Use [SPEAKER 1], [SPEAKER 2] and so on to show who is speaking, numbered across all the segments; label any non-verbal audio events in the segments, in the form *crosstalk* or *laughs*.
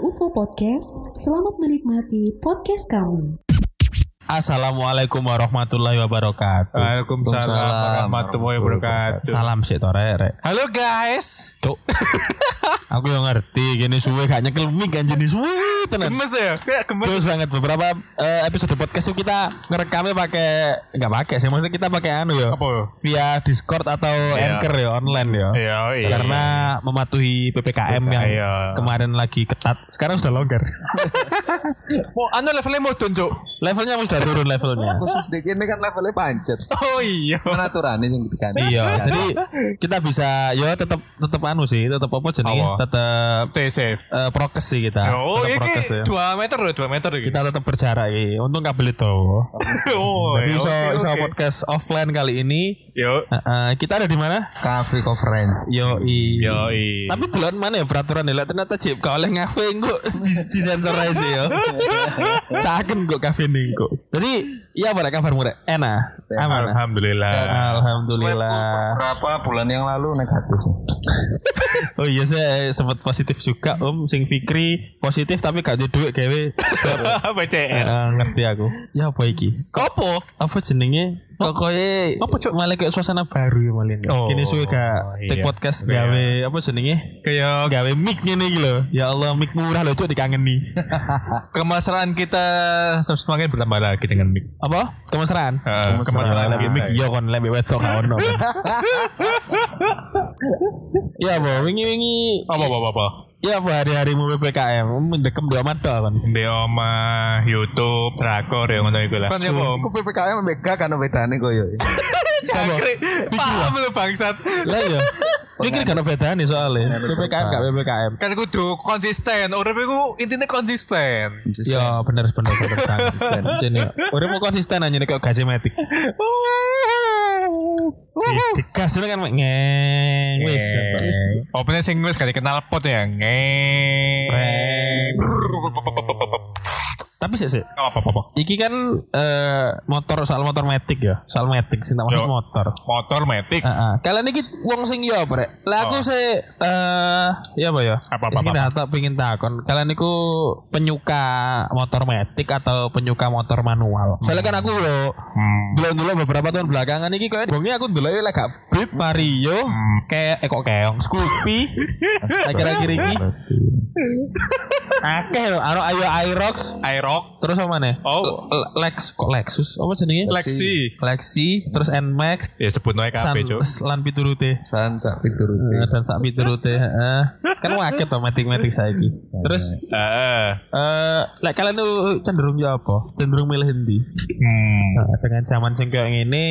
[SPEAKER 1] Podcast. Selamat menikmati podcast kamu.
[SPEAKER 2] Assalamualaikum warahmatullahi wabarakatuh.
[SPEAKER 3] Waalaikumsalam warahmatullahi wabarakatuh.
[SPEAKER 2] Salam sih tore rek.
[SPEAKER 3] Halo guys. *laughs*
[SPEAKER 2] Cuk. Aku yang ngerti gini suwe gak nyekel mic kan jenis suwe tenan.
[SPEAKER 3] Gemes ya? Kayak gemes.
[SPEAKER 2] Terus banget beberapa eh, episode podcast itu kita ngerekamnya pakai nggak pakai sih maksudnya kita pakai anu ya.
[SPEAKER 3] Apa ya?
[SPEAKER 2] Via Discord atau
[SPEAKER 3] Iya.
[SPEAKER 2] Anchor ya online ya.
[SPEAKER 3] Iya, iya.
[SPEAKER 2] Karena mematuhi PPKM yang
[SPEAKER 3] Iya.
[SPEAKER 2] kemarin lagi ketat, sekarang sudah longgar.
[SPEAKER 3] mau anu levelnya mau tunjuk.
[SPEAKER 2] *laughs* levelnya sudah turun levelnya.
[SPEAKER 4] khusus di ini kan levelnya pancet
[SPEAKER 3] Oh iya.
[SPEAKER 4] kan aturannya yang diganti
[SPEAKER 2] Iya,
[SPEAKER 3] *laughs*
[SPEAKER 2] jadi kita bisa ya tetap tetap anu sih, tetap apa jenenge?
[SPEAKER 3] Apa?
[SPEAKER 2] Tetap
[SPEAKER 3] Stay safe.
[SPEAKER 2] eh, prokes sih kita.
[SPEAKER 3] Oh,
[SPEAKER 2] Tetap
[SPEAKER 3] iki
[SPEAKER 2] prokes ya.
[SPEAKER 3] 2 meter loh, 2 meter iki.
[SPEAKER 2] Kita tetap berjarak iki. Untung kabel itu.
[SPEAKER 3] Oh.
[SPEAKER 2] Jadi
[SPEAKER 3] iya,
[SPEAKER 2] iso
[SPEAKER 3] oke,
[SPEAKER 2] iso
[SPEAKER 3] oke.
[SPEAKER 2] podcast offline kali ini.
[SPEAKER 3] Yo.
[SPEAKER 2] Eh, eh, kita ada di mana?
[SPEAKER 4] cafe conference
[SPEAKER 2] Yo
[SPEAKER 3] Yo.
[SPEAKER 2] Tapi duluan mana ya peraturan ya? Ternyata Cip gak oleh ngafe engko *laughs* di, di sensor aja ya. Saken kok kafe ning kok. Jadi, iya apa rek kabarmu rek? Enak. Aman. ah?
[SPEAKER 3] *laughs* Alhamdulillah.
[SPEAKER 2] Alhamdulillah.
[SPEAKER 4] berapa bulan yang lalu negatif
[SPEAKER 2] Oh iya saya sempat positif juga om Sing Fikri positif tapi gak ada duit *laughs* gawe Eh,
[SPEAKER 3] PCR.
[SPEAKER 2] eh, Ngerti aku Ya apa iki
[SPEAKER 3] Kopo?
[SPEAKER 2] Apa jenenge Pokoknya Apa cok malah kayak suasana baru ya malin
[SPEAKER 3] Oh,
[SPEAKER 2] Kini suwe gak
[SPEAKER 3] iya.
[SPEAKER 2] Take podcast
[SPEAKER 3] Iya.
[SPEAKER 2] gawe Apa jenenge
[SPEAKER 3] Kayak
[SPEAKER 2] Gawe mic ngene iki lho Ya Allah mic murah lho cok *laughs* dikangeni
[SPEAKER 3] kemesraan kita semakin bertambah lagi dengan mic. eh,
[SPEAKER 2] Apa Kemesraan
[SPEAKER 3] Ah,
[SPEAKER 2] Kemesraan
[SPEAKER 3] kemesraan
[SPEAKER 2] lebih mic
[SPEAKER 3] kita.
[SPEAKER 2] yo kon lebih wedok gak *laughs* ono Ya apa wingi-wingi
[SPEAKER 3] Apa apa apa, apa?
[SPEAKER 2] Ya apa hari-harimu PPKM Mendekem dua mata
[SPEAKER 3] *laughs*
[SPEAKER 2] kan
[SPEAKER 3] Di oma, YouTube, drakor ya ngono iku lah. Kan ya
[SPEAKER 4] aku PPKM mega kan bedane koyo
[SPEAKER 3] Cangkrik. Paham lu bangsat.
[SPEAKER 2] Lah
[SPEAKER 3] *laughs*
[SPEAKER 2] iya. Pikir kan bedane soalnya. PPKM gak PPKM.
[SPEAKER 3] kan kudu konsisten urip iku intinya
[SPEAKER 2] *laughs*
[SPEAKER 3] konsisten *laughs*
[SPEAKER 2] Ya bener bener bener banget. Jadi urip mau konsisten aja nih kayak gasemetik. Digas itu kan ngeng wis.
[SPEAKER 3] opennya sing wis kali kenal pot ya ngeng
[SPEAKER 2] Preng. Tapi sih sih.
[SPEAKER 3] apa apa apa
[SPEAKER 2] Iki kan eh, motor soal motor metik ya, soal metik sih
[SPEAKER 3] Yo.
[SPEAKER 2] namanya motor.
[SPEAKER 3] motor metik
[SPEAKER 2] Heeh. Kalian iki wong sing yo apa rek? Lah
[SPEAKER 3] Oh.
[SPEAKER 2] aku sih eh ya apa ya?
[SPEAKER 3] Apa, apa,
[SPEAKER 2] Sing
[SPEAKER 3] apa,
[SPEAKER 2] tak pengin takon. Kalian niku penyuka motor metik atau penyuka motor
[SPEAKER 3] Hmm.
[SPEAKER 2] manual? Soalnya kan aku lho dulu-dulu beberapa tahun belakangan iki kayak bongnya aku dulu lek gak Beat Vario
[SPEAKER 3] Hmm.
[SPEAKER 2] kayak eh kok keong
[SPEAKER 3] *laughs*
[SPEAKER 2] Scoopy akhir-akhir iki akeh lho ana ayo Aerox
[SPEAKER 3] Aerox
[SPEAKER 2] terus apa nih?
[SPEAKER 3] Oh.
[SPEAKER 2] L- Lex kok Lexus apa jenenge?
[SPEAKER 3] Lexi
[SPEAKER 2] Lexi terus Nmax
[SPEAKER 3] ya sebut noe
[SPEAKER 2] San,
[SPEAKER 3] kabeh cuk
[SPEAKER 2] lan piturute.
[SPEAKER 4] san sak pituruti
[SPEAKER 2] Eh, dan sak piturute heeh. kan waket to metik-metik saiki. Terus
[SPEAKER 3] heeh
[SPEAKER 2] eh lek kalian tuh cenderung ya apa? Cenderung milih endi?
[SPEAKER 3] hmm
[SPEAKER 2] Nah, dengan zaman sing kayak ngene.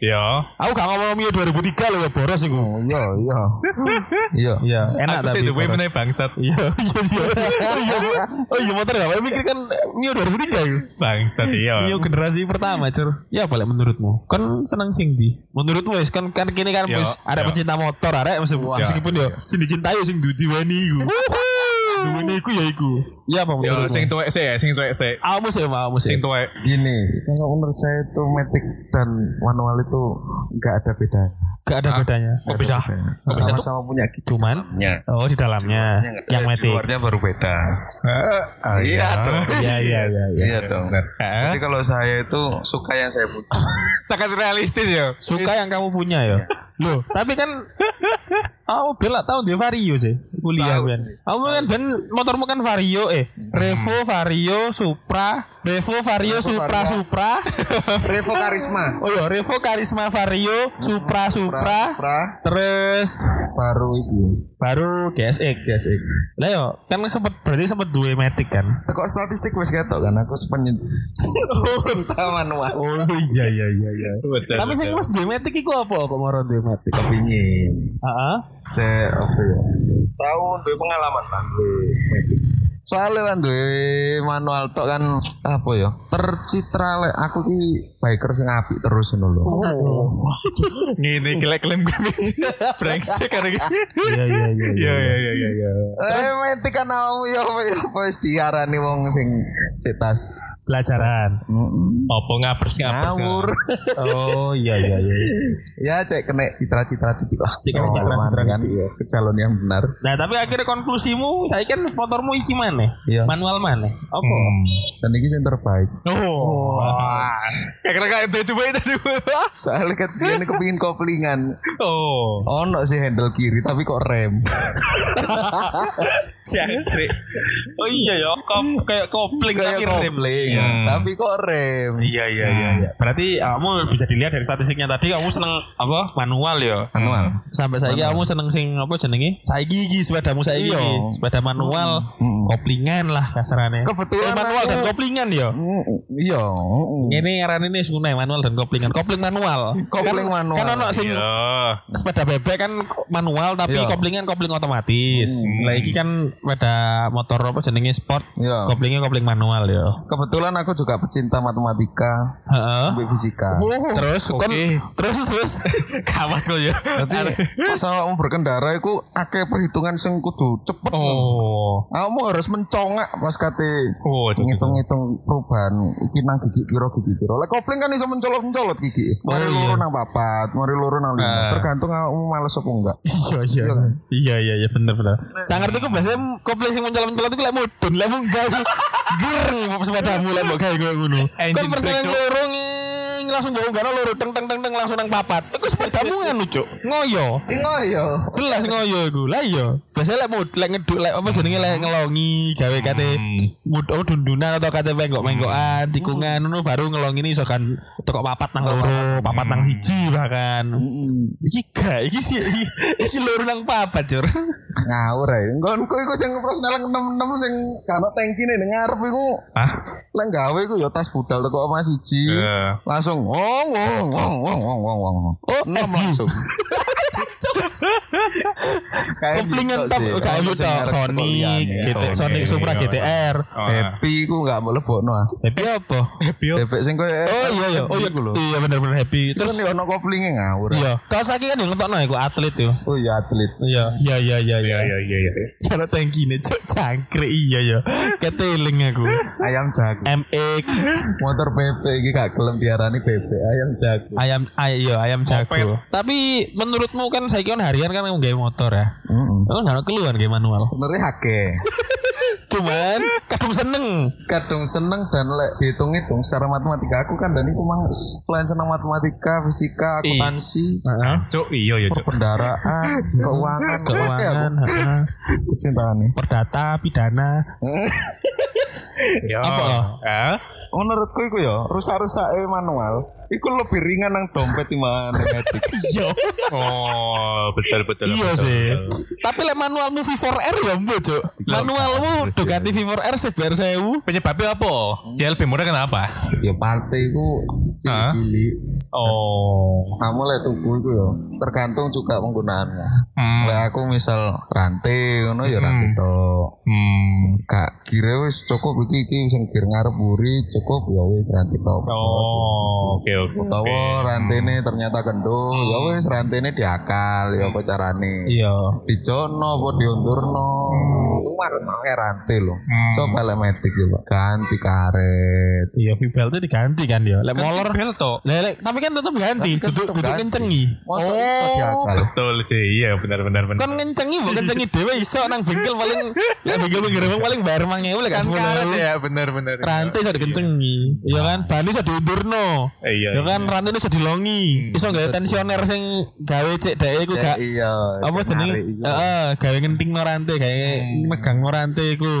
[SPEAKER 3] ya
[SPEAKER 2] Aku gak ngomong Mio 2003 lho ya boros iku.
[SPEAKER 4] oh iya iya iya
[SPEAKER 2] Iya, enak
[SPEAKER 3] aku sih
[SPEAKER 2] tapi.
[SPEAKER 3] duwe
[SPEAKER 2] boros.
[SPEAKER 3] meneh bangsat
[SPEAKER 2] Iya, iya, *laughs* iya. Oh iya motor gak apa mikir kan Mio 2003 iku.
[SPEAKER 3] bangsat iya
[SPEAKER 2] Mio generasi pertama, Cur. Ya apa lek menurutmu? Kan seneng sing di. Menurutmu wis kan kan kini kan
[SPEAKER 3] Yo,
[SPEAKER 2] wis ada
[SPEAKER 3] yo.
[SPEAKER 2] pecinta motor arek mesti- meskipun yo sing dicintai ya sing dudu wani iku. Duweni iku ya iku. Ya apa
[SPEAKER 3] ya
[SPEAKER 2] menurutmu?
[SPEAKER 3] sing tuwek sih ya sing tuwek sih
[SPEAKER 2] Kamu sih mau sih.
[SPEAKER 3] sing tuwek
[SPEAKER 4] gini kalau menurut saya itu metik dan manual itu nggak ada beda
[SPEAKER 2] Gak ada bedanya. Kok bisa? Kok bisa tuh?
[SPEAKER 4] sama-sama punya gitu
[SPEAKER 2] Cuman oh di dalamnya yang metik. Ah,
[SPEAKER 4] luarnya baru beda iya dong
[SPEAKER 2] Iya iya iya. iya.
[SPEAKER 4] iya dong
[SPEAKER 3] heeh
[SPEAKER 4] jadi kalau saya itu suka yang saya butuh
[SPEAKER 3] sangat realistis ya
[SPEAKER 2] Suka yang kamu punya ya. Loh, tapi kan aku bela tahu dia Vario sih kuliah kan. Kamu kan dan motormu kan Vario eh Revo Vario Supra, Revo Vario Supra *laughs* Supra.
[SPEAKER 4] Revo Karisma
[SPEAKER 2] Oh iya, Revo Karisma Vario Supra Supra.
[SPEAKER 4] Pra
[SPEAKER 2] Terus
[SPEAKER 4] baru itu Iya
[SPEAKER 2] baru GSX.
[SPEAKER 4] GSX
[SPEAKER 2] Lah yo, kan sempat berarti sempat dua Matic kan.
[SPEAKER 4] kok statistik wis ketok kan aku sepenyet cinta manual
[SPEAKER 2] *laughs* Oh iya iya iya iya.
[SPEAKER 3] betul
[SPEAKER 2] Tapi sing wis duwe metik iku apa kok moro duwe metik?
[SPEAKER 4] kepingin
[SPEAKER 2] Heeh.
[SPEAKER 4] cek apa ya tahu duwe pengalaman lah duwe metik. soalnya kan duwe manual tok kan apa ya tercitra lek aku ki biker sing apik terus ngono lho
[SPEAKER 3] ngene kelek klaim
[SPEAKER 2] *laughs*
[SPEAKER 3] gue brengsek karek
[SPEAKER 2] Iya iya iya.
[SPEAKER 3] iya iya iya iya iya
[SPEAKER 4] eh metik kan awakmu ya ya apa wis diarani wong sing setas
[SPEAKER 2] Pelajaran.
[SPEAKER 3] Apa ngapres ngapres?
[SPEAKER 4] ngawur
[SPEAKER 2] Oh iya iya iya.
[SPEAKER 4] *laughs* ya cek kena citra-citra titik lah Oh,
[SPEAKER 2] Cek kena citra-citra
[SPEAKER 4] kan ke calon Iya, yang benar
[SPEAKER 2] Nah tapi akhirnya konklusimu, saya kan motormu iki mana? maneh?
[SPEAKER 4] Iya.
[SPEAKER 2] Manual maneh. Apa?
[SPEAKER 3] Hmm.
[SPEAKER 4] Dan ini yang terbaik.
[SPEAKER 3] Oh. Kayak kira kayak itu coba itu coba.
[SPEAKER 4] Soalnya kan dia ini kepingin koplingan.
[SPEAKER 3] Oh.
[SPEAKER 4] Ono sih handle kiri tapi kok rem.
[SPEAKER 2] Jangkrik. *laughs* Oh iya ya, kop- kayak kopling
[SPEAKER 4] Kayak
[SPEAKER 2] tapi rem.
[SPEAKER 4] kopling
[SPEAKER 3] Hmm.
[SPEAKER 4] tapi kok rem.
[SPEAKER 2] Iya iya iya. iya. Berarti kamu bisa dilihat dari statistiknya tadi kamu seneng apa manual ya.
[SPEAKER 3] Hmm.
[SPEAKER 4] Manual.
[SPEAKER 2] Sampai saya kamu seneng sing apa jenenge? Saya gigi sepedamu saya gigi.
[SPEAKER 4] Iya.
[SPEAKER 2] Sepeda manual,
[SPEAKER 4] Mm.
[SPEAKER 2] koplingan lah kasarane.
[SPEAKER 4] Kebetulan
[SPEAKER 2] Eh, manual
[SPEAKER 4] aku-
[SPEAKER 2] dan koplingan ya.
[SPEAKER 4] Mm, Iya. mm.
[SPEAKER 2] Ini ngaran ini sungai manual dan koplingan. Kopling manual.
[SPEAKER 4] Kopling
[SPEAKER 2] Kan-
[SPEAKER 4] manual.
[SPEAKER 2] Kan ono sing
[SPEAKER 3] Iya.
[SPEAKER 2] sepeda bebek kan manual tapi
[SPEAKER 4] Iya.
[SPEAKER 2] koplingan kopling otomatis. Lah iki kan sepeda motor apa jenenge sport.
[SPEAKER 4] Iya.
[SPEAKER 2] Koplingnya kopling manual ya.
[SPEAKER 4] Kebetulan aku juga pecinta matematika
[SPEAKER 2] Heeh.
[SPEAKER 4] sampai fisika.
[SPEAKER 2] Terus kan
[SPEAKER 3] Oke.
[SPEAKER 2] terus terus
[SPEAKER 3] Kawas kok ya.
[SPEAKER 4] Nanti pas awakmu berkendara iku akeh perhitungan sing kudu cepet.
[SPEAKER 2] Oh.
[SPEAKER 4] Kamu harus mencongak pas kate
[SPEAKER 3] Oh, cocok.
[SPEAKER 4] ngitung-ngitung perubahan iki nang gigi piro gigi piro. Lek kopling kan iso mencolot-mencolot gigi.
[SPEAKER 2] Oh,
[SPEAKER 4] Mari loro nang papat, mari loro nang lima.
[SPEAKER 3] Ah.
[SPEAKER 4] Tergantung kamu males apa enggak.
[SPEAKER 2] Iya iya.
[SPEAKER 3] kan?
[SPEAKER 2] Iya iya iya bener bener.
[SPEAKER 3] Nah.
[SPEAKER 2] Sangar tuh biasanya kopling sing mencalon-calon itu lek mudun, lek munggah. Gereng sepedamu lek mbok gawe koyo ngono.
[SPEAKER 3] Eh, Engine
[SPEAKER 2] Kan perselen
[SPEAKER 3] brake, Cuk.
[SPEAKER 2] loro nging, langsung mbok unggah loro teng teng teng teng langsung nang papat. Eh, Iku sepedamu nganu cuk. Ngoyo.
[SPEAKER 4] Ingo yo.
[SPEAKER 2] Jelas ngoyo iku. Lah iya. Biasanya lek mud lek ngeduk lek apa jenenge lek ngelongi gawe kate
[SPEAKER 3] Hmm.
[SPEAKER 2] mud oh dundunan atau kate menggok-menggokan, tikungan ngono baru ngelongi ini iso kan tekok papat nang
[SPEAKER 3] Hmm.
[SPEAKER 2] loro, papat nang siji bahkan. Iki gak, iki sih iki, iki loro nang papat, Jur.
[SPEAKER 4] Ngawur ae. Engko engko iku sing personel 66 sing kano tangkine ning ngarep iku
[SPEAKER 3] Hah?
[SPEAKER 4] lek gawe iku yo tas budal teko omah siji.
[SPEAKER 2] Iya.
[SPEAKER 3] Eh.
[SPEAKER 4] Langsung wong wong wong wong wong wong wong.
[SPEAKER 2] Oh,
[SPEAKER 4] Enam
[SPEAKER 2] FU.
[SPEAKER 4] langsung.
[SPEAKER 2] *laughs* Oh,
[SPEAKER 4] Kayak
[SPEAKER 2] Koplingan
[SPEAKER 4] gitu
[SPEAKER 2] tab
[SPEAKER 4] sih.
[SPEAKER 2] kayak
[SPEAKER 4] Kamu
[SPEAKER 2] gitu
[SPEAKER 4] sing ngarep
[SPEAKER 2] Sonic,
[SPEAKER 4] koplingan, ya.
[SPEAKER 2] GT,
[SPEAKER 3] Sonic,
[SPEAKER 2] Sonic Supra
[SPEAKER 3] iya.
[SPEAKER 2] GTR.
[SPEAKER 5] Ah.
[SPEAKER 4] Happy ku gak mau lebokno ah.
[SPEAKER 2] Happy Iya, apa?
[SPEAKER 4] Bebek sing koyo
[SPEAKER 2] Oh iya iya, oh iya Iya bener-bener happy. Terus
[SPEAKER 4] Terus nih kan ono koplinge ngawur. ah.
[SPEAKER 2] iya, Kawasaki kan yang ngetokno iku atlet yo.
[SPEAKER 4] Oh iya atlet.
[SPEAKER 2] Iya, iya iya iya iya.
[SPEAKER 3] Iya iya iya.
[SPEAKER 2] Cara tangkine cok jangkrik iya ya. Keteling aku.
[SPEAKER 4] Ayam jago.
[SPEAKER 2] Eh. MX
[SPEAKER 4] Motor bebek iki gak gelem diarani bebek ayam jago.
[SPEAKER 2] ayam ay, iya, ayam jago.
[SPEAKER 3] Moped.
[SPEAKER 2] Tapi menurutmu kan saya kan harian kan nggawe motor ya.
[SPEAKER 4] Heeh.
[SPEAKER 2] Kan gak ada keluhan gawe manual.
[SPEAKER 4] Sebenarnya hake.
[SPEAKER 2] Cuman kadung seneng.
[SPEAKER 4] Kadung seneng dan lek dihitung-hitung secara matematika aku kan dan iku mang selain seneng matematika, fisika,
[SPEAKER 3] Iya.
[SPEAKER 4] akuntansi,
[SPEAKER 2] Ah.
[SPEAKER 3] Cuk, iya iya cuk.
[SPEAKER 4] perbendaraan, keuangan, Oke, aku
[SPEAKER 2] Keuangan, heeh.
[SPEAKER 4] kecintaane.
[SPEAKER 2] perdata, pidana.
[SPEAKER 3] Ya.
[SPEAKER 2] Iya. Apa?
[SPEAKER 3] Eh?
[SPEAKER 4] Menurutku iku ya, rusak-rusake manual iku lebih ringan nang dompet timbang nang etik.
[SPEAKER 3] Oh, betul betul.
[SPEAKER 2] Iya
[SPEAKER 3] betul,
[SPEAKER 2] sih.
[SPEAKER 3] betul.
[SPEAKER 2] Tapi lek manualmu V4R ya mbo, Cuk. Manualmu
[SPEAKER 3] iya.
[SPEAKER 2] Ducati V4R sebar sewu.
[SPEAKER 3] Penyebabnya apa? Dia lebih murah kenapa?
[SPEAKER 4] *laughs* ya partai iku cilik-cilik.
[SPEAKER 3] Oh.
[SPEAKER 4] Kamu lek tuku iku ya, tergantung juga penggunaannya.
[SPEAKER 3] Hmm.
[SPEAKER 4] Lek aku misal rantai ngono ya rantai tok.
[SPEAKER 3] Hmm.
[SPEAKER 4] Kak kira wis cukup iki iki sing kir ngarep buri cukup ya wis rantai tok.
[SPEAKER 3] Oh, oke oke.
[SPEAKER 4] Utawa rantene ternyata gendul, ya wis rantene diakal ya apa carane.
[SPEAKER 2] Iya.
[SPEAKER 4] dijono apa diunturno umar mau rantai lo
[SPEAKER 2] Hmm.
[SPEAKER 4] coba lek metik ya pak ganti karet
[SPEAKER 2] Iya, V-belt itu diganti kan ya. Lek molor
[SPEAKER 3] bel to.
[SPEAKER 2] Lek- lek- tapi kan tetap ganti, Eh.
[SPEAKER 4] Tapi kan
[SPEAKER 2] duduk
[SPEAKER 4] tetep
[SPEAKER 2] duduk
[SPEAKER 4] ganti.
[SPEAKER 2] kencengi.
[SPEAKER 4] masa iso diakal
[SPEAKER 3] Betul sih, iya benar benar benar.
[SPEAKER 2] Kan kencengi bukan kencengi dhewe iso nang bengkel paling lek bengkel pinggir rumah paling bayar mang ewu lek gak sepuluh ewu.
[SPEAKER 3] ya benar benar.
[SPEAKER 2] Kan Rantai iso dikencengi. Iya kan? Ban iso diundurno.
[SPEAKER 3] Eh, iya,
[SPEAKER 2] Ya kan rantai iso dilongi. Iso gawe tensioner sing gawe cek dhek iku gak
[SPEAKER 4] iya
[SPEAKER 2] apa
[SPEAKER 4] narik
[SPEAKER 2] jenenge
[SPEAKER 4] iku.
[SPEAKER 2] heeh gawe ngenting no rantai gawe megang no rantai iku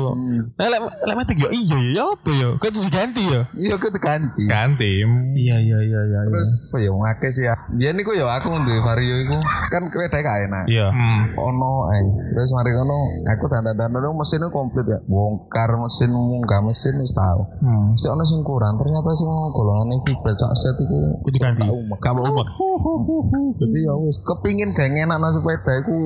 [SPEAKER 2] nah lek lek mati yo iya ya, ya apa yo kok itu diganti yo
[SPEAKER 4] iya aku diganti
[SPEAKER 3] Ganti.
[SPEAKER 2] iya iya iya iya
[SPEAKER 4] terus apa ya ngake sih ya biar niku ya aku nduwe vario iku kan kepeda gak enak
[SPEAKER 2] iya
[SPEAKER 3] Hmm.
[SPEAKER 4] ono ae terus mari kono aku dandan-dandan dong mesinnya komplit ya bongkar mesin munggah mesin wis tau
[SPEAKER 2] Hmm.
[SPEAKER 4] si ono sing kurang ternyata sing golongan iki becak set iku
[SPEAKER 2] kudu ganti gak mau umek
[SPEAKER 4] Jadi ya wis kepingin gak enak nang sepeda iku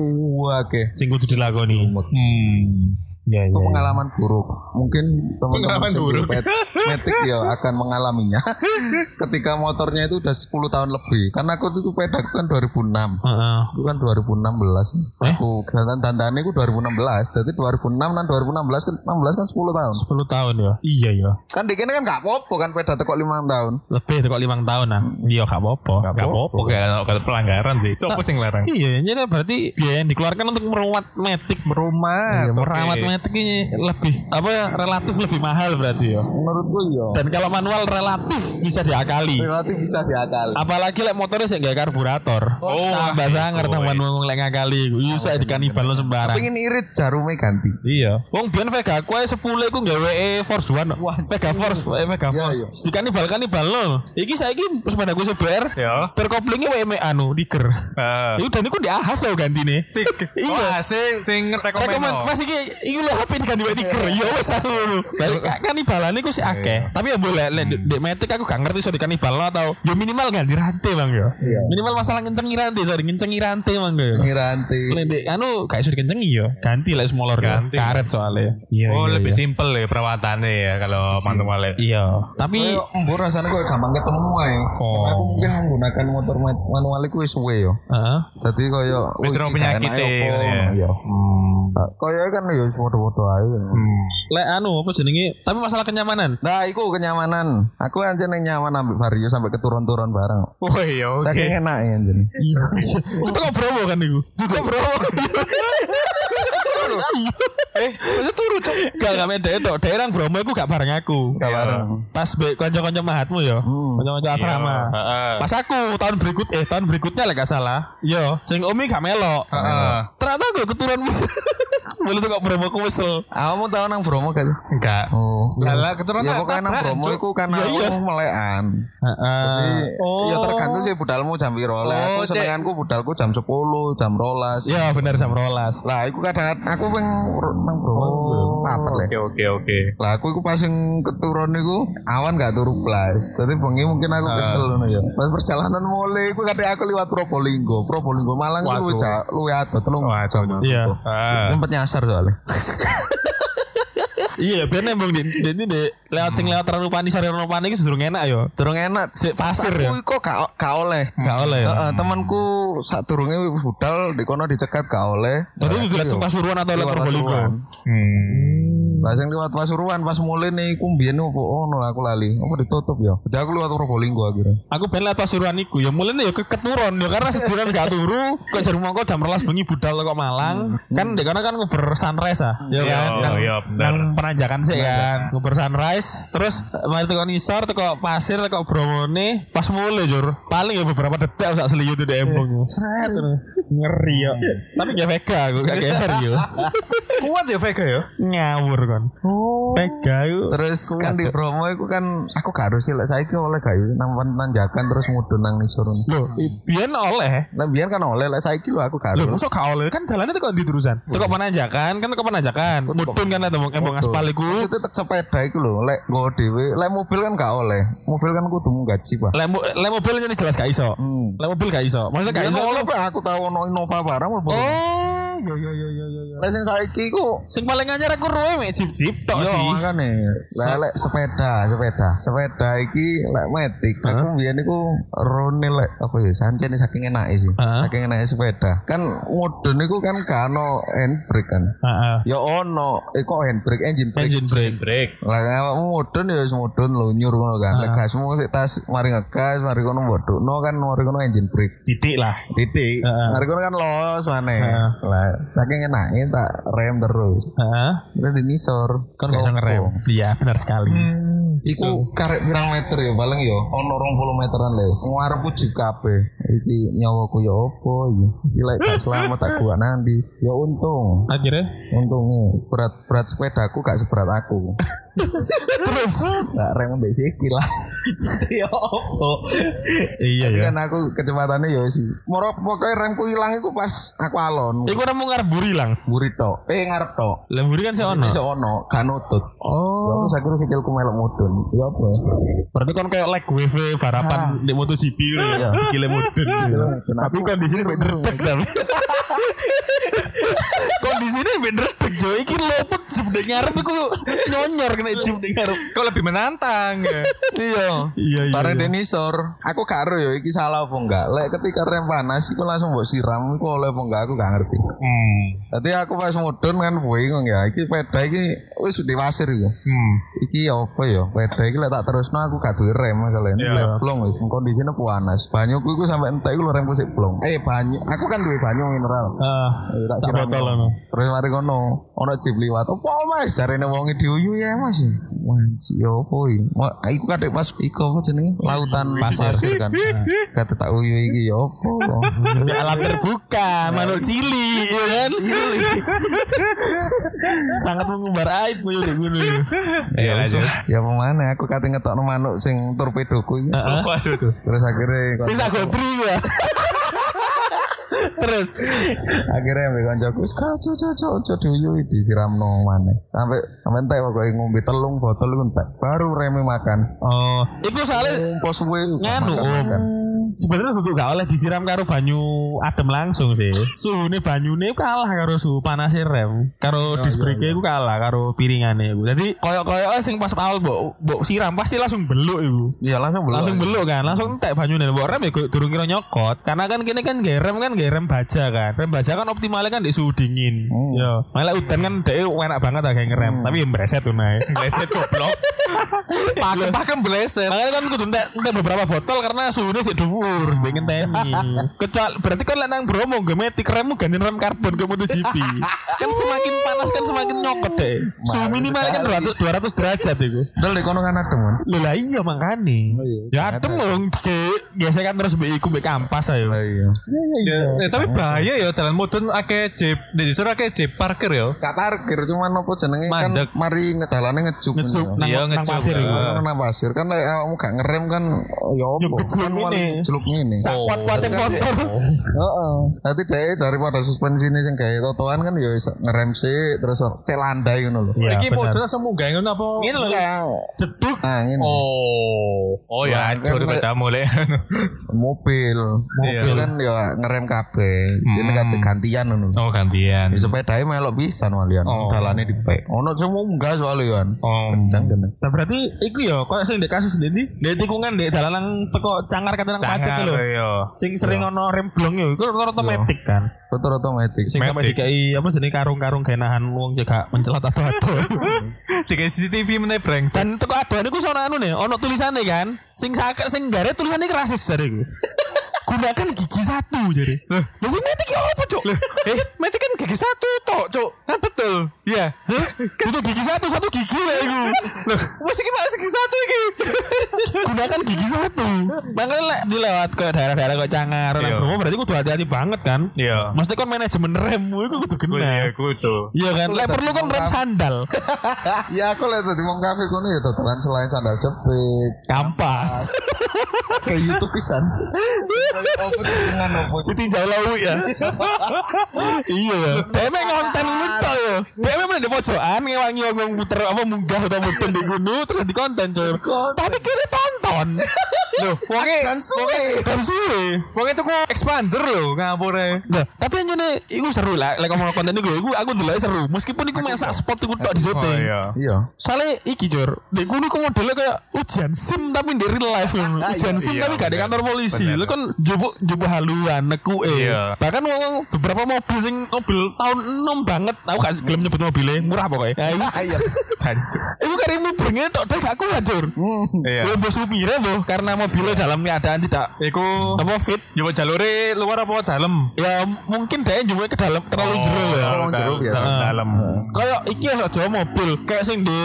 [SPEAKER 4] wake.
[SPEAKER 2] sing kudu dilakoni
[SPEAKER 3] Hmm.
[SPEAKER 2] iya
[SPEAKER 4] Itu
[SPEAKER 2] iya
[SPEAKER 4] pengalaman buruk. Mungkin teman-teman
[SPEAKER 3] Pengalaman
[SPEAKER 4] yang
[SPEAKER 3] buruk.
[SPEAKER 4] berpet- metik ya akan mengalaminya. *laughs* Ketika motornya itu udah 10 tahun lebih. Karena aku itu sepeda aku kan 2006.
[SPEAKER 2] heeh
[SPEAKER 4] Aku kan 2016. Aku dandan dandannya aku 2016. Jadi 2006 dan 2016 kan 16 kan 10 tahun.
[SPEAKER 2] 10 tahun ya iya iya
[SPEAKER 4] Kan dikene kan gak apa-apa kan peda tekok 5 tahun.
[SPEAKER 2] lebih kok limang tahun nah iya gak apa-apa
[SPEAKER 3] Gak apa-apa kalau kalau pelanggaran sih. Coba sing larang.
[SPEAKER 2] iya jadi berarti biaya yang dikeluarkan untuk merawat metik merumat
[SPEAKER 3] Iya,
[SPEAKER 2] merawat
[SPEAKER 3] oke.
[SPEAKER 2] otomatis ini lebih apa ya relatif lebih mahal berarti ya.
[SPEAKER 4] menurutku yo
[SPEAKER 2] Dan kalau manual relatif bisa diakali.
[SPEAKER 4] relatif bisa diakali
[SPEAKER 2] Apalagi lek motornya sih gak karburator.
[SPEAKER 3] Oh,
[SPEAKER 2] tambah
[SPEAKER 3] gitu,
[SPEAKER 2] sangar tambah
[SPEAKER 3] wes.
[SPEAKER 2] nunggu lek ngakali. Iya, saya dikanibal lo sembarang.
[SPEAKER 4] pengen irit jarumnya ganti
[SPEAKER 2] Iya. Wong biyen Vega kuwi 10 iku nggawe Force One.
[SPEAKER 4] Wah,
[SPEAKER 2] Vega Force, wae Vega
[SPEAKER 4] Iya,
[SPEAKER 2] Force.
[SPEAKER 4] iya.
[SPEAKER 2] Dikanibal kanibal lho. Iki saiki sepeda gue CBR.
[SPEAKER 3] Iya.
[SPEAKER 2] Terkoplingnya WME anu diker.
[SPEAKER 3] Ah.
[SPEAKER 2] Iku dan iku diahas lho gantine. Iya.
[SPEAKER 3] Wah, sing sing
[SPEAKER 2] Rekomen
[SPEAKER 3] rekomend.
[SPEAKER 2] Eh, Mas iki iki lho HP diganti wae tiker. Ya wis aku. Tapi ka- kanibalan iku sih akeh. Tapi ya boleh lek di- di metik aku gak ngerti iso dikanibal atau ya minimal ganti rantai Bang ya.
[SPEAKER 4] Iya.
[SPEAKER 2] Minimal masalah ngencengi rantai, sorry ngencengi rantai Bang ya.
[SPEAKER 4] ngiranti
[SPEAKER 2] Lek di- anu gak iso dikencengi ya. Ganti lek semolor ya.
[SPEAKER 3] Ganti.
[SPEAKER 2] Karet soalnya. Iya.
[SPEAKER 3] Oh,
[SPEAKER 2] iya,
[SPEAKER 3] lebih
[SPEAKER 2] iya.
[SPEAKER 3] simpel ya perawatannya ya kalau manual ya.
[SPEAKER 2] Iya. Tapi
[SPEAKER 4] Koyo embur rasanya kok gampang ketemu ae.
[SPEAKER 3] Oh.
[SPEAKER 4] Karena aku mungkin menggunakan motor ma- manual iku wis suwe yo.
[SPEAKER 2] Heeh.
[SPEAKER 4] Dadi koyo
[SPEAKER 3] Wis
[SPEAKER 4] wih,
[SPEAKER 3] rong
[SPEAKER 4] iki gak
[SPEAKER 3] penyakit
[SPEAKER 4] enak
[SPEAKER 3] e,
[SPEAKER 4] ya, apa,
[SPEAKER 3] ya.
[SPEAKER 4] Yo. Nah, Koyo kan yo wis podo-podo ae. ya.
[SPEAKER 3] Hmm.
[SPEAKER 2] lek anu apa jenenge? Tapi masalah kenyamanan.
[SPEAKER 4] Nah, iku kenyamanan. Aku anjen yang nyaman ambil Vario sampai keturun-turun bareng.
[SPEAKER 3] Oh iya, oke.
[SPEAKER 4] Saking enak ya anjen.
[SPEAKER 2] Iya. Itu kok bromo kan iku? Itu bromo. Eh, itu turu cok. Iya. Gak gak beda itu. Daerah bromo iku gak bareng aku.
[SPEAKER 4] Gak bareng.
[SPEAKER 2] Pas be kanca-kanca mahatmu ya. Kanca-kanca asrama.
[SPEAKER 3] Iya. Heeh.
[SPEAKER 2] Pas aku tahun berikut eh tahun berikutnya lek gak salah. Yo, sing Omi gak melok.
[SPEAKER 3] Heeh.
[SPEAKER 2] Ternyata gue keturunan wis. *laughs* Mulai tuh kok bromo ku wesel.
[SPEAKER 4] Ah, Kamu tahu nang Bromo kan?
[SPEAKER 3] Enggak.
[SPEAKER 4] Oh.
[SPEAKER 3] Lah, keturunan
[SPEAKER 4] Ya pokoknya nang
[SPEAKER 3] tabrakan,
[SPEAKER 4] Bromo
[SPEAKER 3] Cuk.
[SPEAKER 4] iku karena
[SPEAKER 2] Iya, iya.
[SPEAKER 4] aku melekan.
[SPEAKER 3] Ah.
[SPEAKER 2] Heeh.
[SPEAKER 4] Oh. Ya tergantung sih budalmu jam piro. Lah,
[SPEAKER 3] Oh,
[SPEAKER 4] Aku
[SPEAKER 3] Cek.
[SPEAKER 4] senenganku budalku jam 10, jam 12.
[SPEAKER 2] Ya benar jam rolas.
[SPEAKER 4] Lah aku kadang aku ping ur- nang Bromo
[SPEAKER 5] Oh.
[SPEAKER 4] papat le.
[SPEAKER 3] Oh, Oke, oke, oke.
[SPEAKER 4] Lah aku iku pas sing keturun niku awan gak turu blas. Dadi bengi mungkin aku kesel ngono ya. Pas perjalanan mulai iku kadang aku liwat Probolinggo. Probolinggo Malang iku luwih
[SPEAKER 3] Waduh.
[SPEAKER 4] ja- luwih adoh telung
[SPEAKER 3] Waduh.
[SPEAKER 4] jam. aku
[SPEAKER 2] Iya.
[SPEAKER 4] tuh.
[SPEAKER 3] Ah.
[SPEAKER 4] Ngumpet nyasar soalnya.
[SPEAKER 2] Iya, ben nembung di di di di- lewat sing lewat Ranupani sore Ranupani iki durung enak yo.
[SPEAKER 4] Durung enak.
[SPEAKER 2] Sik pasir ya.
[SPEAKER 4] Aku iku gak gak oleh.
[SPEAKER 2] Gak oleh ya.
[SPEAKER 4] Heeh, temanku sak durunge budal di kono dicekat gak oleh.
[SPEAKER 2] Jadi itu lewat
[SPEAKER 4] Aku yo,
[SPEAKER 2] Pasuruan atau lewat
[SPEAKER 4] liwat
[SPEAKER 2] Probolinggo.
[SPEAKER 4] Pasuruan.
[SPEAKER 3] Hmm.
[SPEAKER 4] Lah sing liwat Pasuruan pas mulai nih iku mbiyen opo ono aku lali. Apa ditutup ya? Jadi aku liwat Probolinggo akhirnya.
[SPEAKER 2] Aku ben lewat Pasuruan iku ya mulane ya ke- keturun ya karena sebulan gak turu kok jarum mongko jam 12 bengi budal kok Malang. Kan di kono kan nguber sunrise ah. Ya
[SPEAKER 3] Hmm. Iya,
[SPEAKER 2] kan. Nang-
[SPEAKER 3] iya, bener.
[SPEAKER 2] Nang penanjakan sih kan. Nguber sunrise terus eh, mari teko ngisor teko pasir teko Bromone pas mulai jur. Paling ya beberapa detik sak seliyut di
[SPEAKER 3] Iya.
[SPEAKER 2] embung. Seret. Ngeri
[SPEAKER 3] ya.
[SPEAKER 2] yo. Tapi gak vega aku gak geser yo.
[SPEAKER 3] *laughs* Kuat ya Vega ya? Oh.
[SPEAKER 2] ngawur kan Vega itu
[SPEAKER 4] Terus kan di Bromo iku kan aku gak harus lek saiki oleh gak ya? nang nanjakan terus mudun nang ngisor.
[SPEAKER 2] lo biar oleh
[SPEAKER 4] Nah biyen kan oleh lek saiki lho aku gak
[SPEAKER 2] lo
[SPEAKER 4] harus.
[SPEAKER 2] masuk gak oleh kan jalannya tuh kok di terusan tuh kok penanjakan kan tuh kok penanjakan mudun kan ada embong aspal iku
[SPEAKER 4] Maksudnya tek sepeda iku lho lek nggo dhewe, lek mobil kan gak oleh. Mobil kan kudu gaji, Pak.
[SPEAKER 2] lek mo- lek mobil ini jelas gak iso
[SPEAKER 4] Hmm. Iya,
[SPEAKER 2] lek mobil gak iso maksudnya gak
[SPEAKER 4] Biyen
[SPEAKER 2] iso
[SPEAKER 4] oleh Pak, aku tau ono Innova barang mobil.
[SPEAKER 2] oh iya iya iya iya iya
[SPEAKER 4] Lek sing saiki iku
[SPEAKER 2] sing paling anyar aku roe mek jeep-jeep tok
[SPEAKER 4] Yo
[SPEAKER 2] sih
[SPEAKER 4] Iya, makane lek lek sepeda, sepeda, sepeda iki lek metik. Aku biyen iku rone lek apa ya sancen saking enake sih.
[SPEAKER 2] Hah?
[SPEAKER 4] Saking enake sepeda. Kan mudun niku kan kano handbrake kan.
[SPEAKER 2] Heeh.
[SPEAKER 4] Ya ono, eh kok handbrake engine brake.
[SPEAKER 2] engine brake
[SPEAKER 3] Break.
[SPEAKER 4] Lah awakmu mudun ya wis mudun lho nyur ngono kan. Lek gasmu sik tas mari ngegas, mari kono mbodokno kan mari kono engine brake.
[SPEAKER 2] titik lah
[SPEAKER 4] Titik.
[SPEAKER 2] Heeh.
[SPEAKER 4] Mari kono kan los maneh.
[SPEAKER 2] Heeh.
[SPEAKER 4] Lah saking enake tak rem terus.
[SPEAKER 2] Heeh.
[SPEAKER 4] Terus dinisor.
[SPEAKER 2] kan gak iso ngerem iya benar sekali
[SPEAKER 4] Hmm. Iku karek pirang meter ya paling ya ono 20 meteran le. Ngarepku kabeh. Iki nyawaku ya opo iki. Iki lek gak selamat tak gua nanti. Ya untung.
[SPEAKER 2] akhirnya
[SPEAKER 4] Untungnya berat-berat sepedaku gak seberat aku.
[SPEAKER 2] terus
[SPEAKER 4] Gak rem mbek sikil lah. *laughs* ya opo.
[SPEAKER 2] *laughs* iya
[SPEAKER 4] Tapi
[SPEAKER 2] ya
[SPEAKER 4] kan aku kecepatannya ya sih. Moro pokoknya remku ilang iku pas aku alon.
[SPEAKER 2] Iku ora mau ngarep buri lang.
[SPEAKER 4] Buri tok. Eh ngarep tok.
[SPEAKER 2] Lah buri kan sih ono.
[SPEAKER 4] Iso ono, gak nutut.
[SPEAKER 2] Oh.
[SPEAKER 4] Ya aku sakit sikilku melok mudun. Ya opo.
[SPEAKER 2] Berarti kan kayak leg wave
[SPEAKER 3] Ah.
[SPEAKER 2] barapan di MotoGP ya.
[SPEAKER 3] *laughs*
[SPEAKER 2] Sikile mudun. gitu. Tapi kondisinya ben redek tapi. Kondisinya ben redek jo. Iki lopet jam dek ngarep iku nyonyor kena jam dek ngarep.
[SPEAKER 3] Kok lebih menantang ya?
[SPEAKER 4] Iya.
[SPEAKER 2] Iya
[SPEAKER 4] Bareng denisor, aku gak ero ya iki salah apa enggak. Lek ketika rem panas iku langsung mbok siram iku oleh apa enggak aku gak ngerti.
[SPEAKER 3] Hmm.
[SPEAKER 4] Dadi aku pas mudun kan bingung ya, iki peda iki wis diwasir ya.
[SPEAKER 3] Hmm.
[SPEAKER 4] Iki ya apa ya? Peda iki lek tak terusno aku gak duwe rem masalahnya.
[SPEAKER 3] Iya.
[SPEAKER 4] Lek blong wis kondisine panas. Banyuku iku sampe entek iku lho remku sik blong. Eh banyu, aku kan duwe banyu mineral.
[SPEAKER 2] Ah,
[SPEAKER 4] Eh, tak
[SPEAKER 2] sak
[SPEAKER 4] siram.
[SPEAKER 2] botol ono.
[SPEAKER 4] Terus mari kono, ono jeep liwat, apa opo mas jarene wonge diuyu ya mas wanci ya opo iki Ma- iku kadek pas iku apa jenenge lautan
[SPEAKER 2] Iya.
[SPEAKER 4] pasir, kan kata tak uyu iki ya opo
[SPEAKER 2] *laughs* alam terbuka manuk cili ya kan sangat mengumbar aib gue ini, gue ini.
[SPEAKER 3] Iya, lanjut.
[SPEAKER 4] ya pemana aku kate ngetokno manuk sing torpedoku iki
[SPEAKER 3] Waduh tuh.
[SPEAKER 4] terus akhirnya
[SPEAKER 2] sing sagotri gue terus
[SPEAKER 4] akhirnya ambil kancaku kau cocok cocok dulu di siram mana sampai sampai entek pokoknya ngombe telung botol itu entek baru remi makan
[SPEAKER 2] oh itu soalnya
[SPEAKER 4] pos gue
[SPEAKER 2] nganu om sebenarnya tuh gak oleh disiram karo banyu adem langsung sih suhu nih banyu nih kalah karo suhu panasnya rem karo disbrike itu kalah karo piringannya ibu jadi koyok koyok sing pas awal bok bok siram pasti langsung beluk ibu
[SPEAKER 4] iya langsung belum
[SPEAKER 2] langsung beluk kan langsung entek banyu nih rem ya gue durung kira nyokot karena kan kini kan gerem kan gerem baja kan rem baja kan optimalnya kan di suhu dingin
[SPEAKER 4] Hmm.
[SPEAKER 2] yo malah udan kan dia enak banget agak ngerem tapi yang bereset tuh naik
[SPEAKER 3] Leset goblok.
[SPEAKER 2] pakem pakem bleset Iya. makanya kan kudu entek entek beberapa botol karena suhunya sih dhuwur pengen temi kecuali berarti kan lek nang Bromo gak metik remmu ganti rem karbon ke MotoGP kan semakin panas kan semakin nyokot deh suhu minimalnya kan 200 200 derajat itu
[SPEAKER 4] dal di kono kan adem kan
[SPEAKER 2] Lho lah iya mangkane.
[SPEAKER 4] iya.
[SPEAKER 2] Ya adem mong gesekan terus mbek iku mbek kampas ayo.
[SPEAKER 4] Lah iya
[SPEAKER 3] Eh tapi
[SPEAKER 2] Iya.
[SPEAKER 3] bahaya ya jalan mudun akeh jeep, di disuruh akeh jeep parkir ya.
[SPEAKER 4] gak parkir cuman apa jenenge kan
[SPEAKER 3] Mandek.
[SPEAKER 4] mari ngedalane ngejuk Nah,
[SPEAKER 2] Ngecup nang
[SPEAKER 3] Iya,
[SPEAKER 2] nang
[SPEAKER 3] ngecup.
[SPEAKER 2] pasir iku.
[SPEAKER 3] Ah.
[SPEAKER 4] Kan nang pasir kan lek awakmu gak ngerem kan ya opo
[SPEAKER 2] Nyuk
[SPEAKER 4] kan
[SPEAKER 2] jeluk ini.
[SPEAKER 4] celuk ngene
[SPEAKER 2] Sak
[SPEAKER 3] Oh.
[SPEAKER 2] kuat-kuatnya kotor.
[SPEAKER 4] Heeh. Nanti deh daripada suspensinya sing kayak totoan kan ya iso ngerem sih terus cek landai ngono lho.
[SPEAKER 2] Iya,
[SPEAKER 3] Iki
[SPEAKER 2] bener.
[SPEAKER 3] mudun langsung munggah ngono apa?
[SPEAKER 2] Ngene lho. Jeduk
[SPEAKER 4] Nah, ini
[SPEAKER 3] Oh, oh
[SPEAKER 4] Wah,
[SPEAKER 3] ya *laughs* hancur
[SPEAKER 4] kan-
[SPEAKER 3] petamu lek.
[SPEAKER 4] mobil, mobil
[SPEAKER 3] Iya.
[SPEAKER 4] kan ya ngerem kabeh. Ini kate gantian ngono.
[SPEAKER 3] Oh gantian.
[SPEAKER 2] Iya.
[SPEAKER 4] Di sepedae melok pisan walian.
[SPEAKER 3] Oh.
[SPEAKER 4] Dalane dipek. Ono sing munggah soalnya kan.
[SPEAKER 3] Oh.
[SPEAKER 4] Kendang kene.
[SPEAKER 2] Nah berarti iku ya koyo sing ndek kasus ndek ndek tikungan ndek dalan nang teko cangar kata nang pacet
[SPEAKER 3] Cangar
[SPEAKER 2] lho.
[SPEAKER 3] ya.
[SPEAKER 2] Sing sering ono rem blong yo iku rata-rata metik kan.
[SPEAKER 4] Betul otomatis.
[SPEAKER 2] Sing sampe
[SPEAKER 3] Metik.
[SPEAKER 2] dikai apa jenenge karung-karung gak nahan wong jaga mencelat atau-atau.
[SPEAKER 3] Tiga CCTV meneh brengsek.
[SPEAKER 2] Dan teko adoan iku sono anu nih, ono tulisane kan. Sing sak sing gare tulisane iku rasis
[SPEAKER 3] *laughs*
[SPEAKER 2] jare iku. Gunakan gigi satu jare. Lah, mesti metik ya apa, Cuk? *laughs* Eh, metik kan gigi satu tok, Cuk.
[SPEAKER 3] Nah,
[SPEAKER 2] Kan betul. Iya. *laughs* Butuh gigi satu, satu gigi lah iku. Loh, mesti ki malah gigi satu
[SPEAKER 3] *laughs*
[SPEAKER 2] iki. Gunakan gigi satu. Makanya lek dilewat ke daerah-daerah kok Cangar, nang
[SPEAKER 3] Iya.
[SPEAKER 2] Bromo berarti kudu hati-hati banget kan.
[SPEAKER 3] Iya.
[SPEAKER 2] Mesti kon manajemen remmu iku
[SPEAKER 3] Iya,
[SPEAKER 2] kudu genah.
[SPEAKER 3] kudu.
[SPEAKER 2] Iya kan, lek perlu kon rem
[SPEAKER 3] *laughs*
[SPEAKER 2] sandal.
[SPEAKER 4] ya aku lihat di wong kafe kono ya totolan selain sandal jepit.
[SPEAKER 2] Kampas.
[SPEAKER 4] Kayak YouTube *laughs* pisan. Opo Oh, dengan opo sih?
[SPEAKER 2] Siti Jaulau ya. iya. Dhewe ngonten ngono ya. Dhewe meneh di pojokan ngewangi wong puter apa munggah atau mudun di gunung terus di konten Cur. Tapi kira tonton. Loh, wonge
[SPEAKER 4] Kan suwe.
[SPEAKER 2] kan suwe.
[SPEAKER 3] Wong itu kok expander lho ngapure.
[SPEAKER 2] Nah, tapi yang ini, itu seru lah. Lek ngomong konten itu, aku aku dulu seru. Meskipun aku masak spot itu tak di syuting.
[SPEAKER 4] Iya.
[SPEAKER 2] Soalnya iki jor, di gunung kok modelnya kayak ujian sim tapi di real life. Ujian sim
[SPEAKER 3] Iya,
[SPEAKER 2] tapi gak di
[SPEAKER 3] bener.
[SPEAKER 2] kantor polisi.
[SPEAKER 3] Bener.
[SPEAKER 2] Lu kan jubuk jubuk haluan, neku eh.
[SPEAKER 3] Iya.
[SPEAKER 2] Bahkan wong wong beberapa mobil sing mobil tahun 6 banget, aku gak gelem nyebut mobilnya, murah pokoknya. Nah, itu
[SPEAKER 3] Ah, iya.
[SPEAKER 2] *laughs*
[SPEAKER 4] Ayo.
[SPEAKER 3] Jancuk.
[SPEAKER 2] itu karimu bengi tok tok gak kuat jor.
[SPEAKER 3] Iya.
[SPEAKER 2] Lu bos supirnya loh, karena mobilnya dalam keadaan tidak
[SPEAKER 3] Iku
[SPEAKER 2] apa fit.
[SPEAKER 3] yo jalure luar apa dalam?
[SPEAKER 2] Ya mungkin dia juga ke dalam terlalu
[SPEAKER 3] Oh.
[SPEAKER 2] jero
[SPEAKER 3] Iya,
[SPEAKER 2] ya.
[SPEAKER 4] Wong jero biasa.
[SPEAKER 3] Dalam.
[SPEAKER 2] Kayak iki ya Jawa mobil, kayak sing di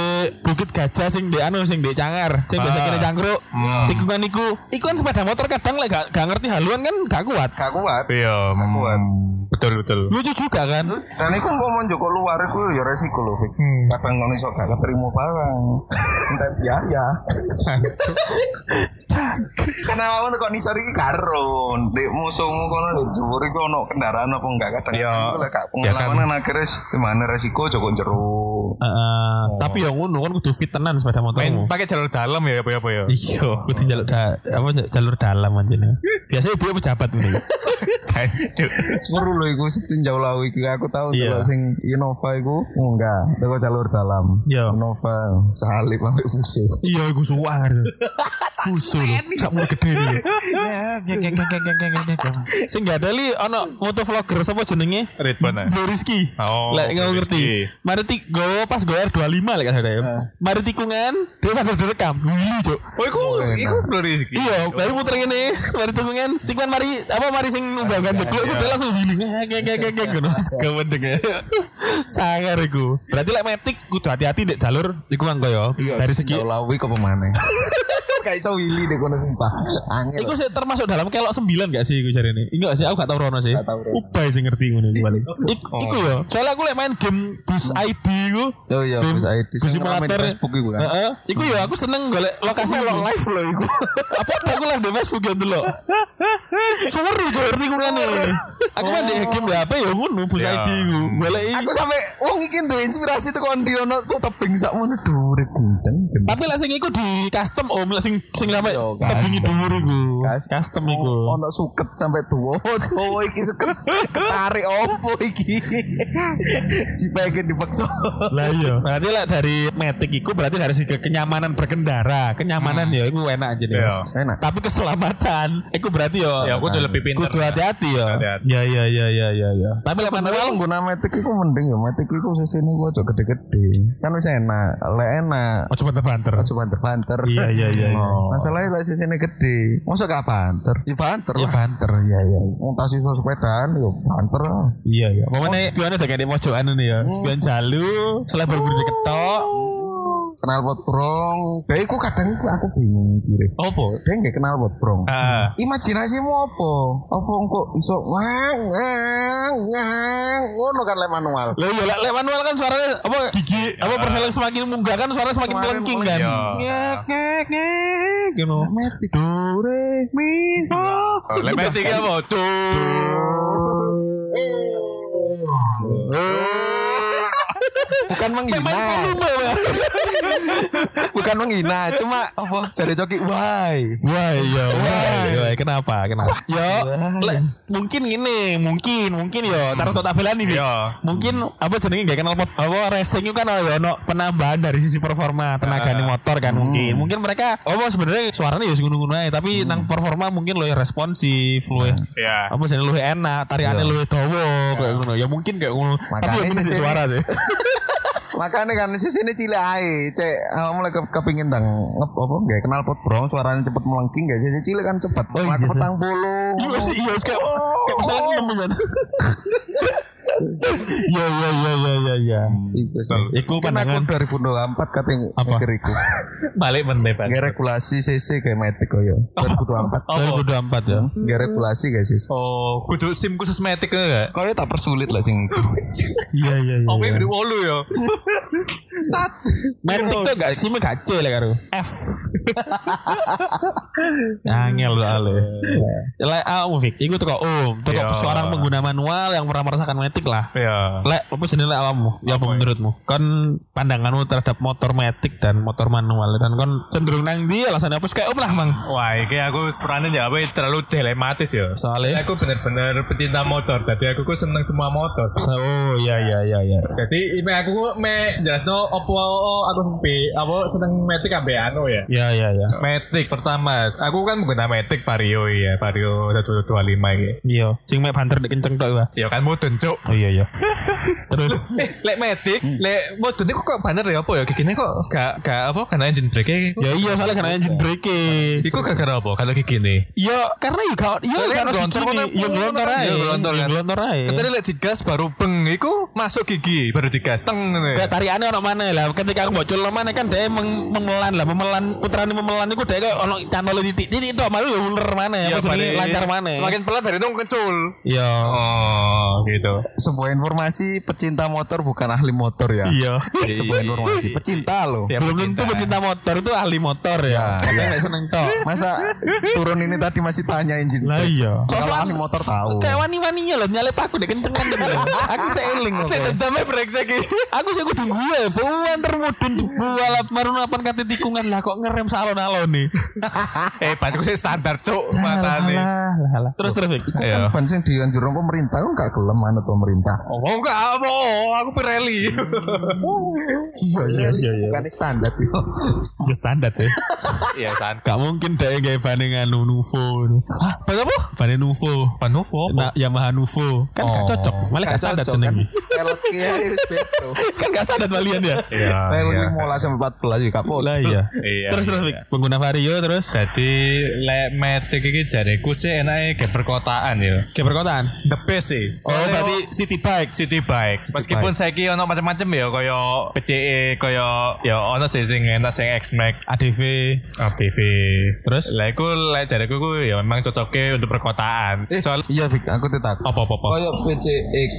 [SPEAKER 2] Bukit Gajah, sing di anu, sing di Cangar, sing biasa
[SPEAKER 3] Ah.
[SPEAKER 2] kena cangkruk.
[SPEAKER 3] Hmm.
[SPEAKER 2] Tikungan iku, iku kan sepeda motor kadang lek gak, gak ngerti haluan kan gak kuat.
[SPEAKER 4] Gak kuat.
[SPEAKER 3] Iya,
[SPEAKER 4] Kuat.
[SPEAKER 3] betul betul.
[SPEAKER 2] Lucu juga kan?
[SPEAKER 4] Dan iku mau menjoko luar iku ya resiko lho, Fik. Kadang ngono iso gak keterima barang. Entek biaya. Karena awakmu kok nisor iki karo ndek musuhmu kono ndek dhuwur iku ono kendaraan apa enggak kadang
[SPEAKER 3] Iya.
[SPEAKER 4] iku lek gak
[SPEAKER 3] Ya kan.
[SPEAKER 4] pengalaman akhirnya gimana resiko joko jero.
[SPEAKER 2] Heeh. Tapi yang ngono kan kudu fit tenan sepeda
[SPEAKER 3] Main
[SPEAKER 2] motormu.
[SPEAKER 3] pakai jalur dalam ya apa apa ya.
[SPEAKER 2] Oh. Iya, kudu jalur da, apa jalur dalam aja nih. Biasanya dia pejabat *laughs* ini.
[SPEAKER 3] Jancuk.
[SPEAKER 4] Seru lho iku setinjau lawu iki aku tahu
[SPEAKER 2] Iya.
[SPEAKER 4] delok sing Innova iku enggak teko jalur dalam.
[SPEAKER 2] Iya.
[SPEAKER 4] Innova salib ambek fuse.
[SPEAKER 2] Iya, gue suar. Usul, gak mau gede nih. Sing gak ada li, ono moto vlogger, siapa jenenge?
[SPEAKER 3] Ridwan
[SPEAKER 2] *laughs*
[SPEAKER 3] ya?
[SPEAKER 2] Bro Rizky.
[SPEAKER 3] Oh,
[SPEAKER 2] Lek nggak
[SPEAKER 3] Bro
[SPEAKER 2] ngerti.
[SPEAKER 3] Rizky.
[SPEAKER 2] Mari tik go pas go R25 lek kan ada ya. Mari tikungan, dia sadar direkam. Wih, Cuk.
[SPEAKER 3] Eh. Oh, iku iku Bro Rizky.
[SPEAKER 2] Iya, baru muter ngene, mari tikungan, tikungan mari apa mari sing undangan jekluk itu dia langsung giling ngek ngek ngek ngono kewedeng. Sangar iku. Berarti lek metik kudu hati-hati dek jalur iku mang koyo
[SPEAKER 3] Iya,
[SPEAKER 2] dari segi
[SPEAKER 4] lawi kok pemane. *laughs* Kayak iso wili deh kono sumpah. Angel.
[SPEAKER 2] Iku sih termasuk dalam kelok sembilan gak sih iku jarene? Enggak sih, aku gak tau rono sih.
[SPEAKER 4] Gak tau rono.
[SPEAKER 2] Ubay sih ngerti ngono iku
[SPEAKER 3] *laughs*
[SPEAKER 2] paling. Ik- Iku ya. Soalnya aku lek main game Bus ID iku.
[SPEAKER 4] Oh iya,
[SPEAKER 2] Game
[SPEAKER 4] Bus ID.
[SPEAKER 2] Bus
[SPEAKER 4] Sing rame di
[SPEAKER 2] simulator.
[SPEAKER 4] Facebook iku kan.
[SPEAKER 2] Heeh. Iku ya aku seneng golek lokasi
[SPEAKER 4] Aku melok live
[SPEAKER 2] loh iku. Apa apa aku live di Facebook ya dulu. Seru jar niku rene. Aku main di game di HP ya ngono Bus
[SPEAKER 3] Ya.
[SPEAKER 2] ID iku. Golek i-
[SPEAKER 4] Aku sampe wong iki duwe inspirasi teko ndi ono kok tebing sakmono dhuwure gunten.
[SPEAKER 2] tapi lah sing iku di custom om lah sing sing sampe
[SPEAKER 4] Iya,
[SPEAKER 2] tebingi
[SPEAKER 4] custom.
[SPEAKER 2] dhuwur iku.
[SPEAKER 4] Custom.
[SPEAKER 2] Custom iku.
[SPEAKER 4] Ono suket sampe tuwa. *laughs* Tuwa iki suket ketarik opo iki? *laughs* Cipeke dipaksa.
[SPEAKER 2] lah iya berarti lah dari metik itu berarti dari segi kenyamanan berkendara kenyamanan ya itu enak aja deh
[SPEAKER 3] Iya.
[SPEAKER 4] Enak.
[SPEAKER 2] tapi keselamatan itu berarti yo
[SPEAKER 3] Ya aku tuh lebih pinter.
[SPEAKER 2] kudu hati-hati yo
[SPEAKER 3] Hati-hati.
[SPEAKER 2] ya ya ya ya ya ya tapi lah
[SPEAKER 4] Padahal
[SPEAKER 2] manual
[SPEAKER 4] guna metik iku mending ya metik iku sesene ku aja gede-gede. Kan wis enak, lek enak
[SPEAKER 2] oh coba banter
[SPEAKER 4] aja banter-banter. Oh.
[SPEAKER 2] Iya, iya, iya, iya.
[SPEAKER 4] Masalahnya lek sesene gede. Masa gak banter? Ya banter.
[SPEAKER 2] ya
[SPEAKER 4] lah.
[SPEAKER 2] banter ya ya
[SPEAKER 4] Wong tas iso sepedaan yo banter. lah.
[SPEAKER 2] iya iya pokoknya spionnya udah kayak di mojokan ini ya spion jalu setelah berburu diketok
[SPEAKER 4] Kenal pot brong. Dek iku kadang iku aku bingung kire.
[SPEAKER 2] opo
[SPEAKER 4] Dek nggak kenal pot brong.
[SPEAKER 3] Ah.
[SPEAKER 2] Hmm.
[SPEAKER 4] Imajinasimu apa? Apa engko iso ngang ngang ngang ngono kan lek manual.
[SPEAKER 2] Lah iya lah lek manual kan suaranya apa gigi apa persel yang semakin munggah kan suaranya semakin
[SPEAKER 4] Semakin
[SPEAKER 2] melengking kan.
[SPEAKER 3] Iya.
[SPEAKER 2] Ngek ngek ngek gitu.
[SPEAKER 4] Metik do re mi fa.
[SPEAKER 3] Lebih tiga apa?
[SPEAKER 4] Bukan
[SPEAKER 2] Main
[SPEAKER 4] menghina,
[SPEAKER 2] volume. Mas.
[SPEAKER 4] bukan menghina, cuma apa jare coki why.
[SPEAKER 2] Wah iya, wah iya, kenapa, kenapa? Yo,
[SPEAKER 4] Wah.
[SPEAKER 2] le- mungkin gini, mungkin, mungkin Hmm. yo, taruh total tabelan ini.
[SPEAKER 3] Iya.
[SPEAKER 2] Mungkin apa jenenge gak kenal pot, apa racing itu kan yo ono penambahan dari sisi performa tenaga di motor kan mungkin. Mungkin mereka apa sebenarnya suaranya ya gunung-gunung aja, tapi nang performa mungkin lo responsif, lo
[SPEAKER 3] Ya.
[SPEAKER 2] apa jenenge luwih enak, tariannya luwih dawa kayak ngono. Ya mungkin kayak ngono.
[SPEAKER 4] Makanya
[SPEAKER 2] Tapi ini
[SPEAKER 4] sih-
[SPEAKER 2] suara *laughs* sih.
[SPEAKER 4] Makanya kan di sini cilik ae, cek awak mulai ke, kepingin tang ngep apa nggak kenal pot brong suaranya cepet melengking nggak sih cilik kan cepet. Oh,
[SPEAKER 2] iya, sih.
[SPEAKER 4] petang bulu.
[SPEAKER 2] Iya sih, iya sih. Kayak- kayak misalnya nemu *laughs* kan. Ya ya ya ya ya ya.
[SPEAKER 4] Iku sih.
[SPEAKER 2] Iku pandangan-
[SPEAKER 4] Kan aku 2024 katanya
[SPEAKER 2] Apa?
[SPEAKER 4] mikir iku.
[SPEAKER 3] Balik mendep.
[SPEAKER 4] Nggak regulasi CC kayak metik koyo. 2024.
[SPEAKER 2] Saya udah empat ya.
[SPEAKER 4] Nggak regulasi guys sih.
[SPEAKER 3] Oh, kudu SIM khusus metik enggak?
[SPEAKER 4] Kau tak persulit lah sing iku.
[SPEAKER 2] Iya iya iya.
[SPEAKER 3] Oke, kudu wolu
[SPEAKER 2] *laughs*
[SPEAKER 3] ya.
[SPEAKER 2] Metik tuh gak cuma gak C lah karo. F. *laughs* Angel lu ale. Lek aku Fik, iku teko om, teko
[SPEAKER 3] Iya.
[SPEAKER 2] seorang pengguna manual yang pernah merasakan metik lah.
[SPEAKER 3] Ya.
[SPEAKER 2] Lek apa jenis lek awakmu? Ya apa menurutmu? Kan pandanganmu terhadap motor metik dan motor manual dan kon cenderung nang ndi alasan apa kayak om lah mang.
[SPEAKER 3] Wah, ini aku sebenarnya ya, apa terlalu dilematis ya.
[SPEAKER 2] Soalnya
[SPEAKER 3] Aku bener-bener pecinta motor, jadi aku ku seneng semua motor.
[SPEAKER 2] Oh iya iya iya iya.
[SPEAKER 3] Jadi ime aku ku me jelasno opo aku sampe apa seneng metik ambe anu ya.
[SPEAKER 2] Iya iya iya.
[SPEAKER 3] Matic pertama. Aku kan menggunakan Matic Vario ya, Vario 125 iki.
[SPEAKER 2] Iya, sing mek banter nek kenceng tok
[SPEAKER 3] Ya
[SPEAKER 2] ya.
[SPEAKER 3] kan mudun, Cuk.
[SPEAKER 2] Oh iya *laughs* iya. Terus
[SPEAKER 3] Eh, lek Matic, lek mudun iku kok bener ya apa ya? Giginya kok gak gak apa karena engine brake
[SPEAKER 2] ya iya soalnya karena engine brake.
[SPEAKER 3] Iku gara-gara apa kalau gigine?
[SPEAKER 2] Yo, Iya, karena ya yo gak yo
[SPEAKER 3] Soalnya
[SPEAKER 2] gak ono
[SPEAKER 3] glontor
[SPEAKER 2] gigi
[SPEAKER 3] kan
[SPEAKER 2] nih. Yo
[SPEAKER 3] apa?
[SPEAKER 2] glontor ae.
[SPEAKER 3] Yo glontor
[SPEAKER 2] Yo
[SPEAKER 3] kan.
[SPEAKER 2] glontor ae.
[SPEAKER 3] Kecuali lek digas baru beng iku masuk gigi baru digas teng ngene.
[SPEAKER 2] Gak tarikannya ono mana lah. Ketika aku bocor lo mana kan dia meng- memelan lah, memelan putaran memelan itu dia kayak ono channel titik titik itu malu ya bener mana ya, apa jenenge, lancar mana.
[SPEAKER 3] Iya,
[SPEAKER 2] ya.
[SPEAKER 3] Semakin pelan dari itu kecul.
[SPEAKER 2] Yo.
[SPEAKER 3] Oh, gitu.
[SPEAKER 4] Sebuah informasi pecinta motor bukan ahli motor ya.
[SPEAKER 2] Iya.
[SPEAKER 4] Sebuah informasi pecinta loh.
[SPEAKER 3] Ya,
[SPEAKER 2] Belum tentu pecinta motor itu ahli motor ya.
[SPEAKER 4] Ya,
[SPEAKER 2] Katanya
[SPEAKER 4] iya.
[SPEAKER 2] gak seneng tok.
[SPEAKER 4] Masa turun ini tadi masih tanya engine.
[SPEAKER 2] Lah
[SPEAKER 4] brake?
[SPEAKER 2] iya.
[SPEAKER 4] Kalau
[SPEAKER 2] Soalan-
[SPEAKER 4] ahli motor tahu.
[SPEAKER 2] Kayak wani-waninya loh nyalip aku deh kenceng kan gitu. Aku seeling kok.
[SPEAKER 3] Saya dendamnya brengsek iki.
[SPEAKER 2] Aku sih kudu gue, buan termudun bualap marunapan kate tikungan lah kok ngerem salon-alon nih.
[SPEAKER 3] Eh, banku sih standar, Cuk, matane.
[SPEAKER 2] Terus terus. Fik.
[SPEAKER 3] Iya.
[SPEAKER 2] Ya.
[SPEAKER 4] Ban sing dianjurkan pemerintah kan gak gelem anut pemerintah.
[SPEAKER 3] Oh, enggak apa
[SPEAKER 2] Loro, aku Pirelli.
[SPEAKER 4] Iya iya iya. Bukan standar yo.
[SPEAKER 2] Ya standar sih. Iya standar. Gak mungkin deh kayak bandingan Nuvo. Hah, ban apa? Ban Nuvo. Ban Nuvo. Nah, Yamaha Nuvo. Kan gak
[SPEAKER 3] Oh.
[SPEAKER 2] cocok. kan? Malah gak standar jenenge.
[SPEAKER 4] kan? Pelotnya ya, wis beto.
[SPEAKER 2] *laughs* Kan gak standar kalian ya.
[SPEAKER 3] Iya,
[SPEAKER 4] Pelot 15 sampai 14 juga kapol.
[SPEAKER 2] Lah iya.
[SPEAKER 5] Iya,
[SPEAKER 2] Terus terus
[SPEAKER 5] iya.
[SPEAKER 2] pengguna Vario terus
[SPEAKER 5] Jadi lek metik iki jareku sih enake ge perkotaan ya.
[SPEAKER 2] ke perkotaan.
[SPEAKER 5] The best sih.
[SPEAKER 2] Oh, berarti city bike.
[SPEAKER 5] City bike. Meskipun saiki ono macam-macam ya kaya PCE kaya ya ono sih sing enak sing X-Max,
[SPEAKER 2] ADV.
[SPEAKER 5] ATV.
[SPEAKER 2] Terus?
[SPEAKER 5] lek iku lek jareku ku ya memang cocoknya untuk perkotaan.
[SPEAKER 4] Eh,
[SPEAKER 5] Soal
[SPEAKER 4] iya Vic, aku tetap.
[SPEAKER 5] Apa-apa-apa.
[SPEAKER 4] Kayak PCX,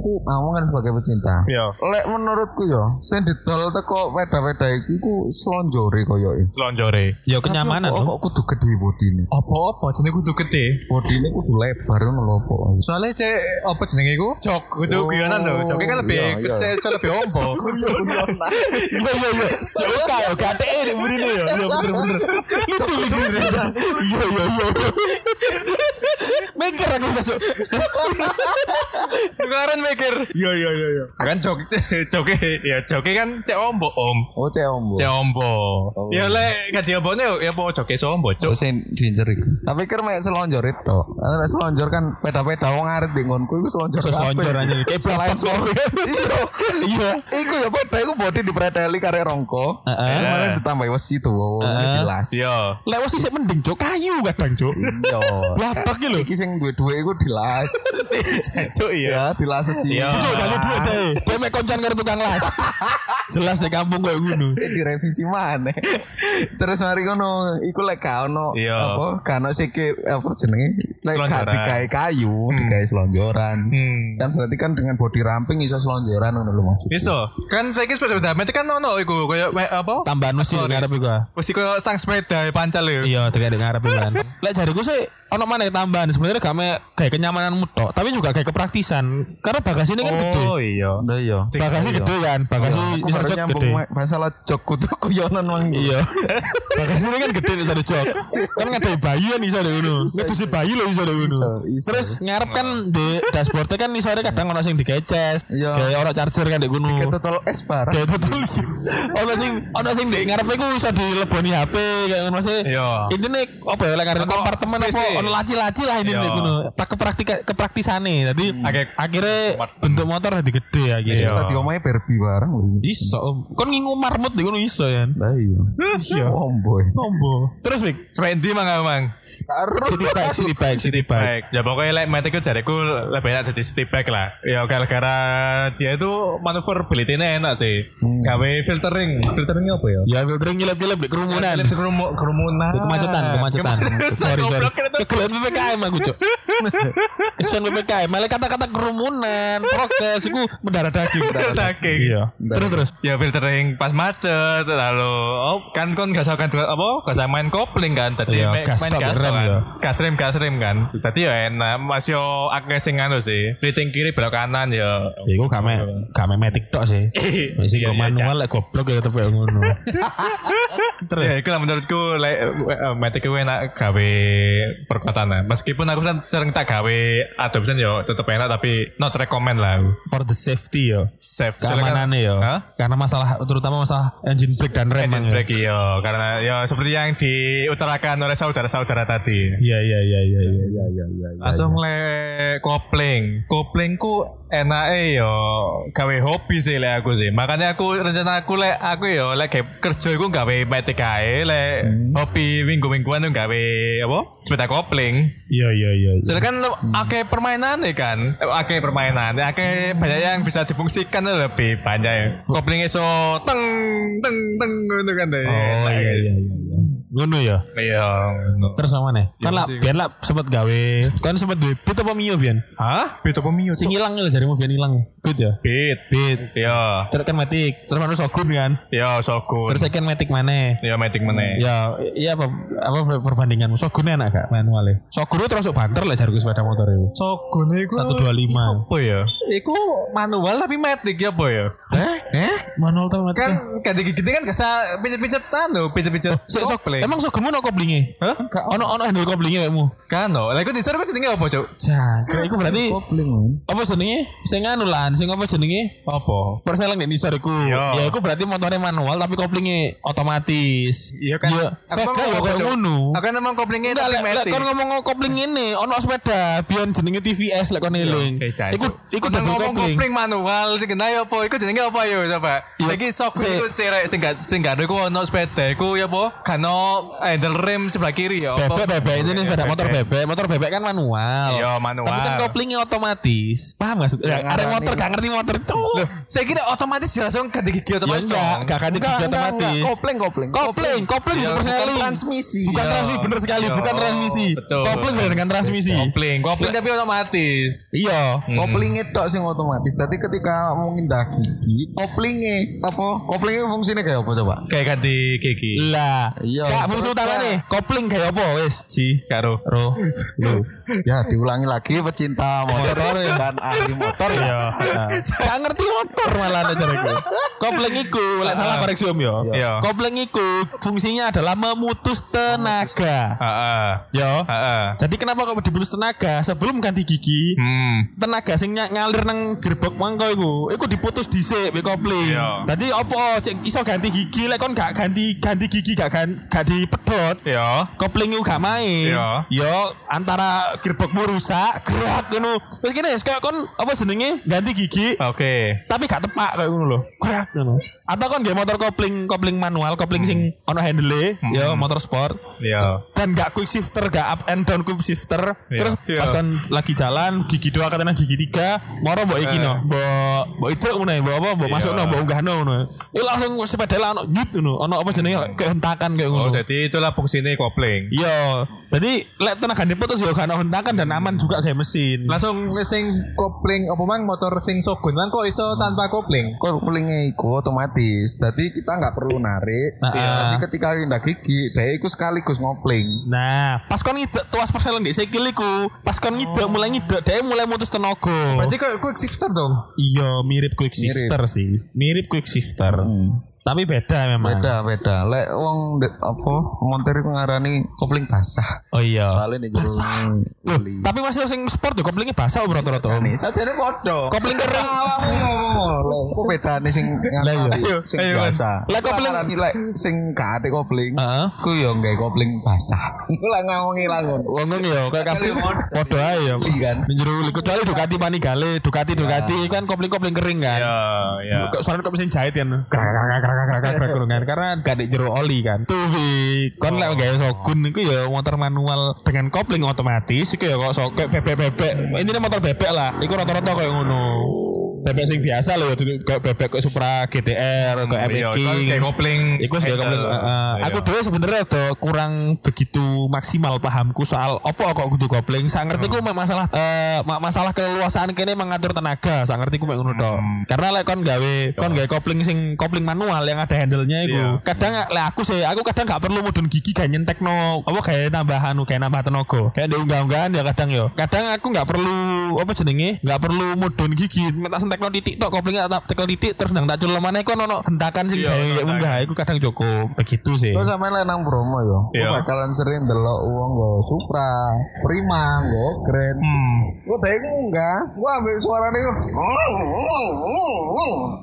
[SPEAKER 4] aku kamu kan sebagai pecinta.
[SPEAKER 5] Iya.
[SPEAKER 4] Lek menurutku yo, sing didol teko peda-peda iki ku slonjore koyo iki.
[SPEAKER 5] lonjore.
[SPEAKER 2] Ya kenyamanan
[SPEAKER 4] Kok
[SPEAKER 2] dong.
[SPEAKER 4] Oh, kok kudu gede bodine.
[SPEAKER 5] Apa-apa jenenge kudu gede.
[SPEAKER 4] Bodine kudu lebar ngono lho kok.
[SPEAKER 5] Soalnya cek apa jenenge iku? Jok kudu
[SPEAKER 4] Oh,
[SPEAKER 5] guyonan lho. Joke kan lebih
[SPEAKER 4] iya, iya.
[SPEAKER 5] cek cek lebih *laughs* ombo. Iya iya iya. Jok kae gate
[SPEAKER 2] eh,
[SPEAKER 5] ini burine ya. Iya bener-bener.
[SPEAKER 2] Lucu gitu. Iya iya iya. Mikir aku masuk.
[SPEAKER 5] Sekarang mikir. Iya iya iya iya. Kan jok jok ya jok kan cek ombo om.
[SPEAKER 4] Oh cek ombo.
[SPEAKER 5] Cek ombo. Ya lek gak diombone ya apa joke sombo
[SPEAKER 4] Oh,
[SPEAKER 5] cok.
[SPEAKER 4] sing diincer iku. Tapi kira mek selonjor itu. Nek selonjor kan peda-peda wong arep di ngonku iku selonjor. kabeh.
[SPEAKER 2] Selonjor aja, kayak
[SPEAKER 4] selain selonjor. Iya.
[SPEAKER 2] Iya.
[SPEAKER 4] Iku ya peda iku bodi dipreteli kare rongko.
[SPEAKER 2] Heeh.
[SPEAKER 4] Kemarin ditambah wesi tuh,
[SPEAKER 2] Heeh.
[SPEAKER 4] dilas.
[SPEAKER 5] Iya.
[SPEAKER 2] Lewat sih mending cok kayu kadang cok.
[SPEAKER 4] Iya.
[SPEAKER 2] Lapak gitu loh.
[SPEAKER 4] Iki sing duwe-duwe iku
[SPEAKER 2] *laughs*
[SPEAKER 4] dilas.
[SPEAKER 5] Cok iya.
[SPEAKER 4] Ya, dilas sih.
[SPEAKER 5] Iya.
[SPEAKER 2] Cok kali dua deh. Dia mek koncan karo tukang las. Jelas di kampung kayak gini.
[SPEAKER 4] Sik direvisi maneh. *laughs* Terus mari ngono, iku lek gak ono
[SPEAKER 5] Iya.
[SPEAKER 4] apa gak ono siki apa jenenge? Lek gak
[SPEAKER 5] Selonjoran.
[SPEAKER 4] digawe kayu, digawe selonjoran.
[SPEAKER 5] Hmm.
[SPEAKER 4] Kan berarti kan dengan body ramping iso selonjoran ngono lho maksud.
[SPEAKER 5] Iso, kan saya kira sepeda metik kan ono iku koyo apa?
[SPEAKER 2] Tambahan mesin di ngarep ah. gua.
[SPEAKER 5] Wis koyo sang sepeda pancal ya.
[SPEAKER 2] Iya, tekan di ngarep kan. Lek jariku sih ono mana tambahan sebenarnya gak mek kayak kenyamanan mutok, tapi juga kayak kepraktisan. Karena bagasinya kan gede.
[SPEAKER 5] Oh iya.
[SPEAKER 4] Nah iya.
[SPEAKER 2] Bagasi gede kan, bagasi
[SPEAKER 4] Aku
[SPEAKER 2] bisa
[SPEAKER 4] baru
[SPEAKER 2] cek
[SPEAKER 4] nyambung
[SPEAKER 2] gede.
[SPEAKER 4] ma- masalah jok kudu kuyonan mang. Iya.
[SPEAKER 2] Bagasinya kan gede bisa dicok. Kan ngadai bayi kan iso deh ngono. Ngedusi
[SPEAKER 4] iya.
[SPEAKER 2] bayi lho iso deh ngono.
[SPEAKER 4] Iso, iso.
[SPEAKER 2] Terus ngarep kan di dashboardnya kan isore kadang ono sing digeces,
[SPEAKER 4] Iya.
[SPEAKER 2] kayak ono charger kan di ngono.
[SPEAKER 4] Kayak total es barang.
[SPEAKER 2] Kayak total. Ono sing ono sing di ngarepe ku iso dileboni HP kayak ngono sih.
[SPEAKER 5] Iya.
[SPEAKER 2] Intine apa ya lek ngarep
[SPEAKER 5] Ono
[SPEAKER 2] kompartemen apa
[SPEAKER 5] space-e.
[SPEAKER 2] ono laci-laci lah intine
[SPEAKER 5] Iya.
[SPEAKER 2] ngono. Tak kepraktika kepraktisane. Dadi
[SPEAKER 5] Akeh-
[SPEAKER 2] akhirnya bentuk motor dadi gede akhirnya.
[SPEAKER 5] Iya.
[SPEAKER 4] Tadi omahe Barbie barang.
[SPEAKER 2] Iso, Om. kon ngingu marmut di ngono iso ya.
[SPEAKER 4] Nah iya.
[SPEAKER 2] Iya.
[SPEAKER 4] Omboy.
[SPEAKER 2] Ombo. Terus Wik,
[SPEAKER 5] Sepeda mang aku, mang.
[SPEAKER 2] city bike, city bike, city bike.
[SPEAKER 5] Baik. Ya pokoknya like Matic itu jariku lebih enak jadi step back lah. Ya gara-gara dia itu maneuverability-nya enak sih.
[SPEAKER 2] Hmm.
[SPEAKER 5] Gawe filtering. Filteringnya apa ya?
[SPEAKER 2] Ya filtering nyelip-nyelip di kerumunan.
[SPEAKER 5] Filter Kerumu, kerumunan.
[SPEAKER 2] Di kemacetan,
[SPEAKER 5] *laughs*
[SPEAKER 2] kemacetan. *laughs* Sorry, sorry.
[SPEAKER 5] Goblok, itu.
[SPEAKER 2] Kegelan PPKM aku, *laughs* Cuk. Kesan PPKM, malah kata-kata kerumunan, prokes iku mendarah daging. Iya.
[SPEAKER 5] Daging.
[SPEAKER 2] Terus terus.
[SPEAKER 5] Ya filtering pas macet lalu oh, kan kon gak usah kan apa gak usah main kopling kan tadi
[SPEAKER 2] Iya,
[SPEAKER 5] main
[SPEAKER 2] gas
[SPEAKER 5] main
[SPEAKER 2] stop,
[SPEAKER 5] gas
[SPEAKER 2] rem
[SPEAKER 5] kan.
[SPEAKER 2] ya.
[SPEAKER 5] Gas rem gas rem kan. Tadi ya enak Mas yo akeh sing anu sih. Riting kiri belok kanan ya.
[SPEAKER 2] Ya iku gak me gak me metik tok sih. Wis
[SPEAKER 5] *laughs* Iya,
[SPEAKER 2] iku
[SPEAKER 5] iya,
[SPEAKER 2] manual lek goblok ya tetep kayak
[SPEAKER 5] *laughs*
[SPEAKER 2] ngono.
[SPEAKER 5] Terus? Ya, itu lah menurutku like, eh, Matic itu enak gawe perkotaan lah. Meskipun aku kan sering tak gawe Adobe kan ya tetep enak tapi not recommend lah.
[SPEAKER 2] For the safety yo.
[SPEAKER 5] Safe.
[SPEAKER 2] Keamanannya yo.
[SPEAKER 5] Hah?
[SPEAKER 2] Karena masalah terutama masalah engine brake dan rem.
[SPEAKER 5] Engine
[SPEAKER 2] ya.
[SPEAKER 5] brake iya karena ya seperti yang diutarakan oleh saudara-saudara tadi.
[SPEAKER 2] Iya iya iya iya iya.
[SPEAKER 4] Iya iya iya.
[SPEAKER 5] Langsung le kopling. Koplingku enake yo gawe hobi sih le aku sih. Makanya aku rencana aku le aku yo le gawe kerja iku gawe Matic ae le
[SPEAKER 2] Hmm.
[SPEAKER 5] hobi minggu-mingguan tuh gawe apa? Sepeda kopling.
[SPEAKER 2] Iya iya iya. iya.
[SPEAKER 5] Soalnya kan lo- akeh permainan ya kan, Eh, akeh permainan, akeh banyak yang bisa difungsikan tuh lebih banyak. ya. Koplingnya so teng teng teng gitu kan deh.
[SPEAKER 2] Oh iya iya iya. Ngono ya.
[SPEAKER 5] Iya.
[SPEAKER 2] Terus sama nih. Kan lah
[SPEAKER 5] sih.
[SPEAKER 2] biar lah sempet gawe. Kan sempet duwe beat apa mio bian?
[SPEAKER 5] Hah? Beat apa mio?
[SPEAKER 2] Sing ilang lho jarimu bian ilang. Beat ya.
[SPEAKER 5] Beat, beat. Iya,
[SPEAKER 2] Terus kan metik, terus manus sogun kan.
[SPEAKER 5] iya sogun.
[SPEAKER 2] Terus saya kan metik mana?
[SPEAKER 5] Iya metik meneh.
[SPEAKER 2] Ya, iya apa, apa perbandinganmu? Sogun enak gak manualnya? Sogun itu termasuk banter lah jariku sepeda motor itu.
[SPEAKER 5] Sogun iku
[SPEAKER 2] 125.
[SPEAKER 5] apa ya? Iku manual tapi metik ya apa ya?
[SPEAKER 4] Eh? Eh?
[SPEAKER 2] Manual tuh Kan,
[SPEAKER 5] Kan kayak gigi kan gak usah pijat-pijetan loh, pijat-pijat.
[SPEAKER 2] sok
[SPEAKER 5] kopling.
[SPEAKER 2] Oh, Emang sugemu no koplinge?
[SPEAKER 5] Hah?
[SPEAKER 2] Gak ono ono handle koplinge kamu.
[SPEAKER 5] Kan no. Lah iku disor iku jenenge apa, Cuk?
[SPEAKER 2] Jangkrik iku berarti
[SPEAKER 4] kopling men.
[SPEAKER 2] apa jenenge? Sing anu lan, sing apa jenenge?
[SPEAKER 5] Apa?
[SPEAKER 2] Perselang di nisor iku.
[SPEAKER 5] Iya.
[SPEAKER 2] Ya iku berarti motornya manual tapi koplinge otomatis.
[SPEAKER 5] Iya kan.
[SPEAKER 2] Ya,
[SPEAKER 5] Aku
[SPEAKER 2] Vega
[SPEAKER 5] ngomong
[SPEAKER 2] ya
[SPEAKER 5] apa,
[SPEAKER 2] kayak
[SPEAKER 5] Cuk?
[SPEAKER 2] ngono.
[SPEAKER 5] Aku kan emang koplinge
[SPEAKER 2] Enggak,
[SPEAKER 5] tapi
[SPEAKER 2] lek lek
[SPEAKER 5] metik.
[SPEAKER 2] kon ngomong kopling ini, ono sepeda, biar jenenge TVS lek kon eling.
[SPEAKER 5] Eh, Cuk.
[SPEAKER 2] Iku iku
[SPEAKER 5] Kon
[SPEAKER 2] double
[SPEAKER 5] ngomong
[SPEAKER 2] kopling.
[SPEAKER 5] kopling manual sing kena ya apa? Iku jenenge apa yo coba?
[SPEAKER 2] Iya.
[SPEAKER 5] Saiki sok
[SPEAKER 2] Se-
[SPEAKER 5] iku cerek sing gak sing gak ada iku ono sepeda iku ya apa? Kano handle rem sebelah kiri ya apa?
[SPEAKER 2] Bebek bebek itu nih sepeda motor bebek, motor bebek kan manual.
[SPEAKER 5] Iya, manual. Iya,
[SPEAKER 2] Tapi kan koplingnya otomatis. Paham maksud? Ya, ada
[SPEAKER 4] ngarani.
[SPEAKER 2] motor gak ngerti motor cuk.
[SPEAKER 5] Saya kira otomatis ya langsung ganti gigi
[SPEAKER 2] Ya
[SPEAKER 5] otomatis.
[SPEAKER 2] enggak,
[SPEAKER 5] dong.
[SPEAKER 2] gak ganti gigi otomatis.
[SPEAKER 4] Kopling kopling.
[SPEAKER 2] Kopling, kopling bukan perseling.
[SPEAKER 4] transmisi.
[SPEAKER 2] Bukan
[SPEAKER 5] Iya.
[SPEAKER 2] transmisi, bener sekali,
[SPEAKER 5] Iya.
[SPEAKER 2] bukan transmisi.
[SPEAKER 5] Betul.
[SPEAKER 2] Kopling bener dengan transmisi.
[SPEAKER 5] Kopling, kopling tapi otomatis.
[SPEAKER 2] Iya.
[SPEAKER 4] Koplingnya tok sing otomatis. Tadi ketika mau ngindah gigi, koplingnya apa? Koplingnya fungsinya kayak apa coba?
[SPEAKER 5] Kayak ganti gigi.
[SPEAKER 2] Lah,
[SPEAKER 4] Iya.
[SPEAKER 2] Kak, fungsi
[SPEAKER 4] Terus,
[SPEAKER 2] utama
[SPEAKER 4] Kak.
[SPEAKER 2] nih, kopling kayak apa wis? Ji.
[SPEAKER 5] Karo.
[SPEAKER 2] Ro.
[SPEAKER 4] ya diulangi lagi pecinta motor dan ahli motor ya.
[SPEAKER 2] Nah. Gak ngerti motor malah ada jarakku. Kopling iku, lek salah koreksi Om yo.
[SPEAKER 5] Iya.
[SPEAKER 2] Kopling iku fungsinya adalah memutus tenaga.
[SPEAKER 5] Heeh.
[SPEAKER 2] Yo.
[SPEAKER 5] Heeh.
[SPEAKER 2] Ya. Jadi kenapa kok dibutuh tenaga sebelum ganti gigi?
[SPEAKER 5] Hmm.
[SPEAKER 2] Tenaga sing ny- ngalir nang gerbek mangko iku, iku diputus dhisik mek kopling.
[SPEAKER 5] Iya.
[SPEAKER 2] Dadi opo cek iso ganti gigi lek kon gak ganti ganti gigi gak gan- gak dipedhot.
[SPEAKER 5] Yo.
[SPEAKER 2] Kopling iku gak main.
[SPEAKER 5] Iya.
[SPEAKER 2] Yo antara gerbekmu rusak, gerak ngono. Terus kene wis kayak kon apa jenenge ganti gigi
[SPEAKER 5] Oke.
[SPEAKER 2] tapi gak tepak kayak ngono lho. Gerak ngono. Atau kon nggih motor kopling kopling manual, kopling sing ono handle yo motor sport.
[SPEAKER 5] Yo.
[SPEAKER 2] dan gak quick shifter gak up and down quick shifter
[SPEAKER 5] Iya.
[SPEAKER 2] terus
[SPEAKER 5] Iya.
[SPEAKER 2] pas kan lagi jalan gigi dua katanya gigi tiga moro mbok
[SPEAKER 5] Eh.
[SPEAKER 2] iki no mbok mbok itu ngono ya, mbok apa mbok
[SPEAKER 5] Iya.
[SPEAKER 2] masuk no mbok unggah no ngono Iku langsung sepeda lah ono nyut ngono ono apa jenenge kehentakan kayak ngono
[SPEAKER 5] Oh, jadi itulah fungsinya kopling.
[SPEAKER 2] yo jadi lek tenaga diputus yo gak ono hentakan dan aman juga kayak mesin
[SPEAKER 3] Langsung sing kopling apa mang motor sing sogun mang kok iso tanpa kopling?
[SPEAKER 4] Koplingnya iku otomatis. Jadi kita nggak perlu narik.
[SPEAKER 2] Nah,
[SPEAKER 4] Iya. Nanti ketika indah gigi, dia iku sekaligus ngopling.
[SPEAKER 2] Nah, pas kon ngidek tuas perselen di sikil iku, pas kon ngidek mulai ngidek dia mulai mutus tenaga.
[SPEAKER 3] Berarti kok quick shifter dong?
[SPEAKER 2] Iya, mirip quick shifter sih. Mirip quick shifter. Tapi beda memang.
[SPEAKER 4] Hmm. Beda beda. Lek wong de- apa montir iku ngarani kopling basah.
[SPEAKER 2] Oh iya.
[SPEAKER 4] Soalnya nih basah.
[SPEAKER 2] Loh, tapi masih sing sport tuh koplingnya basah om rata-rata om.
[SPEAKER 4] Nih saja nih podo.
[SPEAKER 2] Kopling kering.
[SPEAKER 4] Kok beda nih sing
[SPEAKER 5] Ayo,
[SPEAKER 4] ngarani sing
[SPEAKER 5] ayo, Wan.
[SPEAKER 4] basah.
[SPEAKER 2] Lek
[SPEAKER 4] Lek
[SPEAKER 2] kopling-
[SPEAKER 4] kopling lek sing gak ada kopling.
[SPEAKER 2] Heeh.
[SPEAKER 4] Ku yo nggak kopling basah. Ku *laughs* lah ngomongi langun.
[SPEAKER 2] Wong ya, kayak kabeh padha ae ya.
[SPEAKER 4] Iya kan.
[SPEAKER 2] Menjeru kecuali Ducati Panigale, Ducati Ducati itu kan kopling-kopling kering kan.
[SPEAKER 5] Yo, yo.
[SPEAKER 2] Kok soalnya kok mesin jahit kan. Krak krak krak krak krak krak, krak krak, kan karena gak ada jero oli kan. Oh. Tuh Vi, kon lek gawe Shogun itu ya motor manual dengan kopling otomatis iku ya kok so- kayak bebek-bebek. Ini motor bebek lah. Iku rata-rata kayak ngono. Bebek sing biasa loh ya duduk kayak bebek kayak Supra GTR, kayak
[SPEAKER 5] Yo,
[SPEAKER 2] MX.
[SPEAKER 5] itu Iya, kan kayak kopling.
[SPEAKER 2] Iku sih
[SPEAKER 5] handle.
[SPEAKER 2] komplit. Heeh.
[SPEAKER 5] Iya.
[SPEAKER 2] Aku dhewe sebenarnya tuh kurang begitu maksimal pahamku soal opo kok kudu kopling. Sak ngerti ku
[SPEAKER 5] Hmm.
[SPEAKER 2] mek masalah eh, ma- masalah keluasaan kene mengatur tenaga. Sak ngerti ku mek ngono tok.
[SPEAKER 5] Hmm.
[SPEAKER 2] Karena lek kon gawe kon gawe kopling sing kopling manual yang ada handle-nya iku.
[SPEAKER 5] Iya.
[SPEAKER 2] Kadang lek aku sih aku kadang gak perlu mudun gigi gak nyentekno apa kayak tambahan kayak nambah tenaga. Kayak di unggah-unggahan ya kadang yo. Kadang aku gak perlu apa jenenge? Gak perlu mudun gigi, tak sentekno titik tok koplingnya tak tekel titik terus ndang tak culum maneh kon ono hentakan sing
[SPEAKER 5] Iya,
[SPEAKER 2] gawe
[SPEAKER 5] ono
[SPEAKER 2] unggah Nah, itu kadang Joko begitu sih.
[SPEAKER 4] Kau sama lain nang Bromo yo.
[SPEAKER 5] Iya.
[SPEAKER 4] Kau bakalan sering delok uang gue Supra, Prima, gue Grand.
[SPEAKER 5] Hmm.
[SPEAKER 4] Gue tadi gue enggak. Gue ambil suara nih.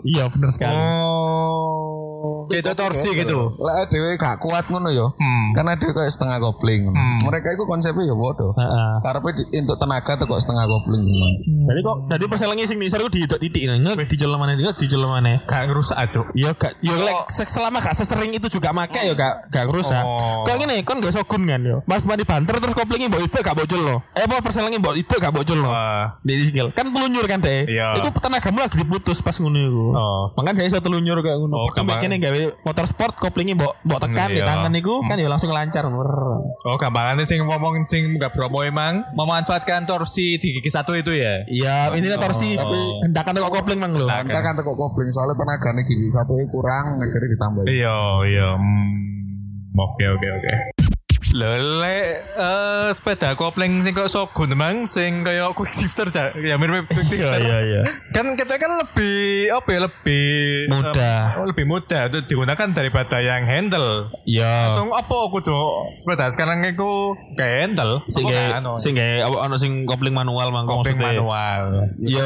[SPEAKER 2] Iya, benar sekali.
[SPEAKER 4] Oh.
[SPEAKER 5] Itu torsi gitu.
[SPEAKER 4] Lah dewe gak kuat ngono yo.
[SPEAKER 5] Hmm.
[SPEAKER 4] Karena dia kayak setengah kopling. Mereka itu konsepnya yo bodoh.
[SPEAKER 2] Heeh.
[SPEAKER 4] Karena untuk tenaga tuh kok setengah kopling.
[SPEAKER 2] Jadi kok tadi perselangi sing nisar ku di titik nge di jalan mana nge di jalan mana.
[SPEAKER 5] Gak ngerusak aduk.
[SPEAKER 2] Iya gak
[SPEAKER 5] Oh.
[SPEAKER 2] yo lek se- selama gak sesering itu juga make yo gak gak rusak.
[SPEAKER 5] Oh.
[SPEAKER 2] Kok ngene kon gak sogun kan yo. Mas mandi banter terus koplingi mbok itu gak bocil lo. Eh apa perselangi mbok itu gak bocil lo.
[SPEAKER 5] Wah.
[SPEAKER 2] Di sikil. Kan telunyur kan deh.
[SPEAKER 5] Iya.
[SPEAKER 2] Itu tenagamu lagi diputus pas ngono iku.
[SPEAKER 5] Oh.
[SPEAKER 2] Makanya dia iso telunyur kayak ngono.
[SPEAKER 5] Oh,
[SPEAKER 2] Kan
[SPEAKER 5] gampang.
[SPEAKER 2] kene gawe motor sport koplingi mbok mbok tekan di
[SPEAKER 5] Iya.
[SPEAKER 2] tangan iku kan yo langsung lancar.
[SPEAKER 5] Oh, gampangannya sing ngomong sing gak promo emang memanfaatkan torsi di gigi satu itu ya.
[SPEAKER 2] Iya, intinya torsi tapi hentakan kok kopling mang lo.
[SPEAKER 5] Nah,
[SPEAKER 4] Kita kan tuh kok kopling soalnya tenaga nih gini satu kurang, akhirnya ditambah.
[SPEAKER 5] Iya, iya. Hmm. Oke, oke, oke. Lho lek eh, sepeda kopling sing kok Shogun emang sing kaya quick shifter ja- ya mirip quick shifter.
[SPEAKER 2] iya.
[SPEAKER 5] Kan kita kan lebih apa ya lebih
[SPEAKER 2] Mudah.
[SPEAKER 5] eh, oh, lebih mudah itu digunakan daripada yang handle.
[SPEAKER 2] Iya.
[SPEAKER 5] Langsung apa aku tuh sepeda sekarang aku kayak handle.
[SPEAKER 2] Sing
[SPEAKER 5] Apa
[SPEAKER 2] gawe-
[SPEAKER 5] kan, oh.
[SPEAKER 2] sing gawe apa ono sing kopling manual mangko
[SPEAKER 5] kopling
[SPEAKER 2] maksudnya.
[SPEAKER 5] manual.
[SPEAKER 2] Yo,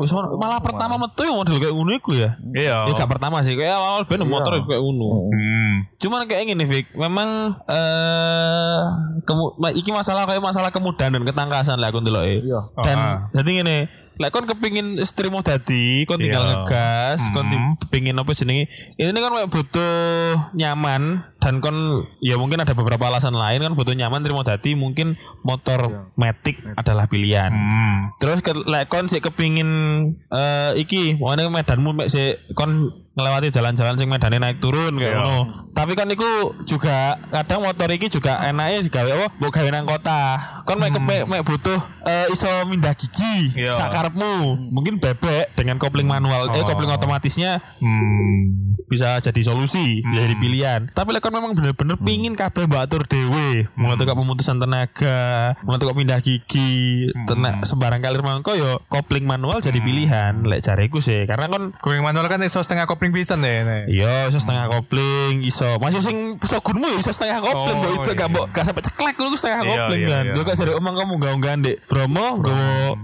[SPEAKER 2] wis ono- malah pertama metu ya model kayak ngono iku ya.
[SPEAKER 5] Iya.
[SPEAKER 2] Ya gak pertama sih, kayak awal-awal ben motor kayak ngono.
[SPEAKER 5] Hmm.
[SPEAKER 2] Cuman kayak gini Vic, memang eh kemu- ma- iki masalah kayak masalah kemudahan dan ketangkasan lah aku ndelok
[SPEAKER 4] Iya.
[SPEAKER 2] Dan
[SPEAKER 5] Ah.
[SPEAKER 2] jadi ngene, lek kon kepingin streamo dadi, kon tinggal
[SPEAKER 5] Iya. Hmm.
[SPEAKER 2] ngegas, kon tim- pengin apa jenenge? Ini kan kayak butuh nyaman dan kon ya mungkin ada beberapa alasan lain kan butuh nyaman trimo dadi mungkin motor matic adalah pilihan.
[SPEAKER 5] Hmm.
[SPEAKER 2] Terus ke, lek kon sik kepingin eh iki, wong medanmu mek sik kon ngelewati jalan-jalan sing medane naik turun kayak ngono. Tapi kan iku juga kadang motor iki juga enaknya digawe apa? Mbok gawe nang kota. Kon mek kepe- mek butuh eh, iso mindah gigi
[SPEAKER 5] Iya.
[SPEAKER 2] sakarepmu. Mungkin bebek dengan kopling manual eh kopling otomatisnya
[SPEAKER 5] Hmm.
[SPEAKER 2] bisa jadi solusi, bisa jadi pilihan. Tapi lek kon memang bener-bener pingin kabeh mbak atur dhewe, mengatur kok pemutusan tenaga, mengatur kok pindah gigi, tenak sembarang kalir mangko yo kopling manual jadi pilihan lek jareku sih. Karena kon
[SPEAKER 5] Kopling manual kan iso setengah kopling pisan ya. ini.
[SPEAKER 2] Iya, iso setengah kopling, iso. Masih sing sogunmu ya iso setengah kopling,
[SPEAKER 5] Oh,
[SPEAKER 2] kok itu gak
[SPEAKER 5] iya.
[SPEAKER 2] mbok gak sampe ceklek lu setengah
[SPEAKER 5] Iya,
[SPEAKER 2] kopling
[SPEAKER 5] iya,
[SPEAKER 2] kan.
[SPEAKER 5] iya.
[SPEAKER 2] Lu gak sering omong kamu gak unggahan Dek. Bromo, go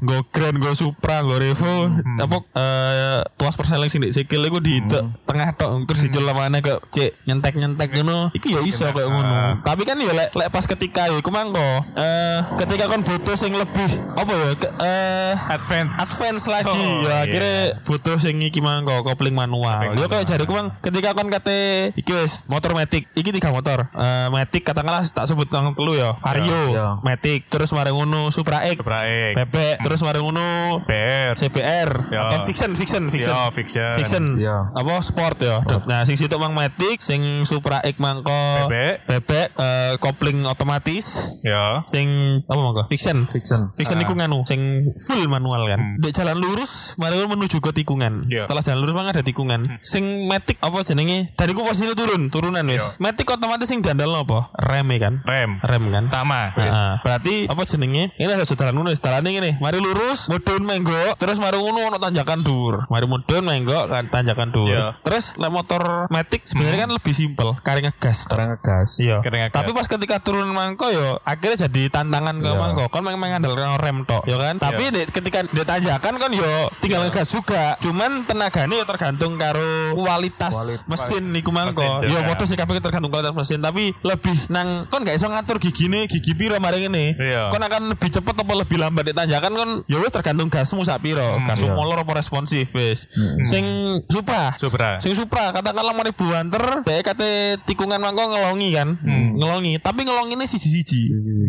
[SPEAKER 2] go Grand, go Supra, go Revo, apa eh, tuas perseling sing Dek sikil iku di te- tengah tok terus dicul lamane kok cek nyentek-nyentek ngono. Iku ya iso kayak ngono. Tapi kan ya lek lek pas ketika ya iku mangko eh ketika kon butuh sing lebih apa ya ke, eh
[SPEAKER 5] Advance.
[SPEAKER 2] advance lagi
[SPEAKER 5] Oh,
[SPEAKER 2] ya
[SPEAKER 5] iya.
[SPEAKER 2] akhirnya butuh sing iki mang kok kopling manual yo kayak jariku mang ketika kon kate iki wis motor matic iki tiga motor Eh matic katakanlah tak sebut nang telu ya vario
[SPEAKER 4] Iya.
[SPEAKER 2] matic terus mari ngono supra X
[SPEAKER 5] Supra X.
[SPEAKER 2] bebek terus mari ngono
[SPEAKER 5] PR.
[SPEAKER 2] CBR
[SPEAKER 5] Iya.
[SPEAKER 2] atau fiction fiction fiction
[SPEAKER 5] Iya, fiction.
[SPEAKER 2] fiction
[SPEAKER 4] Iya.
[SPEAKER 2] apa sport ya nah sing situ mang matic sing supra X mangko
[SPEAKER 5] Bebek.
[SPEAKER 2] bebek eh, kopling otomatis
[SPEAKER 5] Ya.
[SPEAKER 2] sing apa monggo fiction
[SPEAKER 4] Fiction.
[SPEAKER 2] fiction iku nganu sing full manual kan Dek jalan lurus mari kan menuju ke tikungan
[SPEAKER 5] Hmm. Iya. Hmm.
[SPEAKER 2] setelah jalan lurus mang ada tikungan sing metik apa jenenge dari ku posisinya turun turunan wis metik otomatis sing dandal apa rem ya kan
[SPEAKER 5] Iya. Rem.
[SPEAKER 2] rem kan
[SPEAKER 5] Pertama. Ah.
[SPEAKER 2] Heeh. berarti apa jenenge ini ada jalan lurus jalan ini mari lurus mudun menggok terus mari ngono ono tanjakan dur mari mudun menggok kan tanjakan dur
[SPEAKER 5] Iya. Hmm.
[SPEAKER 2] terus lek motor metik sebenarnya kan lebih simpel karena ngegas
[SPEAKER 4] Sekarang ngegas.
[SPEAKER 2] Iya.
[SPEAKER 5] Keringat
[SPEAKER 2] Tapi pas ketika turun mangko yo akhirnya jadi tantangan ke mangko. Kan memang mengandalkan rem tok, yo
[SPEAKER 5] Iya.
[SPEAKER 2] kan. Tapi di- ketika ditanjakan kan yo tinggal ngegas juga. Cuman tenaganya yo tergantung karo kualitas mesin niku mangko.
[SPEAKER 5] Mesin,
[SPEAKER 2] Yo
[SPEAKER 5] iya.
[SPEAKER 2] motor sih kabeh tergantung kualitas mesin, tapi lebih nang kon gak iso ngatur gigine, gigi pira mari ngene.
[SPEAKER 5] Iya.
[SPEAKER 2] Kon akan lebih cepet apa lebih lambat ditanjakan kan yo wis tergantung gasmu sak pira.
[SPEAKER 5] Hmm.
[SPEAKER 2] Gasmu molor apa responsif wis. Sing supra.
[SPEAKER 5] Supra.
[SPEAKER 2] Sing Supra katakanlah mau ribu hunter, dia kata tikungan mangko ngelongi kan, ngelongi. Tapi ngelongi ini siji siji,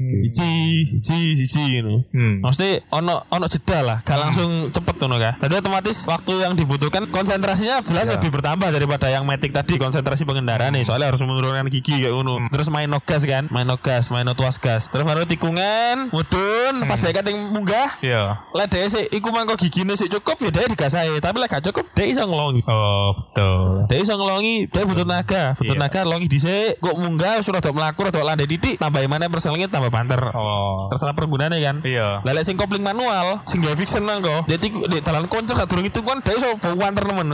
[SPEAKER 2] siji siji siji gitu.
[SPEAKER 5] Hmm.
[SPEAKER 2] Maksudnya ono ono jeda lah, gak langsung cepet tuh kan. Jadi otomatis waktu yang dibutuhkan konsentrasinya jelas lebih bertambah daripada yang matic tadi konsentrasi pengendara nih. Soalnya harus menurunkan gigi kayak uno. Terus main no gas kan, main no gas, main no tuas gas. Terus baru tikungan, mudun, pas dia kata munggah,
[SPEAKER 5] Iya.
[SPEAKER 2] lah dia sih, iku mangko gigine sih cukup ya dia digasai. Tapi lah gak cukup dia iso ngelongi.
[SPEAKER 5] Oh, betul.
[SPEAKER 2] Dia iso ngelongi, dia butuh naga, butuh
[SPEAKER 5] Iya.
[SPEAKER 2] naga longi dhisik, kok munggah sudah dok mlaku rada landai titik, tambahi mana perselingnya tambah banter.
[SPEAKER 5] Oh.
[SPEAKER 2] Terserah pergunaannya kan.
[SPEAKER 5] Iya.
[SPEAKER 2] Lah lek sing kopling manual, sing gawe fiction mangko. Dadi di dalan konco gak durung itu kan dia iso bau banter nemen.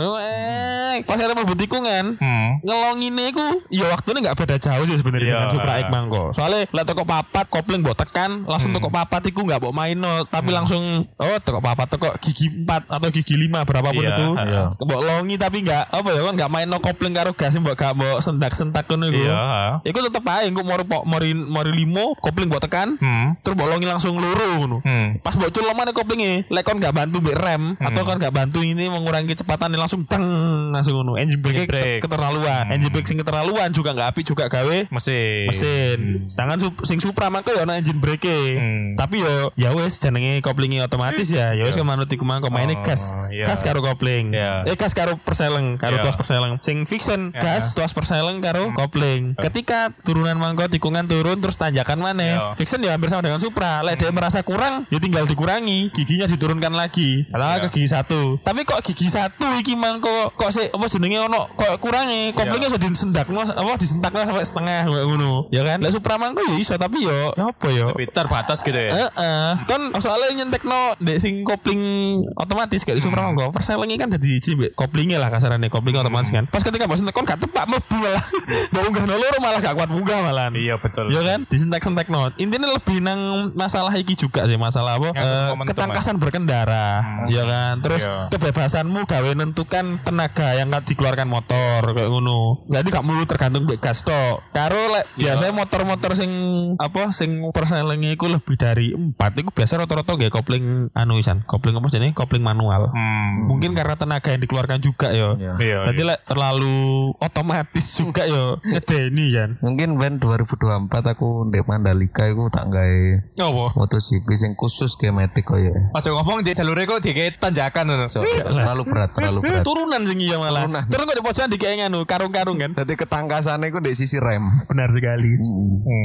[SPEAKER 2] Eh, pas ada mlebu tikungan,
[SPEAKER 5] Hmm.
[SPEAKER 2] ngelongine iku ya waktune nggak beda jauh sih sebenarnya
[SPEAKER 5] Iya.
[SPEAKER 2] dengan Supra X mangko. Soale lek toko papat kopling mbok tekan, langsung
[SPEAKER 5] Hmm.
[SPEAKER 2] toko papat iku nggak mbok maino, tapi langsung oh toko papat toko gigi 4 atau gigi 5 berapapun
[SPEAKER 5] Iya,
[SPEAKER 2] itu.
[SPEAKER 5] iya.
[SPEAKER 2] Mbok longi tapi nggak apa ya kan nggak maino kopling karo gas mbok gak mbok sentak-sentak ngono iku.
[SPEAKER 5] Iya.
[SPEAKER 2] Iku tetep ae engko mori po- mori mori limo kopling mbok tekan,
[SPEAKER 5] Hmm.
[SPEAKER 2] terus mbok longi langsung loro ngono.
[SPEAKER 5] Hmm.
[SPEAKER 2] Pas mbok cul lemane koplinge, lek kon gak bantu mbek rem atau kon gak bantu ini mengurangi kecepatan langsung teng langsung ngono. Engine brake
[SPEAKER 5] brake.
[SPEAKER 2] ke- keterlaluan. Engine brake sing keterlaluan juga gak apik juga gawe
[SPEAKER 5] Mesin.
[SPEAKER 2] mesin. Sedangkan sup- sing Supra mangko ya ana engine brake.
[SPEAKER 5] Hmm.
[SPEAKER 2] Tapi yo ya wis jenenge koplinge otomatis ya. Ya wis kemanut iku mangko maine gas gas
[SPEAKER 5] iya.
[SPEAKER 2] gas karo kopling
[SPEAKER 5] Iya.
[SPEAKER 2] eh gas karo perseleng karo
[SPEAKER 5] Iya. Hmm.
[SPEAKER 2] tuas perseleng sing fiction gas tuas perseleng karo kopling ketika turunan mangko tikungan turun terus tanjakan
[SPEAKER 5] Iya. Hmm.
[SPEAKER 2] mana fiction ya hampir sama dengan supra lek dia merasa kurang ya tinggal dikurangi giginya diturunkan lagi lah ke
[SPEAKER 5] Iya.
[SPEAKER 2] gigi satu tapi kok gigi satu iki mangko kok sih apa jenenge ono kok e?
[SPEAKER 5] Iya.
[SPEAKER 2] kurangi koplingnya sudah disendak apa disentak sampai setengah kayak ngono ya kan lek supra mangko ya iso tapi yo ya apa yo
[SPEAKER 5] Tapi terbatas gitu ya.
[SPEAKER 2] Heeh. Kan soalnya nyentekno dek sing kopling otomatis gak disumpah monggo. Perselengi kan dadi cimbik koplinge lah kasarane kopling otomatis kan. Pas ketika bos nyentek kon gak tepak mlebu malah. *laughs* Mbok unggah loro malah gak kuat munggah malahan.
[SPEAKER 5] Iya betul.
[SPEAKER 2] Ya kan disentek-sentekno. Intinya lebih nang masalah iki juga sih masalah apa?
[SPEAKER 5] Yang
[SPEAKER 2] Eh,
[SPEAKER 5] momentum, Hmm.
[SPEAKER 2] ketangkasan berkendara. Ya kan. Terus
[SPEAKER 5] Iya.
[SPEAKER 2] kebebasanmu gawe nentukan tenaga yang gak dikeluarkan motor kayak ngono. Jadi gak mulu tergantung mbek gas tok. Karo lek
[SPEAKER 5] Iya.
[SPEAKER 2] biasanya Eh, motor-motor sing apa sing perselengnya iku lebih dari 4 iku biasa rata-rata nggih kopling anu isan. Kopling apa jenenge? Kopling manual.
[SPEAKER 5] Hmm.
[SPEAKER 2] Mungkin karena tenaga yang dikeluarkan juga ya.
[SPEAKER 5] Iya.
[SPEAKER 2] Tadi
[SPEAKER 5] iya.
[SPEAKER 2] lek terlalu otomatis juga ya ngedeni kan.
[SPEAKER 4] Mungkin ben 2024 aku ndek Mandalika iku tak gawe
[SPEAKER 5] Nyowo.
[SPEAKER 4] MotoGP sing khusus gematik koyo.
[SPEAKER 5] Aja ngomong di jalurnya kok dikit tanjakan ngono.
[SPEAKER 4] So, terlalu berat, terlalu berat.
[SPEAKER 2] turunan sing iya malah.
[SPEAKER 4] Turunan.
[SPEAKER 2] Terus kok di pojokan dikei nganu karung-karung kan.
[SPEAKER 4] Jadi ketangkasannya iku ndek sisi rem. Hmm.
[SPEAKER 2] Benar sekali.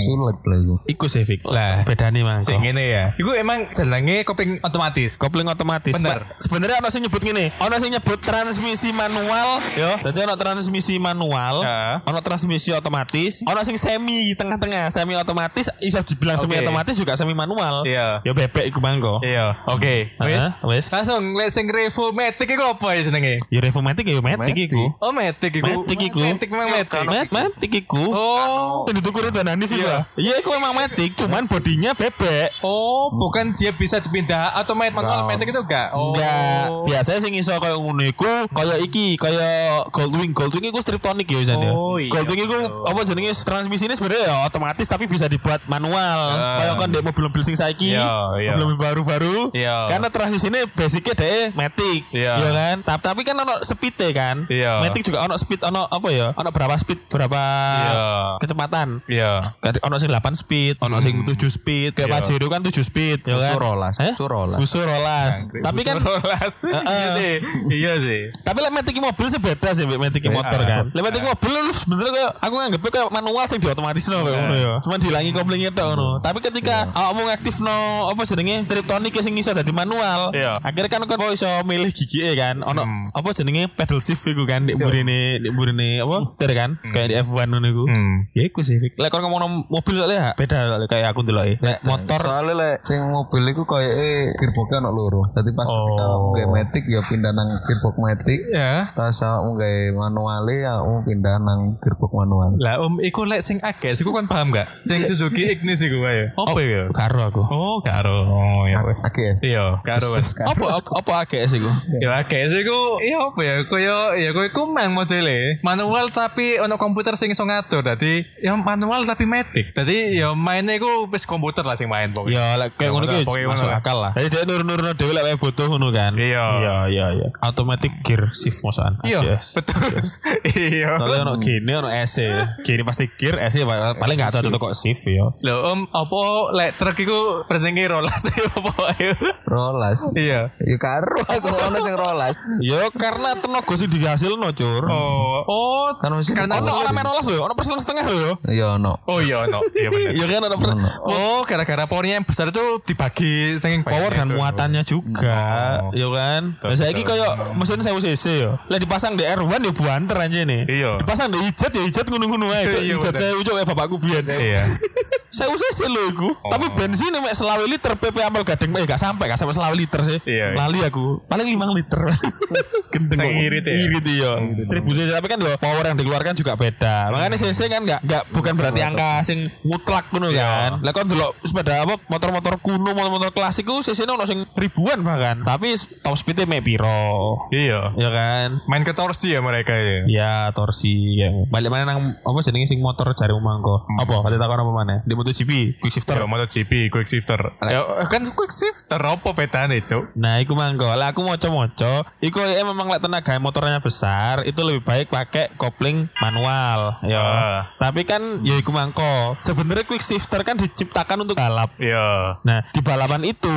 [SPEAKER 4] Sulit lah iku.
[SPEAKER 2] Iku sih Fik.
[SPEAKER 5] Lah.
[SPEAKER 2] bedane mang.
[SPEAKER 5] Sing ngene ya. Iku emang jenenge kopling otomatis.
[SPEAKER 2] Kopling otomatis.
[SPEAKER 5] Bener.
[SPEAKER 2] Pak, Sebenarnya ono sing nyebut ngene, ono sing nyebut transmisi manual, yo. Dadi ono transmisi manual,
[SPEAKER 5] Ya.
[SPEAKER 2] ono transmisi otomatis, ono sing semi tengah-tengah, semi otomatis iso dibilang
[SPEAKER 5] Oke.
[SPEAKER 2] semi otomatis juga semi manual.
[SPEAKER 5] Iya.
[SPEAKER 2] Yo bebek iku mangko.
[SPEAKER 5] Iya. Oke. Wis.
[SPEAKER 2] Heeh, wis.
[SPEAKER 5] Langsung lek sing revo matic iku apa ya jenenge?
[SPEAKER 2] Yo reformatik ya, yo matic
[SPEAKER 4] Matic.
[SPEAKER 2] iku.
[SPEAKER 5] Oh matic iku. Iya, kan.
[SPEAKER 2] Matic iku.
[SPEAKER 5] Matic memang matic.
[SPEAKER 2] Mat- Matic iku.
[SPEAKER 5] Oh.
[SPEAKER 2] Yang dituku Ridwan Hanif iku
[SPEAKER 5] Iya.
[SPEAKER 2] lah. Iya iku emang matic, cuman bodinya bebek.
[SPEAKER 5] Oh, bukan dia bisa dipindah atau main manual matic itu enggak? Oh.
[SPEAKER 2] Enggak, biasanya sing iso kaya ngono iku, kaya iki, kaya Goldwing. Goldwing iku striptonic ya Jan ya.
[SPEAKER 5] Oh, iya.
[SPEAKER 2] Goldwing iku apa jenenge transmisine sebenarnya ya otomatis tapi bisa dibuat manual.
[SPEAKER 5] Ah.
[SPEAKER 2] Kaya kan dek mobil-mobil sing saiki,
[SPEAKER 5] Iya, iya.
[SPEAKER 2] mobil baru-baru.
[SPEAKER 5] Iya.
[SPEAKER 2] Karena transmisine basicnya dek matic,
[SPEAKER 5] Iya.
[SPEAKER 2] kan? Tapi, tapi kan ono speed kan.
[SPEAKER 5] Iya.
[SPEAKER 2] Matic juga ono speed, ono apa ya? Ono berapa speed, berapa
[SPEAKER 5] Iya.
[SPEAKER 2] kecepatan.
[SPEAKER 5] Iya.
[SPEAKER 2] Kadang ono sing 8 speed, ono sing 7 speed, kayak
[SPEAKER 5] Iya.
[SPEAKER 2] Pajero kan 7 speed, ya kan.
[SPEAKER 4] Busur rolas,
[SPEAKER 2] Eh?
[SPEAKER 4] busur rolas.
[SPEAKER 2] Busur rolas. Tapi kan *laughs*
[SPEAKER 5] Rolas. Iya sih. Iya sih.
[SPEAKER 2] tapi lek metik mobil sih beda sih mbek metik motor
[SPEAKER 5] Iya.
[SPEAKER 2] kan. Lek metik mobil lu sebenernya kayak aku nganggepnya kayak manual sing diotomatisno kayak ngono ya. Cuman dilangi koplingnya tok ngono. Tapi ketika awakmu ngaktifno apa jenenge triptonik ya sing iso dadi manual.
[SPEAKER 5] Iya.
[SPEAKER 2] Akhirnya kan kok iso milih gigi kan. Ono apa jenenge pedal shift iku kan nek mburine nek mburine apa ter kan kayak di F1 ngono iku.
[SPEAKER 5] Hmm.
[SPEAKER 2] Ya iku sih. Fik. Lek kon ngomong mobil soalnya ya beda lek kayak aku ndeloki. Lek motor
[SPEAKER 4] Soalnya lek sing mobil iku koyo gearbox ono loro. Dadi pas kita nggawe matic ya pindah nang gearbox matic.
[SPEAKER 5] Ya.
[SPEAKER 4] Tas aku nggawe manual ya aku pindah nang gearbox manual.
[SPEAKER 5] Lah Om, iku lek sing akeh, iku kan paham gak? Sing Suzuki Ignis iku wae. Apa ya?
[SPEAKER 2] karo aku.
[SPEAKER 5] Oh, karo. Oh, ya. wes.
[SPEAKER 4] Oke ya.
[SPEAKER 5] Iya, karo wes.
[SPEAKER 2] Apa apa- apa AGS iku?
[SPEAKER 5] Ya akeh sih ku, ya apa ya, koyo ya koyo kumang modele. Manual tapi ono komputer sing iso ngatur. Dadi ya manual tapi matic. Dadi ya mainnya iku wis komputer lah sing main pokoknya.
[SPEAKER 2] Ya lek kayak ngono
[SPEAKER 5] Ya,
[SPEAKER 2] ki
[SPEAKER 5] pokoknya
[SPEAKER 2] masuk
[SPEAKER 5] ngono.
[SPEAKER 2] akal lah. Jadi dia nurun-nurun dhewe lek wae butuh ngono kan.
[SPEAKER 5] Iya.
[SPEAKER 2] Iya iya iya. Automatic gear shift mosan.
[SPEAKER 5] Iya,
[SPEAKER 2] ABS.
[SPEAKER 5] betul. *laughs* Iya.
[SPEAKER 2] Soalnya ono gini ono AC. Gini pasti gear AC pa- paling gak ada kok shift ya.
[SPEAKER 5] Lho om, apa lek truk iku presenge rolas ya apa ayo?
[SPEAKER 4] Rolas.
[SPEAKER 5] Iya.
[SPEAKER 4] Ya karo aku ono sing rolas.
[SPEAKER 2] Ya karena tenaga sing dihasilno cur. Nah,
[SPEAKER 5] Oh, oh,
[SPEAKER 4] Kan mesin
[SPEAKER 5] karena
[SPEAKER 2] Ono ora main olas lho, ono persen setengah lho.
[SPEAKER 4] Ya ono.
[SPEAKER 5] Oh iya, no. Iya bener.
[SPEAKER 2] Ya kan ono persen-
[SPEAKER 5] Oh, gara-gara powernya yang besar itu dibagi saking
[SPEAKER 2] power dan
[SPEAKER 5] banyaknya itu.
[SPEAKER 2] muatannya juga, ya kan? Nah, saya koyo mesin 1000 cc yo. Lah dipasang di R1 ya buanter aja nih.
[SPEAKER 5] Iya.
[SPEAKER 2] Dipasang di ijet ya ijet ngono-ngono ae. Cuk.
[SPEAKER 5] Iya,
[SPEAKER 2] Ijet
[SPEAKER 5] bener.
[SPEAKER 2] saya ujuk kayak bapakku biyen.
[SPEAKER 5] Iya.
[SPEAKER 2] saya usah sih lho iku.
[SPEAKER 5] Oh.
[SPEAKER 2] Tapi bensin mek selawe liter PP amal gading eh gak sampai gak sampai selawe liter sih.
[SPEAKER 5] Iya, iya.
[SPEAKER 2] Lali aku. Paling 5
[SPEAKER 5] *laughs*
[SPEAKER 2] liter. Gendeng.
[SPEAKER 5] Saking
[SPEAKER 2] kok.
[SPEAKER 5] irit Hmm. ya?
[SPEAKER 2] Irit iya. 1000 cc tapi kan yo power yang dikeluarkan juga beda. Makanya cc kan gak gak bukan berarti angka sing mutlak ngono kan. Lah kon delok sepeda apa motor-motor kuno, motor-motor klasik ku cc-ne ono sing ribuan bahkan. Tapi top speed-e mek piro.
[SPEAKER 5] Iya.
[SPEAKER 2] Ya kan?
[SPEAKER 5] Main ke torsi ya mereka ya.
[SPEAKER 2] Ya torsi ya. Balik mana nang apa jenenge sing motor jari mangko. Apa? Kate takon apa mana? Di MotoGP, quick shifter.
[SPEAKER 5] Yo MotoGP quick shifter. Yo kan quick shifter apa bedane, Cuk?
[SPEAKER 2] Nah, iku mangko. Lah aku moco-moco, iku eh, memang lek tenaga motornya besar, itu lebih baik pakai kopling manual, ya.
[SPEAKER 5] Ah.
[SPEAKER 2] Tapi kan ya iku mangko. Sebenarnya quick shifter kan diciptakan untuk balap.
[SPEAKER 5] Yo.
[SPEAKER 2] Nah, di balapan itu,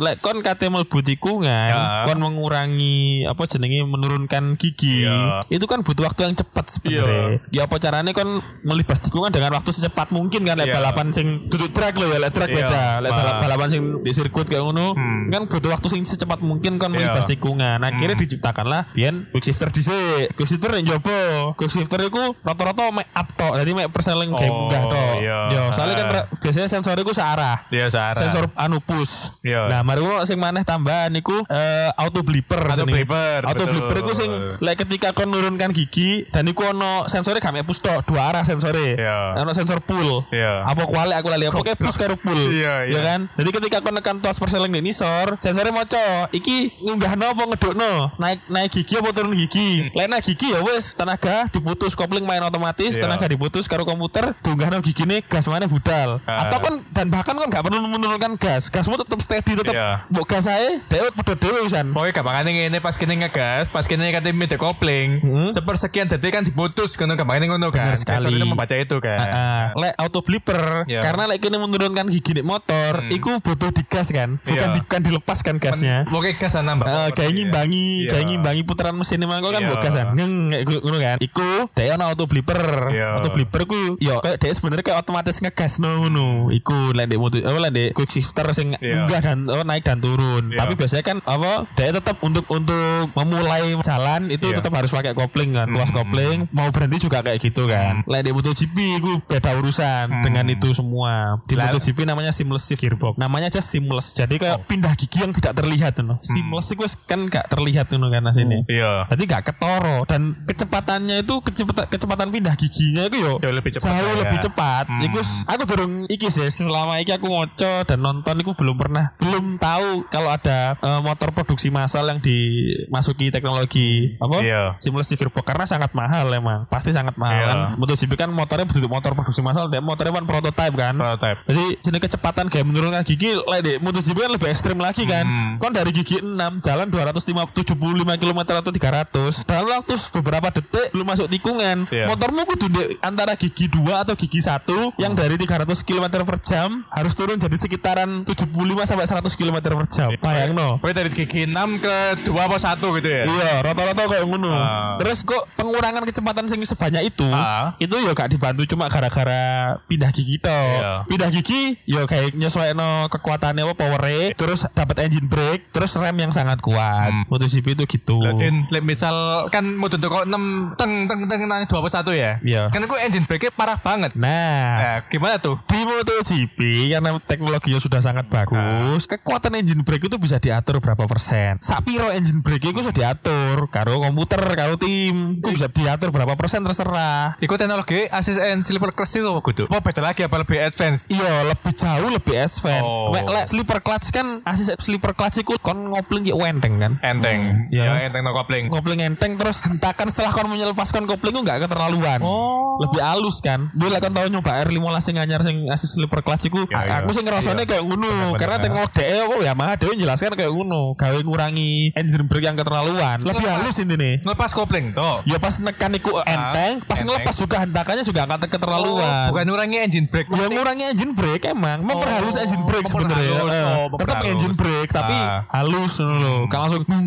[SPEAKER 2] lek kon kate mlebu tikungan,
[SPEAKER 5] Ya.
[SPEAKER 2] kon mengurangi apa jenenge menurunkan gigi.
[SPEAKER 5] Ya.
[SPEAKER 2] Itu kan butuh waktu yang cepat sebenarnya. Ya apa carane kon melibas tikungan dengan waktu secepat mungkin kan lek
[SPEAKER 5] Ya.
[SPEAKER 2] balapan sing duduk track lho ya, lek track
[SPEAKER 5] Ya,
[SPEAKER 2] beda. Lek
[SPEAKER 5] Pak.
[SPEAKER 2] balap- balapan sing di sirkuit kayak ngono, kan butuh waktu sing secepat mungkin kon
[SPEAKER 5] Ya.
[SPEAKER 2] melibas tikungan. Nah, Akhirnya diciptakanlah biyen quick shifter dhisik. Quick shifter yang jopo. Quick shifter iku rata-rata make up tok. Jadi make perseling game
[SPEAKER 5] Oh,
[SPEAKER 2] munggah tok.
[SPEAKER 5] ya.
[SPEAKER 2] Yo, soalnya kan
[SPEAKER 5] Ah.
[SPEAKER 2] biasanya sensor iku searah
[SPEAKER 5] Yo Iya, Sarah.
[SPEAKER 2] sensor anu push.
[SPEAKER 5] Iya.
[SPEAKER 2] Nah, mari kulo sing maneh tambahan niku eh, auto blipper
[SPEAKER 5] Auto
[SPEAKER 2] jenenge.
[SPEAKER 5] blipper,
[SPEAKER 2] Auto
[SPEAKER 5] betul.
[SPEAKER 2] blipper iku sing lek ketika kon nurunkan gigi dan iku ono sensore gak mek push tok, dua arah sensore.
[SPEAKER 5] Iya.
[SPEAKER 2] Ono sensor pull.
[SPEAKER 5] Iya.
[SPEAKER 2] Apa kuali aku lali apa kayak push karo pull.
[SPEAKER 5] Iya, iya.
[SPEAKER 2] Ya kan? Jadi ketika kon nekan tuas perseling ning nisor, sensore maca iki ngunggahno apa ngedukno, naik naik gigi apa turun gigi.
[SPEAKER 5] Hmm.
[SPEAKER 2] Lek naik gigi ya wis tenaga diputus kopling main otomatis,
[SPEAKER 5] Iya.
[SPEAKER 2] tenaga diputus karo komputer, diunggahno gigine gas mana budal.
[SPEAKER 5] Ah.
[SPEAKER 2] Atau kan dan bahkan kan nggak perlu menurunkan gas gasmu tetap steady tetap
[SPEAKER 5] Iya.
[SPEAKER 2] mbok gas aja dewe pedo dewe pisan
[SPEAKER 5] Pokoknya gampangane ngene pas kene ngegas, pas kene kate mid kopling, sepersekian detik kan diputus ngono gampangane ngono kan.
[SPEAKER 2] Bener sekali.
[SPEAKER 5] Sensor itu membaca itu kan.
[SPEAKER 2] Heeh. lek auto blipper
[SPEAKER 5] Iya. Hmm.
[SPEAKER 2] karena lek kini menurunkan gigi nih motor iku butuh digas kan bukan
[SPEAKER 5] Iya.
[SPEAKER 2] dilepas dilepaskan gasnya
[SPEAKER 5] Pokoknya gas nambah.
[SPEAKER 2] Heeh, kayak
[SPEAKER 5] Iya.
[SPEAKER 2] ngimbangi,
[SPEAKER 5] Iya.
[SPEAKER 2] kayak ngimbangi putaran mesin emang kok kan
[SPEAKER 5] Iya.
[SPEAKER 2] yeah. kan. Ngeng kayak gu- ngono kan. Iku dhek ana auto blipper.
[SPEAKER 5] Iya.
[SPEAKER 2] Auto blipper ku yo kayak dhek sebenarnya kayak otomatis ngegas no ngono. Iku lek ndek motor apa lek ndek quick shifter sing
[SPEAKER 5] Iya.
[SPEAKER 2] munggah dan oh, naik dan turun.
[SPEAKER 5] Iya.
[SPEAKER 2] Tapi biasanya kan apa dhek tetap untuk untuk memulai jalan itu
[SPEAKER 5] Iya. Hmm.
[SPEAKER 2] tetap harus pakai kopling kan, luas kopling, mau berhenti juga kayak gitu kan. Lek ndek MotoGP iku beda urusan dengan itu semua. Di
[SPEAKER 5] Hmm. Lah- Oh.
[SPEAKER 2] MotoGP namanya seamless shift gearbox. Namanya aja seamless. Jadi kayak pindah gigi yang tidak terlihat no.
[SPEAKER 5] Hmm.
[SPEAKER 2] Seamless itu kan gak terlihat no kan sini.
[SPEAKER 5] Iya.
[SPEAKER 2] Jadi gak ketoro dan kecepatannya itu kecepatan kecepatan pindah giginya itu yo
[SPEAKER 5] Ya, lebih cepat
[SPEAKER 2] jauh
[SPEAKER 5] ya.
[SPEAKER 2] lebih cepat. Iku s- aku durung iki sih selama iki aku ngoco dan nonton iku belum pernah belum tahu kalau ada eh, motor produksi massal yang dimasuki teknologi apa
[SPEAKER 5] Iya.
[SPEAKER 2] simulasi gearbox karena sangat mahal emang pasti sangat mahal
[SPEAKER 5] Iya.
[SPEAKER 2] kan MotoGP kan motornya bentuk motor produksi massal dan motornya kan prototipe kan
[SPEAKER 5] Prototype.
[SPEAKER 2] jadi jenis kecepatan kayak menurunkan gigi lek di MotoGP kan lebih ekstrim lagi kan. Kon dari gigi 6 jalan 275 km atau 300 dalam waktu beberapa detik belum masuk tikungan.
[SPEAKER 5] Iya.
[SPEAKER 2] Motormu kudu di antara gigi 2 atau gigi 1 yang dari 300 km per jam harus turun jadi sekitaran 75 sampai 100 km per jam. Bayangno.
[SPEAKER 5] Pokoknya dari gigi 6 ke 2 apa 1 gitu ya.
[SPEAKER 2] Iya, rata-rata kayak ngono.
[SPEAKER 5] Ah.
[SPEAKER 2] Terus kok pengurangan kecepatan sing sebanyak itu,
[SPEAKER 5] Ah.
[SPEAKER 2] itu ya gak dibantu cuma gara-gara pindah gigi to.
[SPEAKER 5] Iya.
[SPEAKER 2] Pindah gigi ya kayak nyesuaino kekuatannya apa powernya, terus dapat engine brake, terus rem yang sangat kuat. MotoGP itu gitu.
[SPEAKER 5] Hmm. Lah Jin, lek misal kan mudun teko 6 teng teng teng nang 2 apa 1 ya.
[SPEAKER 2] Iya.
[SPEAKER 5] Kan aku engine brake parah banget.
[SPEAKER 2] Nah,
[SPEAKER 5] Nah, gimana tuh?
[SPEAKER 2] di MotoGP karena teknologinya sudah sangat
[SPEAKER 5] Ah.
[SPEAKER 2] bagus, kekuatan engine brake itu bisa diatur berapa persen. Sapiro engine brake itu bisa diatur karo komputer, karo tim, itu bisa diatur berapa persen terserah.
[SPEAKER 5] Iku teknologi Asus and Silver Cross itu apa kudu? Apa beda lagi apa lebih advance?
[SPEAKER 2] Iya, lebih jauh lebih advance.
[SPEAKER 5] Oh.
[SPEAKER 2] Lek lek slipper clutch kan asis slipper clutch iku kon ngopling yo enteng kan.
[SPEAKER 5] Enteng.
[SPEAKER 2] Iya.
[SPEAKER 5] Ya, enteng no kopling.
[SPEAKER 2] Kopling enteng terus hentakan setelah kon menyelepaskan kopling ku enggak keterlaluan.
[SPEAKER 5] Oh.
[SPEAKER 2] Lebih halus kan. Gue lek kon tau nyoba R15 sing anyar sing asis slipper clutch iku
[SPEAKER 5] Iya, iya.
[SPEAKER 2] aku sing ngerasane
[SPEAKER 5] Iya.
[SPEAKER 2] kayak ngono
[SPEAKER 5] Bener-bener.
[SPEAKER 2] karena teknologi dhewe apa ya mah dhewe jelaskan kayak ngono, gawe ngurangi engine brake yang keterlaluan. Lebih
[SPEAKER 5] Lepas.
[SPEAKER 2] halus intine.
[SPEAKER 5] Ngelepas kopling tuh.
[SPEAKER 2] Ya pas nekan iku enteng, pas
[SPEAKER 5] Ah, enteng.
[SPEAKER 2] ngelepas juga hentakannya juga akan keterlaluan.
[SPEAKER 5] Bukan ngurangi engine brake.
[SPEAKER 2] Ya ngurangi engine brake emang, memperhalus
[SPEAKER 5] Oh,
[SPEAKER 2] engine brake sebenarnya.
[SPEAKER 5] memperhalus.
[SPEAKER 2] Eh,
[SPEAKER 5] Oh,
[SPEAKER 2] Tetap
[SPEAKER 5] memperhalus.
[SPEAKER 2] engine brake tapi
[SPEAKER 5] Ah. Hmm.
[SPEAKER 2] halus ngono lho. Kan langsung dung,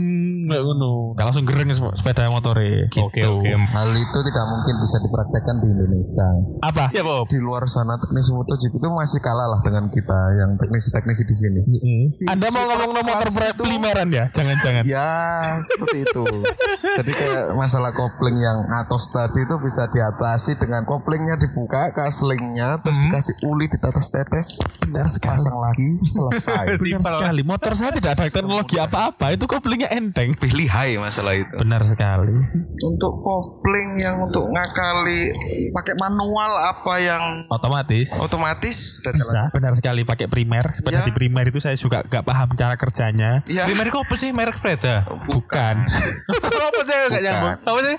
[SPEAKER 2] kayak ngono. Kan langsung gereng sep- sepeda motore gitu.
[SPEAKER 5] Oke, oke.
[SPEAKER 4] Hal itu tidak mungkin bisa dipraktekkan di Indonesia.
[SPEAKER 2] Apa?
[SPEAKER 5] Ya, Bob.
[SPEAKER 4] Di luar sana teknisi MotoGP itu masih kalah lah dengan kita yang teknisi-teknisi di sini.
[SPEAKER 2] Hmm.
[SPEAKER 5] Hmm.
[SPEAKER 2] Anda mau ngomong nomor motor
[SPEAKER 4] Supercars itu-
[SPEAKER 2] primeran ya?
[SPEAKER 5] *laughs*
[SPEAKER 2] Jangan-jangan.
[SPEAKER 4] Ya seperti itu. Jadi kayak masalah kopling yang atas tadi itu bisa diatasi dengan koplingnya dibuka, kaslingnya terus dikasih uli ditetes tetes, Hmm. benar pasang lagi *laughs* selesai.
[SPEAKER 2] Benar
[SPEAKER 5] Iya, Simpel.
[SPEAKER 2] sekali. Motor saya tidak ada teknologi apa-apa. Itu koplingnya enteng.
[SPEAKER 4] Lihai masalah itu.
[SPEAKER 2] Benar sekali.
[SPEAKER 6] untuk kopling yang untuk ngakali pakai manual apa yang
[SPEAKER 5] Oh,
[SPEAKER 2] Otomatis.
[SPEAKER 6] otomatis udah jalan.
[SPEAKER 2] Bisa. Benar sekali pakai primer.
[SPEAKER 6] Ya.
[SPEAKER 2] Sepeda
[SPEAKER 5] Iya.
[SPEAKER 2] di primer itu saya juga gak paham cara kerjanya.
[SPEAKER 6] Ya,
[SPEAKER 5] Primer kok apa sih merek *laughs* sepeda?
[SPEAKER 2] Bukan.
[SPEAKER 5] Apa sih enggak nyambung? Apa sih?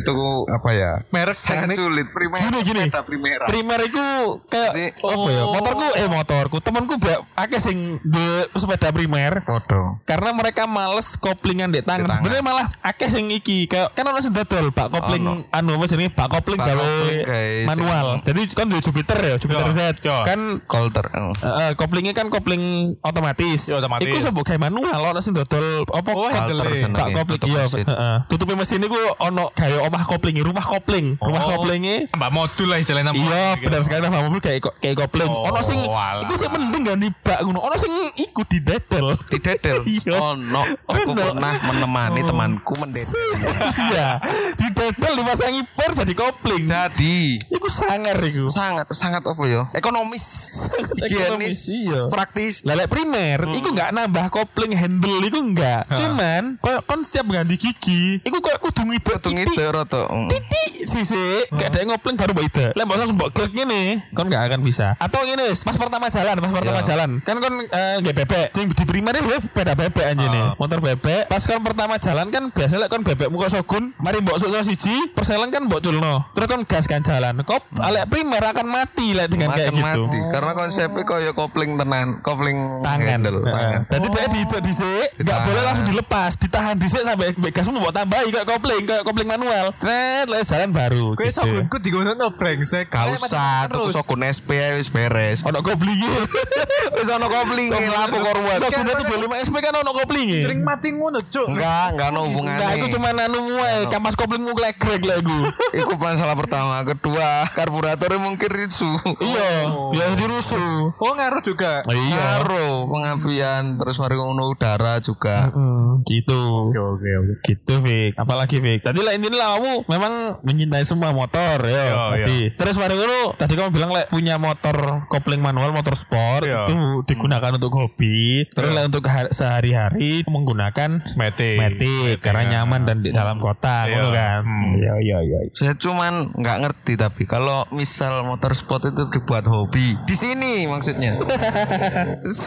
[SPEAKER 4] Itu apa ya?
[SPEAKER 5] Merek
[SPEAKER 6] sangat
[SPEAKER 5] teknik.
[SPEAKER 6] sulit. Primera,
[SPEAKER 2] *laughs* Gini, gini.
[SPEAKER 6] Primera.
[SPEAKER 2] Primer itu kayak
[SPEAKER 4] Jadi-
[SPEAKER 2] apa ya? Motorku eh motorku, temanku ba- akeh sing duwe sepeda primer.
[SPEAKER 4] Podo.
[SPEAKER 2] Karena mereka males koplingan di tangan.
[SPEAKER 4] Di tangan.
[SPEAKER 2] Sebenarnya malah akeh sing iki kayak kan ono sing dodol bak kopling
[SPEAKER 4] Ono.
[SPEAKER 2] anu apa jenenge bak kopling
[SPEAKER 4] Bak
[SPEAKER 2] gawe
[SPEAKER 4] kopling gawe
[SPEAKER 2] manual. Jadi kan duwe Jupiter ya, Jupiter
[SPEAKER 5] Yo,
[SPEAKER 2] Z.
[SPEAKER 5] yo.
[SPEAKER 2] Kan
[SPEAKER 4] Colter. Oh.
[SPEAKER 2] eh, koplingnya kan kopling otomatis.
[SPEAKER 5] Iya, otomatis.
[SPEAKER 2] Iku sebut kayak manual ono sing dodol apa
[SPEAKER 5] Oh, handle-e.
[SPEAKER 2] tak
[SPEAKER 4] senenge,
[SPEAKER 2] kopling
[SPEAKER 4] tutup
[SPEAKER 2] iya.
[SPEAKER 4] mesin.
[SPEAKER 2] heeh. Tutupi mesin iku ono gawe omah kopling, rumah kopling. Rumah
[SPEAKER 5] Oh.
[SPEAKER 2] koplinge
[SPEAKER 5] Mbak modul lah istilahnya nama.
[SPEAKER 2] Iya,
[SPEAKER 5] Gitu.
[SPEAKER 2] benar sekali nama mobil kayak ko- kayak kopling.
[SPEAKER 5] Oh,
[SPEAKER 2] ono sing
[SPEAKER 5] alah.
[SPEAKER 2] iku sing mending ganti bak ngono. Ono sing iku didedel.
[SPEAKER 4] Didedel.
[SPEAKER 2] *laughs* Iya.
[SPEAKER 4] Oh no. Aku
[SPEAKER 2] Bener. Oh.
[SPEAKER 4] pernah menemani temanku mendedel.
[SPEAKER 2] Iya. Didedel dipasangi per jadi kopling.
[SPEAKER 4] Jadi
[SPEAKER 2] Iku sangar iku.
[SPEAKER 4] sangat sangat apa ya? Ekonomis.
[SPEAKER 2] Ekonomis, iya.
[SPEAKER 4] Praktis.
[SPEAKER 2] Lelek primer, iku nggak nambah kopling handle iku nggak. Cuman koyo kon setiap ganti gigi, iku koyo kudu ngidek
[SPEAKER 4] Untung
[SPEAKER 2] titik,
[SPEAKER 4] itu roto.
[SPEAKER 2] Titik sisi, gak ada yang ngopling baru mbok ide. Lah mbok langsung mbok klik ngene, kon gak akan bisa. Atau ngene wis, pas pertama jalan, pas pertama
[SPEAKER 4] Iya.
[SPEAKER 2] jalan. Kan kon eh, nggak bebek. Sing di primer ya beda bebek anjene. Motor bebek. Pas kon pertama jalan kan biasa lek kon bebek muka sogun, mari mbok sukno siji, perselan kan mbok culno. Terus kon gas kan jalan. Kop alek primer akan mati lek dengan kayak
[SPEAKER 4] Makan
[SPEAKER 2] gitu.
[SPEAKER 4] mati. Karena konsepnya koyo kopling tenan, kopling
[SPEAKER 2] tangan. Oh.
[SPEAKER 4] handle,
[SPEAKER 2] Heeh.
[SPEAKER 4] tangan.
[SPEAKER 2] Jadi dia diijuk dhisik, enggak
[SPEAKER 4] Ditahan.
[SPEAKER 2] boleh langsung dilepas, ditahan dhisik sampai mbek gasmu mbok tambahi kayak kopling, kayak kopling manual. Cet, lek jalan baru.
[SPEAKER 5] Kue
[SPEAKER 2] gitu.
[SPEAKER 5] sogunku digunakan brengsek.
[SPEAKER 4] Gak
[SPEAKER 5] Kau
[SPEAKER 4] usah, tuku sokun SP ae wis beres.
[SPEAKER 2] ono
[SPEAKER 5] *laughs*
[SPEAKER 2] koplinge.
[SPEAKER 4] Wis ono kopling e, lapo korban.
[SPEAKER 2] Sokune 75 SP kan ono koplinge.
[SPEAKER 3] Sering mati ngono, Cuk.
[SPEAKER 4] Enggak, enggak ono hubungane.
[SPEAKER 2] Nah, itu cuma anu wae, kampas koplingmu klegrek lek iku.
[SPEAKER 4] Iku masalah pertama, kedua karburatornya mungkin ritsu.
[SPEAKER 2] Iya, ya dirusuh.
[SPEAKER 3] Oh, ngaruh juga.
[SPEAKER 5] Nah.
[SPEAKER 2] Iya,
[SPEAKER 4] Karo pengapian terus mari ngono udara juga.
[SPEAKER 2] gitu.
[SPEAKER 5] Oke oke.
[SPEAKER 2] Gitu, Fik. Apalagi, Fik. Tadi lah intinya lah kamu memang mencintai semua motor,
[SPEAKER 5] Iya,
[SPEAKER 2] ya. Tadi. Terus baru dulu, tadi kamu bilang lek punya motor kopling manual, motor sport
[SPEAKER 5] Iya.
[SPEAKER 2] itu digunakan untuk hobi. Terus lek untuk har- sehari-hari menggunakan
[SPEAKER 5] Metik. ya.
[SPEAKER 2] metik karena nyaman dan di dalam kota
[SPEAKER 5] Iya.
[SPEAKER 2] gitu kan iya iya iya
[SPEAKER 4] Saya cuman nggak ngerti tapi kalau misal motor sport itu dibuat hobi di sini
[SPEAKER 5] *laughs*
[SPEAKER 4] maksudnya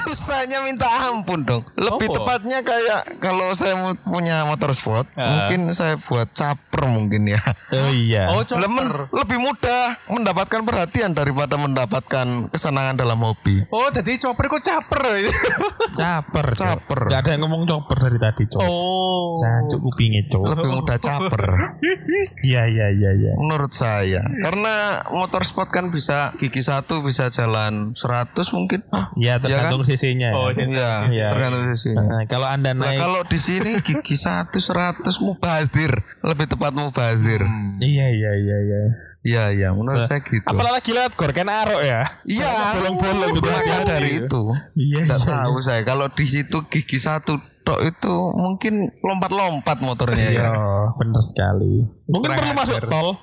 [SPEAKER 4] susahnya minta ampun dong. Lebih
[SPEAKER 5] Apa?
[SPEAKER 4] tepatnya kayak kalau saya mu- punya motor sport
[SPEAKER 5] Ah.
[SPEAKER 4] mungkin saya buat caper mungkin ya.
[SPEAKER 2] oh iya
[SPEAKER 5] Oh,
[SPEAKER 4] Lemen, lebih mudah mendapatkan perhatian daripada mendapatkan kesenangan dalam hobi.
[SPEAKER 5] Oh, jadi chopper kok caper.
[SPEAKER 2] caper Cok.
[SPEAKER 4] Caper.
[SPEAKER 5] ya.
[SPEAKER 2] Nggak ada yang ngomong caper dari tadi cok
[SPEAKER 5] oh.
[SPEAKER 2] cancuk kupingnya cok
[SPEAKER 4] Lebih mudah caper.
[SPEAKER 2] iya iya iya iya
[SPEAKER 4] Menurut saya Karena motor sport kan bisa Gigi satu bisa jalan 100 mungkin
[SPEAKER 2] ya tergantung sisinya ya.
[SPEAKER 5] Oh,
[SPEAKER 4] Iya,
[SPEAKER 2] Iya.
[SPEAKER 4] Tergantung sisi Nah,
[SPEAKER 2] Nah, kalau anda naik
[SPEAKER 4] kalau di sini gigi satu 100 mubazir Lebih tepat mubazir
[SPEAKER 2] iya iya iya iya
[SPEAKER 4] Iya iya menurut saya gitu
[SPEAKER 2] Nah, apalagi lewat gor kan arok ya
[SPEAKER 4] Iya
[SPEAKER 2] bolong-bolong gitu.
[SPEAKER 4] Maka dari itu
[SPEAKER 2] Iya,
[SPEAKER 4] Nggak
[SPEAKER 2] iya,
[SPEAKER 4] tahu saya Kalau di situ gigi satu tok itu mungkin lompat-lompat motornya
[SPEAKER 2] iya
[SPEAKER 4] ya.
[SPEAKER 2] bener sekali mungkin perlu masuk tol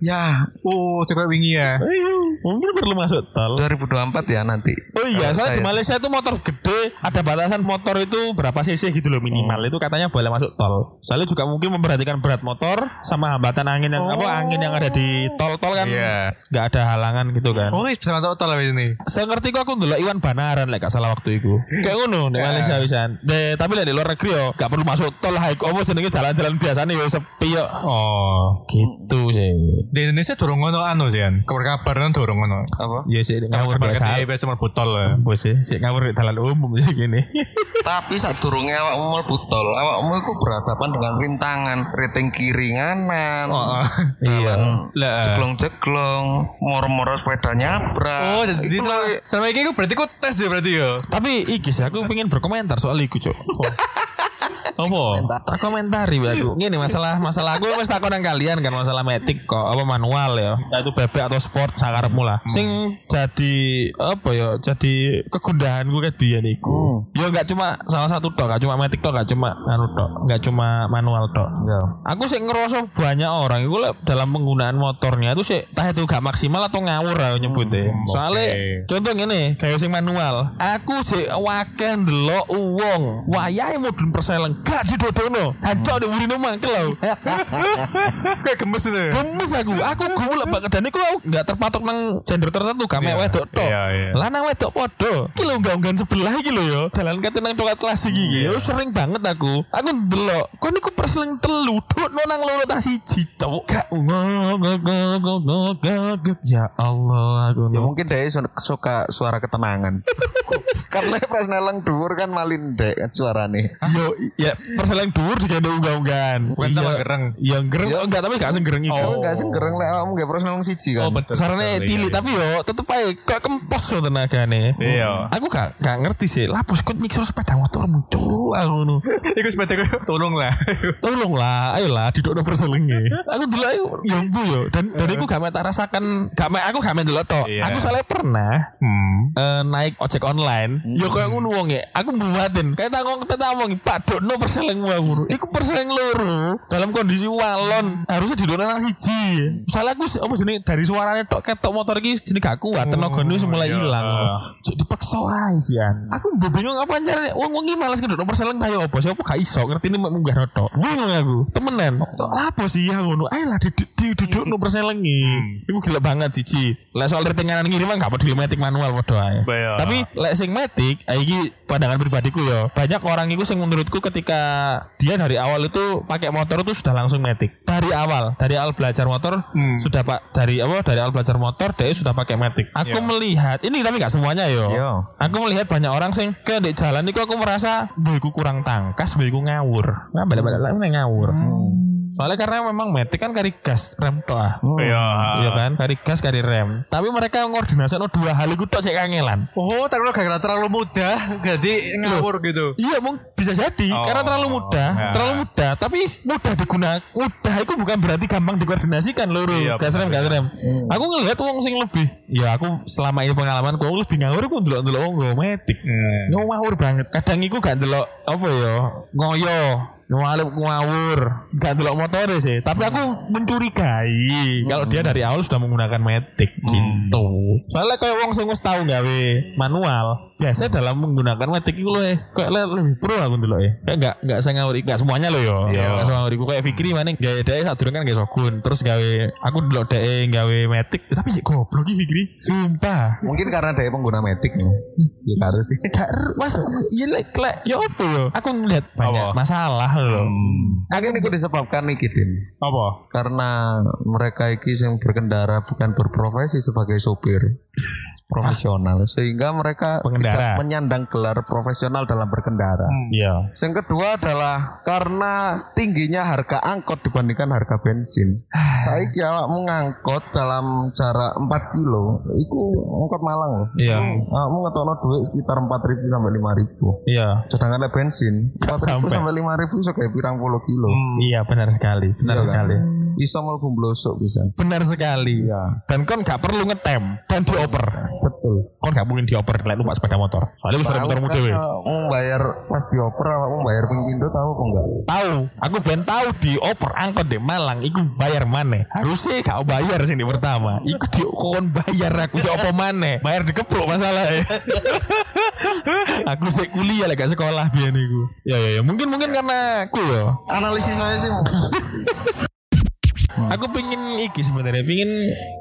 [SPEAKER 5] Ya. Oh, coba wingi ya.
[SPEAKER 2] Ayo, Iya, mungkin perlu masuk tol
[SPEAKER 4] 2024 ya nanti
[SPEAKER 2] Oh iya,
[SPEAKER 4] Kalau
[SPEAKER 2] soalnya di
[SPEAKER 4] saya.
[SPEAKER 2] Malaysia itu motor gede, ada batasan motor itu berapa cc gitu loh
[SPEAKER 5] Oh.
[SPEAKER 2] minimal. Itu katanya boleh masuk tol. Soalnya juga mungkin memperhatikan berat motor sama hambatan angin yang apa angin yang ada di tol-tol kan
[SPEAKER 5] Oh. Iya.
[SPEAKER 2] nggak ada halangan gitu kan.
[SPEAKER 5] Oh, wis bisa mantok tol wis ini.
[SPEAKER 2] Saya ngerti kok aku ndelok Iwan Banaran lek gak salah waktu itu. Kayak ngono
[SPEAKER 5] Iya.
[SPEAKER 2] di Malaysia wisan. De, tapi lek di luar negeri yo gak perlu masuk tol haik opo jenenge jalan-jalan biasanya yo sepi yo.
[SPEAKER 5] Oh.
[SPEAKER 2] Gitu sih.
[SPEAKER 5] Di Indonesia durung ngono anu Jan. Kabar-kabaran durung ngono.
[SPEAKER 4] apa
[SPEAKER 2] Iya sih ngawur
[SPEAKER 5] Kabar-kabar
[SPEAKER 2] kayak
[SPEAKER 5] kan
[SPEAKER 2] dalan.
[SPEAKER 5] dia biasa mlebu tol. ya.
[SPEAKER 2] Bos sih, sik ngawur kayak dalan umum sih gini.
[SPEAKER 4] Tapi saat turunnya awakmu mlebu tol, awakmu iku berhadapan dengan rintangan, riting kiri nganan.
[SPEAKER 5] Oh, oh.
[SPEAKER 4] Iya.
[SPEAKER 5] Lah.
[SPEAKER 4] Jeglong-jeglong, mor-mor sepeda nyabrak.
[SPEAKER 5] Oh, *laughs* jadi
[SPEAKER 4] Itu
[SPEAKER 5] selama, selama ini aku berarti aku tes ya berarti ya.
[SPEAKER 2] Tapi iki sih aku pengen berkomentar soal iku, Cuk.
[SPEAKER 5] Apa?
[SPEAKER 2] Tak komentari wae aku. Ngene masalah masalah aku wis takon nang kalian kan masalah metik kok apa manual ya. Entah itu bebek atau sport sakarepmu lah. Sing jadi apa ya? Jadi kegundahanku ket biyen iku. Ya enggak cuma salah satu tok, enggak cuma metik tok, enggak cuma anu tok, enggak cuma manual tok. Aku sih ngerasa banyak orang iku lek dalam penggunaan motornya itu sih tah itu gak maksimal atau ngawur aku nyebutnya. Soalnya contoh ngene, kayak sing manual. Aku sih wakil ndelok uwong wayahe mudun perselen gak didodono. Hancur di urine mangkel lho.
[SPEAKER 5] Kayak gemes itu. ya.
[SPEAKER 2] Gemes aku, aku gumul banget dan iku aku gak terpatok nang gender tertentu, gak mek wedok tok.
[SPEAKER 5] Iya, iya.
[SPEAKER 2] Lanang wedok podo. Iki lho unggan-unggan sebelah iki lho ya. Dalan kate nang coklat kelas iki iki. Ya, Sering banget aku. Aku ndelok, kon niku perseling telu duk no nang loro tas siji cowok gak ya Allah aku
[SPEAKER 4] *laughs* Ya
[SPEAKER 2] no.
[SPEAKER 4] mungkin dia su- suka suara ketenangan. *laughs* Karena pas neleng dhuwur kan malin dek suarane.
[SPEAKER 2] Yo, ya perseling dhuwur juga ada unggah-unggahan.
[SPEAKER 5] Bukan
[SPEAKER 2] Iya,
[SPEAKER 5] sama gereng.
[SPEAKER 2] Iya gereng kok enggak tapi gak senggereng iki.
[SPEAKER 4] Oh, enggak sih gereng lek awakmu gak pros neleng siji kan.
[SPEAKER 5] Oh, betul.
[SPEAKER 2] Sarane tilik tapi yo tetep ae kok kempos lo tenagane.
[SPEAKER 5] Iya.
[SPEAKER 2] Aku gak gak ngerti sih. Lapus kok nyiksa sepeda motor muncul aku ngono.
[SPEAKER 5] Iku sepeda gue tolong lah. *laughs*
[SPEAKER 2] Tolonglah, ayolah didokno perselenge. Aku dulu ayo yo mbu yo dan dan aku gak tak rasakan gak mek- aku gak mek delok tok.
[SPEAKER 5] Iya.
[SPEAKER 2] Aku soalnya pernah eh, naik ojek online. Yo koyo Ya, ngono wonge. Aku buatin. Kayak tak ngomong tak ngomong, Pak dokno perselengmu aku. Iku perseleng loro dalam kondisi walon. Harusnya didokno nang siji. Soalnya aku apa jenenge dari suaranya tok ketok motor iki jenenge gak kuat, tenagane wis mulai ilang. Jadi dipaksa ae sih an. iya. Aku mbok bingung apa caranya. Wong wong iki malas kedok nomor seleng tayo ya apa sih aku gak iso ngerti ini mau munggah notok. Bingung aku. Temenan. Kok lapo sih ya ngono. Ayo lah duduk duduk nomor selengi. Iku gila banget siji. Lah soal rating kanan kiri mah gak peduli metik manual padha ae.
[SPEAKER 5] Iya.
[SPEAKER 2] Tapi lek sing metik ah, iki pandangan pribadiku ya. Banyak orang iku sing menurutku ketika dia dari awal itu pakai motor itu sudah langsung metik. Dari awal, dari awal belajar motor sudah Pak dari apa dari awal belajar motor dia sudah pakai metik. Aku melihat ini tapi gak semuanya yo.
[SPEAKER 4] Yo.
[SPEAKER 2] Aku melihat banyak orang sing ke di jalan itu aku merasa beriku kurang tangkas, beriku ngawur. Nah, balik-balik lagi nih ngawur. Soalnya karena memang metik kan kari gas rem toh. ah.
[SPEAKER 4] Hmm.
[SPEAKER 5] Iya.
[SPEAKER 2] Iya kan, kari gas kari rem. Tapi mereka ngordinasi dua hal itu tok sik kangelan.
[SPEAKER 5] Oh, terlalu gak terlalu mudah, jadi ngawur gitu.
[SPEAKER 2] Iya mung bisa jadi
[SPEAKER 5] Oh.
[SPEAKER 2] karena terlalu mudah,
[SPEAKER 5] Ya.
[SPEAKER 2] terlalu mudah. Tapi mudah digunakan, mudah itu bukan berarti gampang dikoordinasikan loro.
[SPEAKER 5] Iya, Hmm.
[SPEAKER 2] gas rem, gas rem. Aku ngelihat wong sing lebih. Ya aku selama ini pengalaman aku lebih ngawur aku ndelok-ndelok wong nggo metik.
[SPEAKER 5] Hmm.
[SPEAKER 2] Yo ngawur banget. Kadang iku gak delok apa ya, ngoyo. Ngalep ngawur, gak delok motore sih. Tapi aku mencurigai kalau dia dari awal sudah menggunakan metik gitu. Soalnya kayak wong sing wis tau gawe manual, biasa dalam menggunakan metik iku loh, kayak le- lebih pro aku ndeloke. Kayak gak gak saya ngawur, gak semuanya loh yo. Gak semua ngawur iku kayak Fikri maning gawe dhek sadurunge kan gawe Shogun, terus gawe aku ndelok dhek e gawe metik, tapi sih goblok iki Fikri. Sumpah.
[SPEAKER 4] Mungkin karena dia pengguna metik nih. *laughs* Ya harus sih.
[SPEAKER 2] Gak er- mas iya lek lek ya apa Hmm. ya? Aku ngeliat banyak
[SPEAKER 5] Apa?
[SPEAKER 2] masalah loh.
[SPEAKER 4] Mungkin itu Nah, disebabkan nih Din.
[SPEAKER 5] Apa?
[SPEAKER 4] karena mereka iki yang berkendara bukan berprofesi sebagai
[SPEAKER 2] *laughs*
[SPEAKER 4] sopir profesional sehingga mereka
[SPEAKER 2] Pengendara.
[SPEAKER 4] tidak menyandang gelar profesional dalam berkendara.
[SPEAKER 2] Iya.
[SPEAKER 4] Yang kedua adalah karena tingginya harga angkot dibandingkan harga
[SPEAKER 2] *sighs*
[SPEAKER 4] bensin. Saya kira mengangkot dalam jarak 4 kilo, itu angkot Malang loh.
[SPEAKER 2] Iya.
[SPEAKER 4] Kamu ngetokno duit sekitar 4.000 sampai 5.000.
[SPEAKER 2] Iya.
[SPEAKER 4] Sedangkan ada bensin 4.000
[SPEAKER 2] sampai.
[SPEAKER 4] sampai 5.000 iso kayak pirang puluh kilo.
[SPEAKER 2] Iya benar sekali, benar
[SPEAKER 4] Iya kan?
[SPEAKER 2] sekali.
[SPEAKER 4] Iso mlebu blosok bisa.
[SPEAKER 2] Benar sekali.
[SPEAKER 4] Iya.
[SPEAKER 2] Dan kon gak perlu ngetem dan dioper.
[SPEAKER 4] Betul.
[SPEAKER 2] Kon gak mungkin dioper lek numpak sepeda motor. Soalnya wis
[SPEAKER 4] Tahu
[SPEAKER 2] motor
[SPEAKER 4] kan
[SPEAKER 2] dhewe.
[SPEAKER 4] kalau mau bayar pas dioper apa mau bayar ping pindho tahu apa enggak?
[SPEAKER 2] Tahu, aku ben tahu dioper angkot di Malang iku bayar mana? Harusnya gak bayar sing di pertama. Iku di kon bayar aku ya apa mana? Bayar dikeplok masalah *laughs* aku sik kuliah lek gak sekolah biyen iku. Ya ya ya, mungkin mungkin karena aku ya.
[SPEAKER 4] Analisis saya sih
[SPEAKER 2] Aku pingin iki sebenarnya, pingin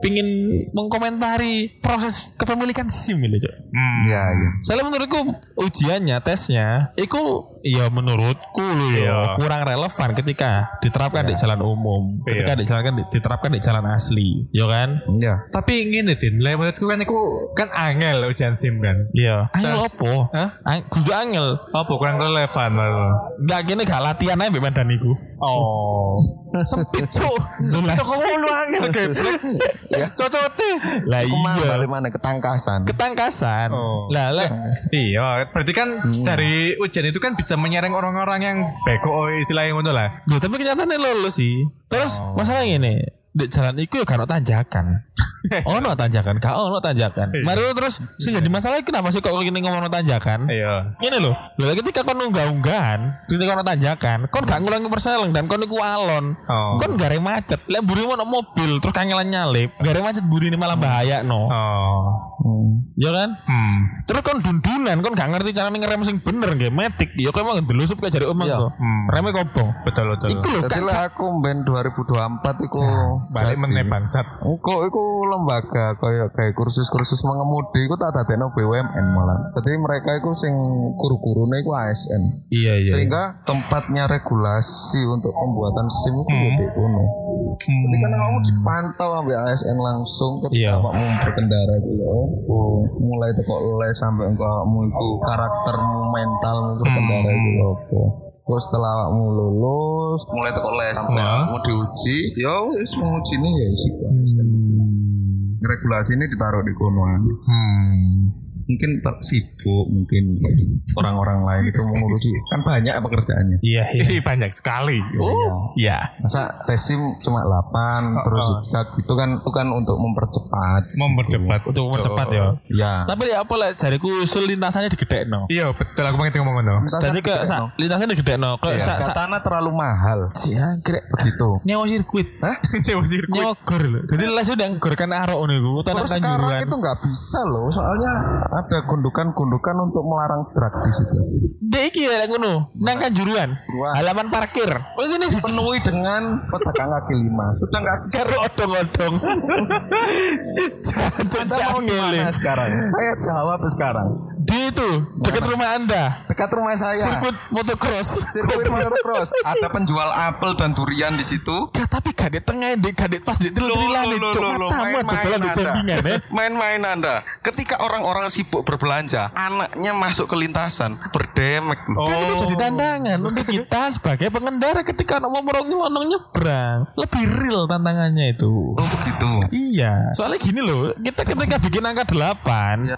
[SPEAKER 2] pingin mengkomentari proses kepemilikan SIM lho, Cok.
[SPEAKER 5] Hmm.
[SPEAKER 4] Iya, iya.
[SPEAKER 2] Soalnya menurutku ujiannya, tesnya, itu ya menurutku loh ya,
[SPEAKER 5] Iya.
[SPEAKER 2] kurang relevan ketika diterapkan di jalan umum, ketika diterapkan diterapkan di jalan asli, ya kan?
[SPEAKER 4] Iya.
[SPEAKER 5] Tapi ngene Din, lah menurutku kan aku kan angel ujian SIM kan.
[SPEAKER 2] Iya. Angel
[SPEAKER 5] Terus-
[SPEAKER 2] opo?
[SPEAKER 5] Hah?
[SPEAKER 2] Ang- Kudu angel.
[SPEAKER 5] Apa kurang relevan lho.
[SPEAKER 2] Gak gini gak latihan aja mbek medan iku.
[SPEAKER 5] Oh.
[SPEAKER 2] *laughs* Sempit cuk. Cuk mulu angel geblek.
[SPEAKER 4] Ya.
[SPEAKER 2] Cocote. Lah
[SPEAKER 4] Kemana
[SPEAKER 2] iya.
[SPEAKER 4] balik mana ketangkasan?
[SPEAKER 2] Ketangkasan.
[SPEAKER 5] Oh.
[SPEAKER 2] Lah lah.
[SPEAKER 4] Eh.
[SPEAKER 5] iya, berarti kan dari ujian itu kan bisa menyerang orang-orang yang bego oi, istilahnya ngono lah.
[SPEAKER 2] Duh, tapi kenyataannya lulus sih. Terus
[SPEAKER 5] Oh.
[SPEAKER 2] masalah ini di jalan iku ya gak ono
[SPEAKER 5] *laughs*
[SPEAKER 2] tanjakan. ono tanjakan, gak ono tanjakan.
[SPEAKER 5] Iya.
[SPEAKER 2] Mari lu terus sing jadi masalah iki kenapa sih kok gini ngomong ono tanjakan?
[SPEAKER 5] Iya.
[SPEAKER 2] Ini loh, lho ketika kon unggah-unggahan, ketika ono tanjakan, kon gak ngulangi perseleng dan kon iku alon.
[SPEAKER 5] Oh.
[SPEAKER 2] Kon gare macet. Lek mburi ono mobil terus kangelan nyalip, gare macet mburi ini malah bahaya no.
[SPEAKER 5] Oh.
[SPEAKER 2] Ya kan?
[SPEAKER 5] Hmm.
[SPEAKER 2] Terus kon dundunan, kon gak ngerti cara ngerem sing bener nggih, metik. Ya kok emang delusup kayak jari omong
[SPEAKER 4] Iya.
[SPEAKER 2] tuh. Remnya kobong.
[SPEAKER 5] Hmm. Betul betul.
[SPEAKER 2] Iku lho
[SPEAKER 4] Jadi
[SPEAKER 2] kan
[SPEAKER 4] lah aku ben 2024 iku
[SPEAKER 5] Balik
[SPEAKER 4] jadi.
[SPEAKER 5] meneh bangsat.
[SPEAKER 4] Engko iku lembaga kayak kayak kursus-kursus mengemudi iku tak dadekno BUMN malah. Jadi mereka iku sing guru-gurune iku ASN.
[SPEAKER 2] Iya iya.
[SPEAKER 4] Sehingga tempatnya regulasi untuk pembuatan SIM itu
[SPEAKER 2] Hmm.
[SPEAKER 4] ya di kono. Ketika kamu dipantau ambil ASN langsung
[SPEAKER 2] Iya.
[SPEAKER 4] ketika kamu berkendara gitu loh. Oh, mulai teko les sampai kamu itu karaktermu mentalmu berkendara
[SPEAKER 2] Hmm.
[SPEAKER 4] itu apa. Terus setelah kamu lulus, mulai teko les sampai
[SPEAKER 2] Iya.
[SPEAKER 4] kamu diuji, ya wis menguji ini ya isi
[SPEAKER 2] Hmm.
[SPEAKER 4] Regulasi ini ditaruh di kono. Hmm. Mungkin ter- sibuk, mungkin orang-orang lain itu mengurusi kan banyak pekerjaannya.
[SPEAKER 2] Iya iya.
[SPEAKER 5] Isi banyak sekali. Oh, iya.
[SPEAKER 4] masa tesim cuma 8 terus zigzag itu kan itu kan untuk mempercepat
[SPEAKER 5] Mempercepat.
[SPEAKER 2] Untuk mempercepat ya.
[SPEAKER 4] ya
[SPEAKER 2] Tapi ya apa lah jariku usul lintasannya digedekno.
[SPEAKER 5] Iya, betul aku pengen ngomong ngono.
[SPEAKER 2] Dan ini kayak sa- lintasannya digedekno. Kayak
[SPEAKER 4] ya,
[SPEAKER 2] sa sa
[SPEAKER 4] katana terlalu mahal
[SPEAKER 2] jangkrik.
[SPEAKER 4] begitu
[SPEAKER 2] Nyewa sirkuit. *laughs* Hah?
[SPEAKER 5] Sewa sirkuit.
[SPEAKER 2] Nyewa gor lho. Jadi les udah gor kan arok ngono iku. Tanah
[SPEAKER 4] terus sekarang
[SPEAKER 2] tanjuran.
[SPEAKER 4] itu nggak bisa loh soalnya ada gundukan-gundukan untuk melarang drag di situ
[SPEAKER 2] Dek iki ya lek ngono. Nang kanjuruan.
[SPEAKER 4] Wah.
[SPEAKER 2] Halaman parkir. Oh ini
[SPEAKER 4] penuhi dengan pedagang kaki lima sudah nggak
[SPEAKER 2] *laughs* karo
[SPEAKER 4] *laughs*
[SPEAKER 2] odong-odong. Jangan mau
[SPEAKER 4] Nah, sekarang saya jawab sekarang
[SPEAKER 2] Di itu dekat rumah Anda.
[SPEAKER 4] dekat rumah saya
[SPEAKER 2] Sirkuit motocross.
[SPEAKER 4] sirkuit motocross ada penjual apel dan durian di situ
[SPEAKER 2] Ya, tapi gak di tengah, di gak di pas di telu telan itu cuma tamu dodolan di sampingan ya.
[SPEAKER 4] Main-main Anda. Ketika orang-orang sibuk berbelanja, anaknya masuk ke lintasan, berdemek.
[SPEAKER 2] Kan itu jadi tantangan untuk kita sebagai pengendara ketika anak mau merongi lonong nyebrang. Lebih real tantangannya itu.
[SPEAKER 4] Oh begitu.
[SPEAKER 2] Iya. Soalnya gini loh, kita ketika bikin angka
[SPEAKER 5] Iya.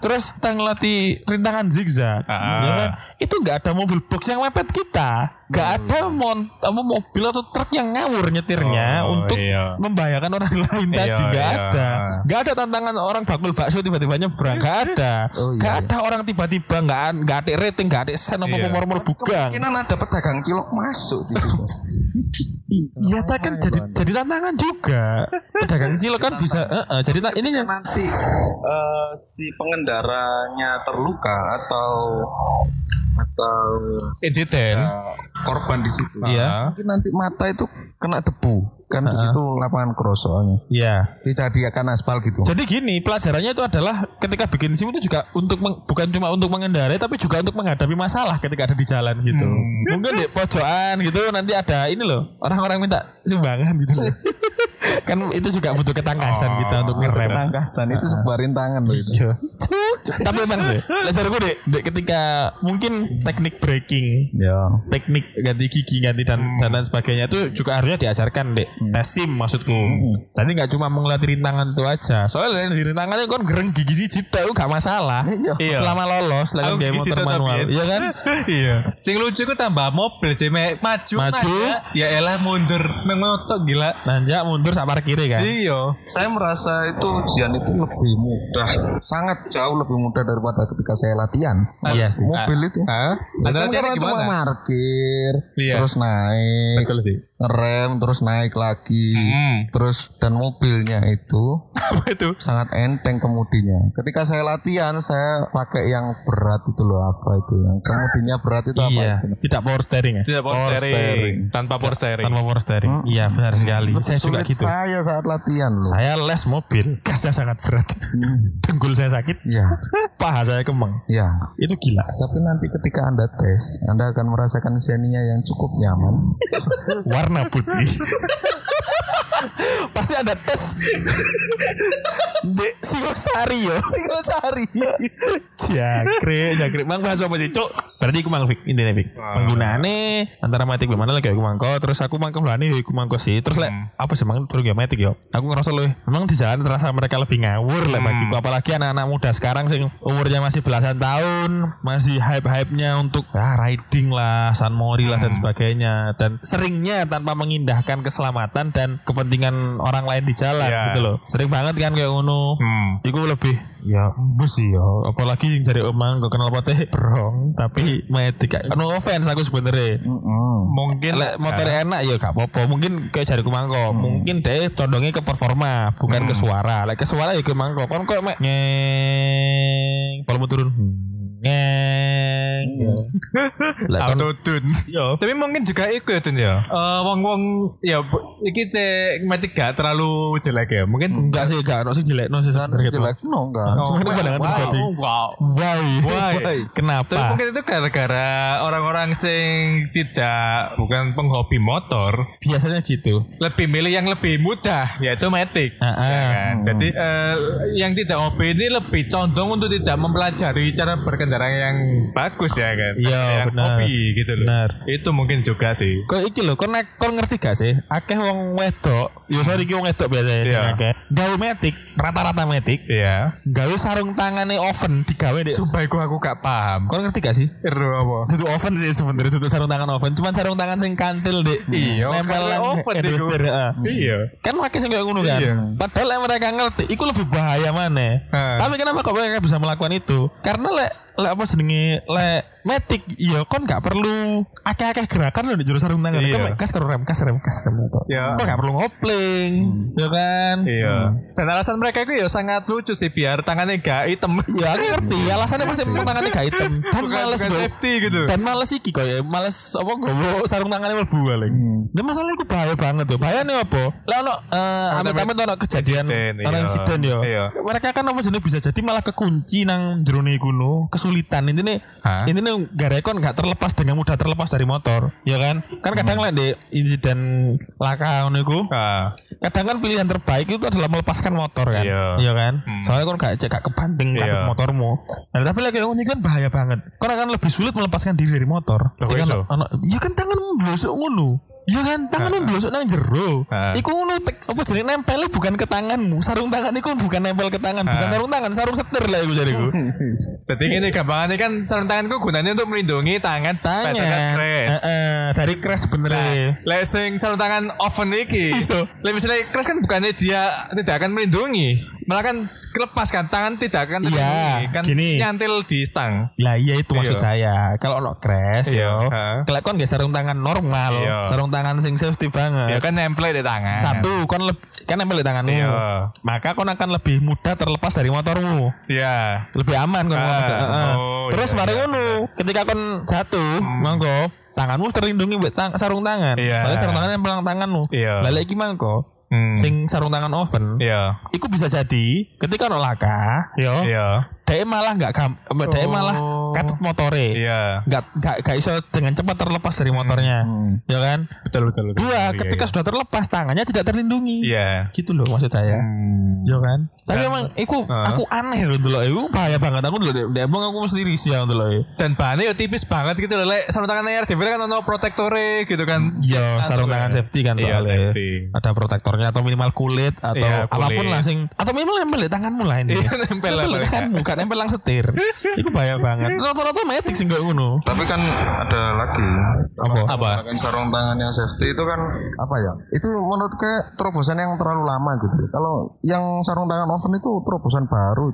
[SPEAKER 2] 8, terus kita ngelatih rintangan zigzag,
[SPEAKER 5] Ah.
[SPEAKER 2] ya kan? itu nggak ada mobil box yang mepet kita, nggak ada mon apa mobil atau truk yang ngawur nyetirnya
[SPEAKER 5] Oh,
[SPEAKER 2] untuk
[SPEAKER 5] iya.
[SPEAKER 2] membahayakan orang *laughs* lain
[SPEAKER 5] Iya,
[SPEAKER 2] tadi nggak
[SPEAKER 5] iya.
[SPEAKER 2] ada, nggak ada tantangan orang bakul bakso tiba-tiba nyebrang nggak ada,
[SPEAKER 5] Oh, iya,
[SPEAKER 2] nggak ada orang tiba-tiba nggak nggak ada rating nggak ada sen apa
[SPEAKER 5] Iya.
[SPEAKER 2] pemor bugang.
[SPEAKER 4] Kemungkinan ada pedagang cilok masuk di situ.
[SPEAKER 2] Iya, tak kan jadi jadi tantangan
[SPEAKER 5] *laughs*
[SPEAKER 2] juga. Pedagang cilok kan bisa, eh, eh, jadi ta- ini yang
[SPEAKER 4] *laughs* Nanti eh, si pengendaranya terluka atau atau
[SPEAKER 5] Insiden. Ah.
[SPEAKER 4] eh, korban di situ.
[SPEAKER 2] Iya.
[SPEAKER 4] Mungkin nanti mata itu kena debu. Kan di situ lapangan cross soalnya.
[SPEAKER 2] Iya.
[SPEAKER 4] Dijadikan aspal gitu.
[SPEAKER 2] Jadi gini, pelajarannya itu adalah ketika bikin SIM itu juga untuk meng- bukan cuma untuk mengendarai tapi juga untuk menghadapi masalah ketika ada di jalan gitu. Mungkin di pojokan gitu nanti ada ini loh, orang-orang minta sumbangan gitu loh. kan itu juga butuh ketangkasan kita untuk ngerem.
[SPEAKER 4] Ketangkasan itu sebuah rintangan loh itu.
[SPEAKER 2] tapi emang sih, laser gue dek, dek ketika mungkin teknik breaking
[SPEAKER 4] Ya.
[SPEAKER 2] teknik ganti gigi ganti dan dan lain sebagainya itu juga harusnya diajarkan dek tes sim maksudku Hmm. jadi nggak cuma mengelatih rintangan itu aja soalnya di rintangannya kan gereng gigi siji tau gak masalah
[SPEAKER 5] Iya.
[SPEAKER 2] selama lolos lah
[SPEAKER 5] Aku
[SPEAKER 2] biaya
[SPEAKER 5] gigi
[SPEAKER 2] motor
[SPEAKER 5] situ
[SPEAKER 2] manual
[SPEAKER 5] tapi.
[SPEAKER 2] *laughs* iya kan
[SPEAKER 5] iya. Sing lucu ku tambah mobil jeme
[SPEAKER 2] Maju.
[SPEAKER 5] maju aja. Ya elah mundur mengotok gila.
[SPEAKER 2] nanjak Nah, mundur sama kiri kan
[SPEAKER 5] Iya.
[SPEAKER 4] saya merasa itu ujian itu lebih mudah sangat jauh lebih mudah daripada ketika saya latihan
[SPEAKER 2] iya sih
[SPEAKER 4] mobil itu
[SPEAKER 5] Hah?
[SPEAKER 4] Ya
[SPEAKER 5] Anda
[SPEAKER 4] kan
[SPEAKER 5] latihannya
[SPEAKER 4] karena cuma
[SPEAKER 5] gimana?
[SPEAKER 4] parkir
[SPEAKER 5] Iya.
[SPEAKER 4] terus naik
[SPEAKER 5] Betul sih.
[SPEAKER 4] ngerem terus naik lagi
[SPEAKER 5] Hmm.
[SPEAKER 4] terus dan mobilnya itu
[SPEAKER 5] Apa itu?
[SPEAKER 4] sangat enteng kemudinya ketika saya latihan saya pakai yang berat itu loh apa itu yang kemudinya berat itu apa
[SPEAKER 2] iya
[SPEAKER 4] itu?
[SPEAKER 2] tidak power steering ya
[SPEAKER 5] Tidak power
[SPEAKER 4] Power steering.
[SPEAKER 5] steering. Tanpa power steering.
[SPEAKER 2] tanpa power steering iya benar sekali
[SPEAKER 4] Hmm.
[SPEAKER 2] saya juga
[SPEAKER 4] Sulit
[SPEAKER 2] gitu
[SPEAKER 4] saya saat latihan loh
[SPEAKER 2] saya les mobil *laughs* gasnya sangat berat dengkul saya sakit *laughs*
[SPEAKER 4] Iya.
[SPEAKER 2] paha saya kemeng
[SPEAKER 4] ya
[SPEAKER 2] itu gila
[SPEAKER 4] Tapi nanti ketika Anda tes, Anda akan merasakan senia yang cukup nyaman.
[SPEAKER 2] warna putih. *laughs* Pasti ada tes di Singosari yo. Singosari. Jangkrik, jangkrik. Mang bahas apa sih, Cuk? Berarti aku mang Fik, intine Fik. Penggunane antara matik gimana lagi aku mangko, terus aku mangko lani aku mangko sih. Terus lek apa sih mang turun ya matik yo. Aku ngerasa loh, memang di jalan terasa mereka lebih ngawur lek
[SPEAKER 5] Hmm.
[SPEAKER 2] bagiku apalagi anak-anak muda sekarang sing umurnya masih belasan tahun, masih hype-hype-nya untuk ah, riding lah, San Mori lah dan
[SPEAKER 5] Hmm.
[SPEAKER 2] sebagainya dan seringnya tanpa mengindahkan keselamatan dan kepentingan orang lain di jalan
[SPEAKER 5] Iya.
[SPEAKER 2] gitu loh. Sering banget kan kayak ngono.
[SPEAKER 5] Hmm.
[SPEAKER 2] Iku lebih ya bus ya apalagi yang cari emang gak kenal poteh *laughs* brong tapi metik no offense aku sebenernya
[SPEAKER 5] Mungkin Hmm.
[SPEAKER 2] Lek motor enak ya gak apa-apa mungkin kayak jariku mangko mungkin deh condongnya ke performa bukan ke suara lek ke suara ya ke mangko kan kok mek nyeng volume turun Hmm. ngeng.
[SPEAKER 5] Hmm.
[SPEAKER 2] Lek kon
[SPEAKER 5] Auto tune.
[SPEAKER 2] yo.
[SPEAKER 5] Tapi mungkin juga iku ya Tun ya. Eh wong-wong ya bu- iki cek mati gak terlalu jelek ya. Mungkin
[SPEAKER 2] Enggak sih, enggak ono sing jelekno sih Gitu. San.
[SPEAKER 4] Jelek no enggak.
[SPEAKER 5] Oh,
[SPEAKER 2] Cuma itu pandangan pribadi.
[SPEAKER 5] wow.
[SPEAKER 2] Why?
[SPEAKER 4] Why?
[SPEAKER 5] Tapi
[SPEAKER 2] Kenapa?
[SPEAKER 5] mungkin itu gara-gara orang-orang sing tidak bukan penghobi motor
[SPEAKER 2] Biasanya gitu.
[SPEAKER 5] lebih milih yang lebih mudah yaitu Matic.
[SPEAKER 2] Heeh.
[SPEAKER 5] Kan? Jadi eh, yang tidak hobi ini lebih condong untuk tidak mempelajari cara berkendara yang bagus ya kan.
[SPEAKER 2] Iya,
[SPEAKER 5] yang
[SPEAKER 2] benar.
[SPEAKER 5] hobi gitu loh.
[SPEAKER 2] Benar.
[SPEAKER 5] Itu mungkin juga sih.
[SPEAKER 2] Kok iki lho, kon kon ngerti gak sih? Akeh wong wedok, ya sorry iki wong wedok biasanya
[SPEAKER 5] Iya.
[SPEAKER 2] sing akeh. Gawe metik, rata-rata metik,
[SPEAKER 5] Iya.
[SPEAKER 2] gawe sarung tangane oven digawe dek.
[SPEAKER 5] Sumpah iku aku gak paham.
[SPEAKER 2] Kon ngerti gak sih?
[SPEAKER 5] Ero apa?
[SPEAKER 2] Tutup oven sih sebenernya tutup sarung tangan oven Cuman sarung tangan sing kantil dek
[SPEAKER 5] Iya,
[SPEAKER 2] Nempel
[SPEAKER 5] karena
[SPEAKER 2] nang
[SPEAKER 5] oven iku.
[SPEAKER 2] adrester
[SPEAKER 5] Iya.
[SPEAKER 2] Kan pakai sing kayak ngono kan
[SPEAKER 5] Iya.
[SPEAKER 2] Padahal yang mereka ngerti Itu lebih bahaya mana
[SPEAKER 5] Ha.
[SPEAKER 2] Tapi kenapa kok mereka bisa melakukan itu Karena lek Lek apa jenenge Lek metik Iya kon gak perlu Akeh-akeh gerakan loh di juru sarung tangan
[SPEAKER 5] Iya.
[SPEAKER 2] Kon kas karo rem Kas rem kas rem kok.
[SPEAKER 5] Iya.
[SPEAKER 2] Kon gak perlu ngopling Ya kan
[SPEAKER 5] Hmm. Iya. Dan alasan mereka itu ya sangat lucu sih biar tangannya gak hitam.
[SPEAKER 2] *laughs* Ya aku ngerti alasannya pasti emang tangannya gak hitam Dan
[SPEAKER 5] Bukan-
[SPEAKER 2] males
[SPEAKER 5] bukan
[SPEAKER 2] bro
[SPEAKER 5] safety gitu.
[SPEAKER 2] Dan males iki kok ya Males apa gowo sarung tangannya mlebu paling
[SPEAKER 5] Hmm.
[SPEAKER 2] Dan masalah itu bahaya banget tuh Bahaya nih apa Lah ono eh, amit-amit ono kejadian
[SPEAKER 5] Insiden,
[SPEAKER 2] Ono
[SPEAKER 5] iya.
[SPEAKER 2] insiden yo
[SPEAKER 5] Iya.
[SPEAKER 2] Mereka kan apa jenis bisa jadi malah kekunci nang jerone kuno Kesulitan intinya
[SPEAKER 5] Hah?
[SPEAKER 2] Intinya garekon gak terlepas dengan mudah terlepas dari motor Ya kan Kan kadang
[SPEAKER 5] Hmm.
[SPEAKER 2] lah di insiden laka ngono iku
[SPEAKER 5] Ah,
[SPEAKER 2] kadang kan pilihan terbaik itu adalah melepaskan motor kan
[SPEAKER 5] Iya.
[SPEAKER 2] kan
[SPEAKER 5] Hmm.
[SPEAKER 2] soalnya kan gak gak kebanting
[SPEAKER 5] Iya.
[SPEAKER 2] kantut motormu nah, tapi lagi yang ini kan bahaya banget kan akan lebih sulit melepaskan diri dari motor
[SPEAKER 5] Loh,
[SPEAKER 2] Iya kan,
[SPEAKER 5] iso?
[SPEAKER 2] ono- iya kan tangan membelosok ngono Iya kan tanganmu belosok nang jero.
[SPEAKER 5] Ah.
[SPEAKER 2] Iku ngono tek- apa jenenge nempelnya bukan ke tanganmu. Sarung tangan iku bukan nempel ke tangan, bukan
[SPEAKER 5] Ah.
[SPEAKER 2] sarung tangan, sarung setir lah iku jariku.
[SPEAKER 5] Hmm. jadi ini gampangannya kan sarung tanganku gunanya untuk melindungi tangan peserta
[SPEAKER 2] Tangan.
[SPEAKER 5] crash. Nah,
[SPEAKER 2] Heeh, dari crash bener.
[SPEAKER 5] Lek sing sarung tangan oven iki. Lek misalnya crash kan bukannya dia tidak akan melindungi, malah kan kelepas kan tangan tidak akan
[SPEAKER 2] Iya,
[SPEAKER 5] melindungi, kan
[SPEAKER 2] gini.
[SPEAKER 5] nyantil di stang.
[SPEAKER 2] Lah iya itu maksud
[SPEAKER 5] Iya.
[SPEAKER 2] saya. Kalau ono crash
[SPEAKER 5] Iya,
[SPEAKER 2] yo,
[SPEAKER 5] ha.
[SPEAKER 2] kelakon nggih sarung tangan normal,
[SPEAKER 5] Iya.
[SPEAKER 2] sarung tangan sing safety
[SPEAKER 5] Ya
[SPEAKER 2] banget.
[SPEAKER 5] kan nempel di tangan.
[SPEAKER 2] Satu, kon leb- kan nempel di tanganmu.
[SPEAKER 5] Iya.
[SPEAKER 2] Maka kon akan lebih mudah terlepas dari motormu.
[SPEAKER 5] Iya.
[SPEAKER 2] Lebih aman kon. gitu.
[SPEAKER 5] Ah,
[SPEAKER 2] Heeh.
[SPEAKER 5] oh,
[SPEAKER 2] Terus
[SPEAKER 5] iya,
[SPEAKER 2] bareng
[SPEAKER 5] iya, Hmm.
[SPEAKER 2] ngono, ketika kon jatuh, monggo tanganmu terlindungi mbek tang- sarung tangan.
[SPEAKER 5] Iya.
[SPEAKER 2] Padahal sarung tangan nempel nang tanganmu.
[SPEAKER 5] Iya.
[SPEAKER 2] Lah lek iki mangko
[SPEAKER 5] Hmm.
[SPEAKER 2] sing sarung tangan oven,
[SPEAKER 5] Iya.
[SPEAKER 2] iku bisa jadi ketika ono laka, yo.
[SPEAKER 5] Iya. Oh.
[SPEAKER 2] Dek malah nggak gam, dek malah katut motore
[SPEAKER 5] Iya.
[SPEAKER 2] nggak nggak nggak iso dengan cepat terlepas dari motornya ya kan
[SPEAKER 5] Hmm, Betul betul. betul.
[SPEAKER 2] dua
[SPEAKER 5] Iya,
[SPEAKER 2] ketika sudah terlepas tangannya tidak terlindungi
[SPEAKER 5] Iya. Hmm.
[SPEAKER 2] gitu loh maksud saya
[SPEAKER 6] Hmm.
[SPEAKER 2] ya kan tapi
[SPEAKER 5] Dan-
[SPEAKER 2] emang iku
[SPEAKER 5] Heeh.
[SPEAKER 2] aku aneh loh dulu aku bahaya banget aku dulu di emang aku mesti risih aku dulu
[SPEAKER 5] Dan bahannya ya tipis banget gitu loh. Lek sarung tangan RDV kan ono protektore gitu kan.
[SPEAKER 2] Iya, sarung tangan safety kan
[SPEAKER 5] Iya,
[SPEAKER 2] soalnya.
[SPEAKER 5] safety.
[SPEAKER 2] Ada protektornya atau minimal kulit atau
[SPEAKER 5] Iya, kulit.
[SPEAKER 2] apapun lah sing atau minimal nempel di tanganmu lah ini.
[SPEAKER 5] Iya, nempel lah,
[SPEAKER 2] di
[SPEAKER 5] paling
[SPEAKER 2] tanganmu, bukan nempel lang
[SPEAKER 5] *laughs*
[SPEAKER 2] setir. Iku bahaya banget. Rata-rata metik sing gak ngono.
[SPEAKER 6] Tapi kan ada lagi.
[SPEAKER 2] Apa?
[SPEAKER 5] Apa?
[SPEAKER 6] Pakai sarung tangan yang safety itu kan
[SPEAKER 4] apa ya itu menurut ke terobosan yang terlalu lama gitu kalau yang sarung tangan oven itu terobosan baru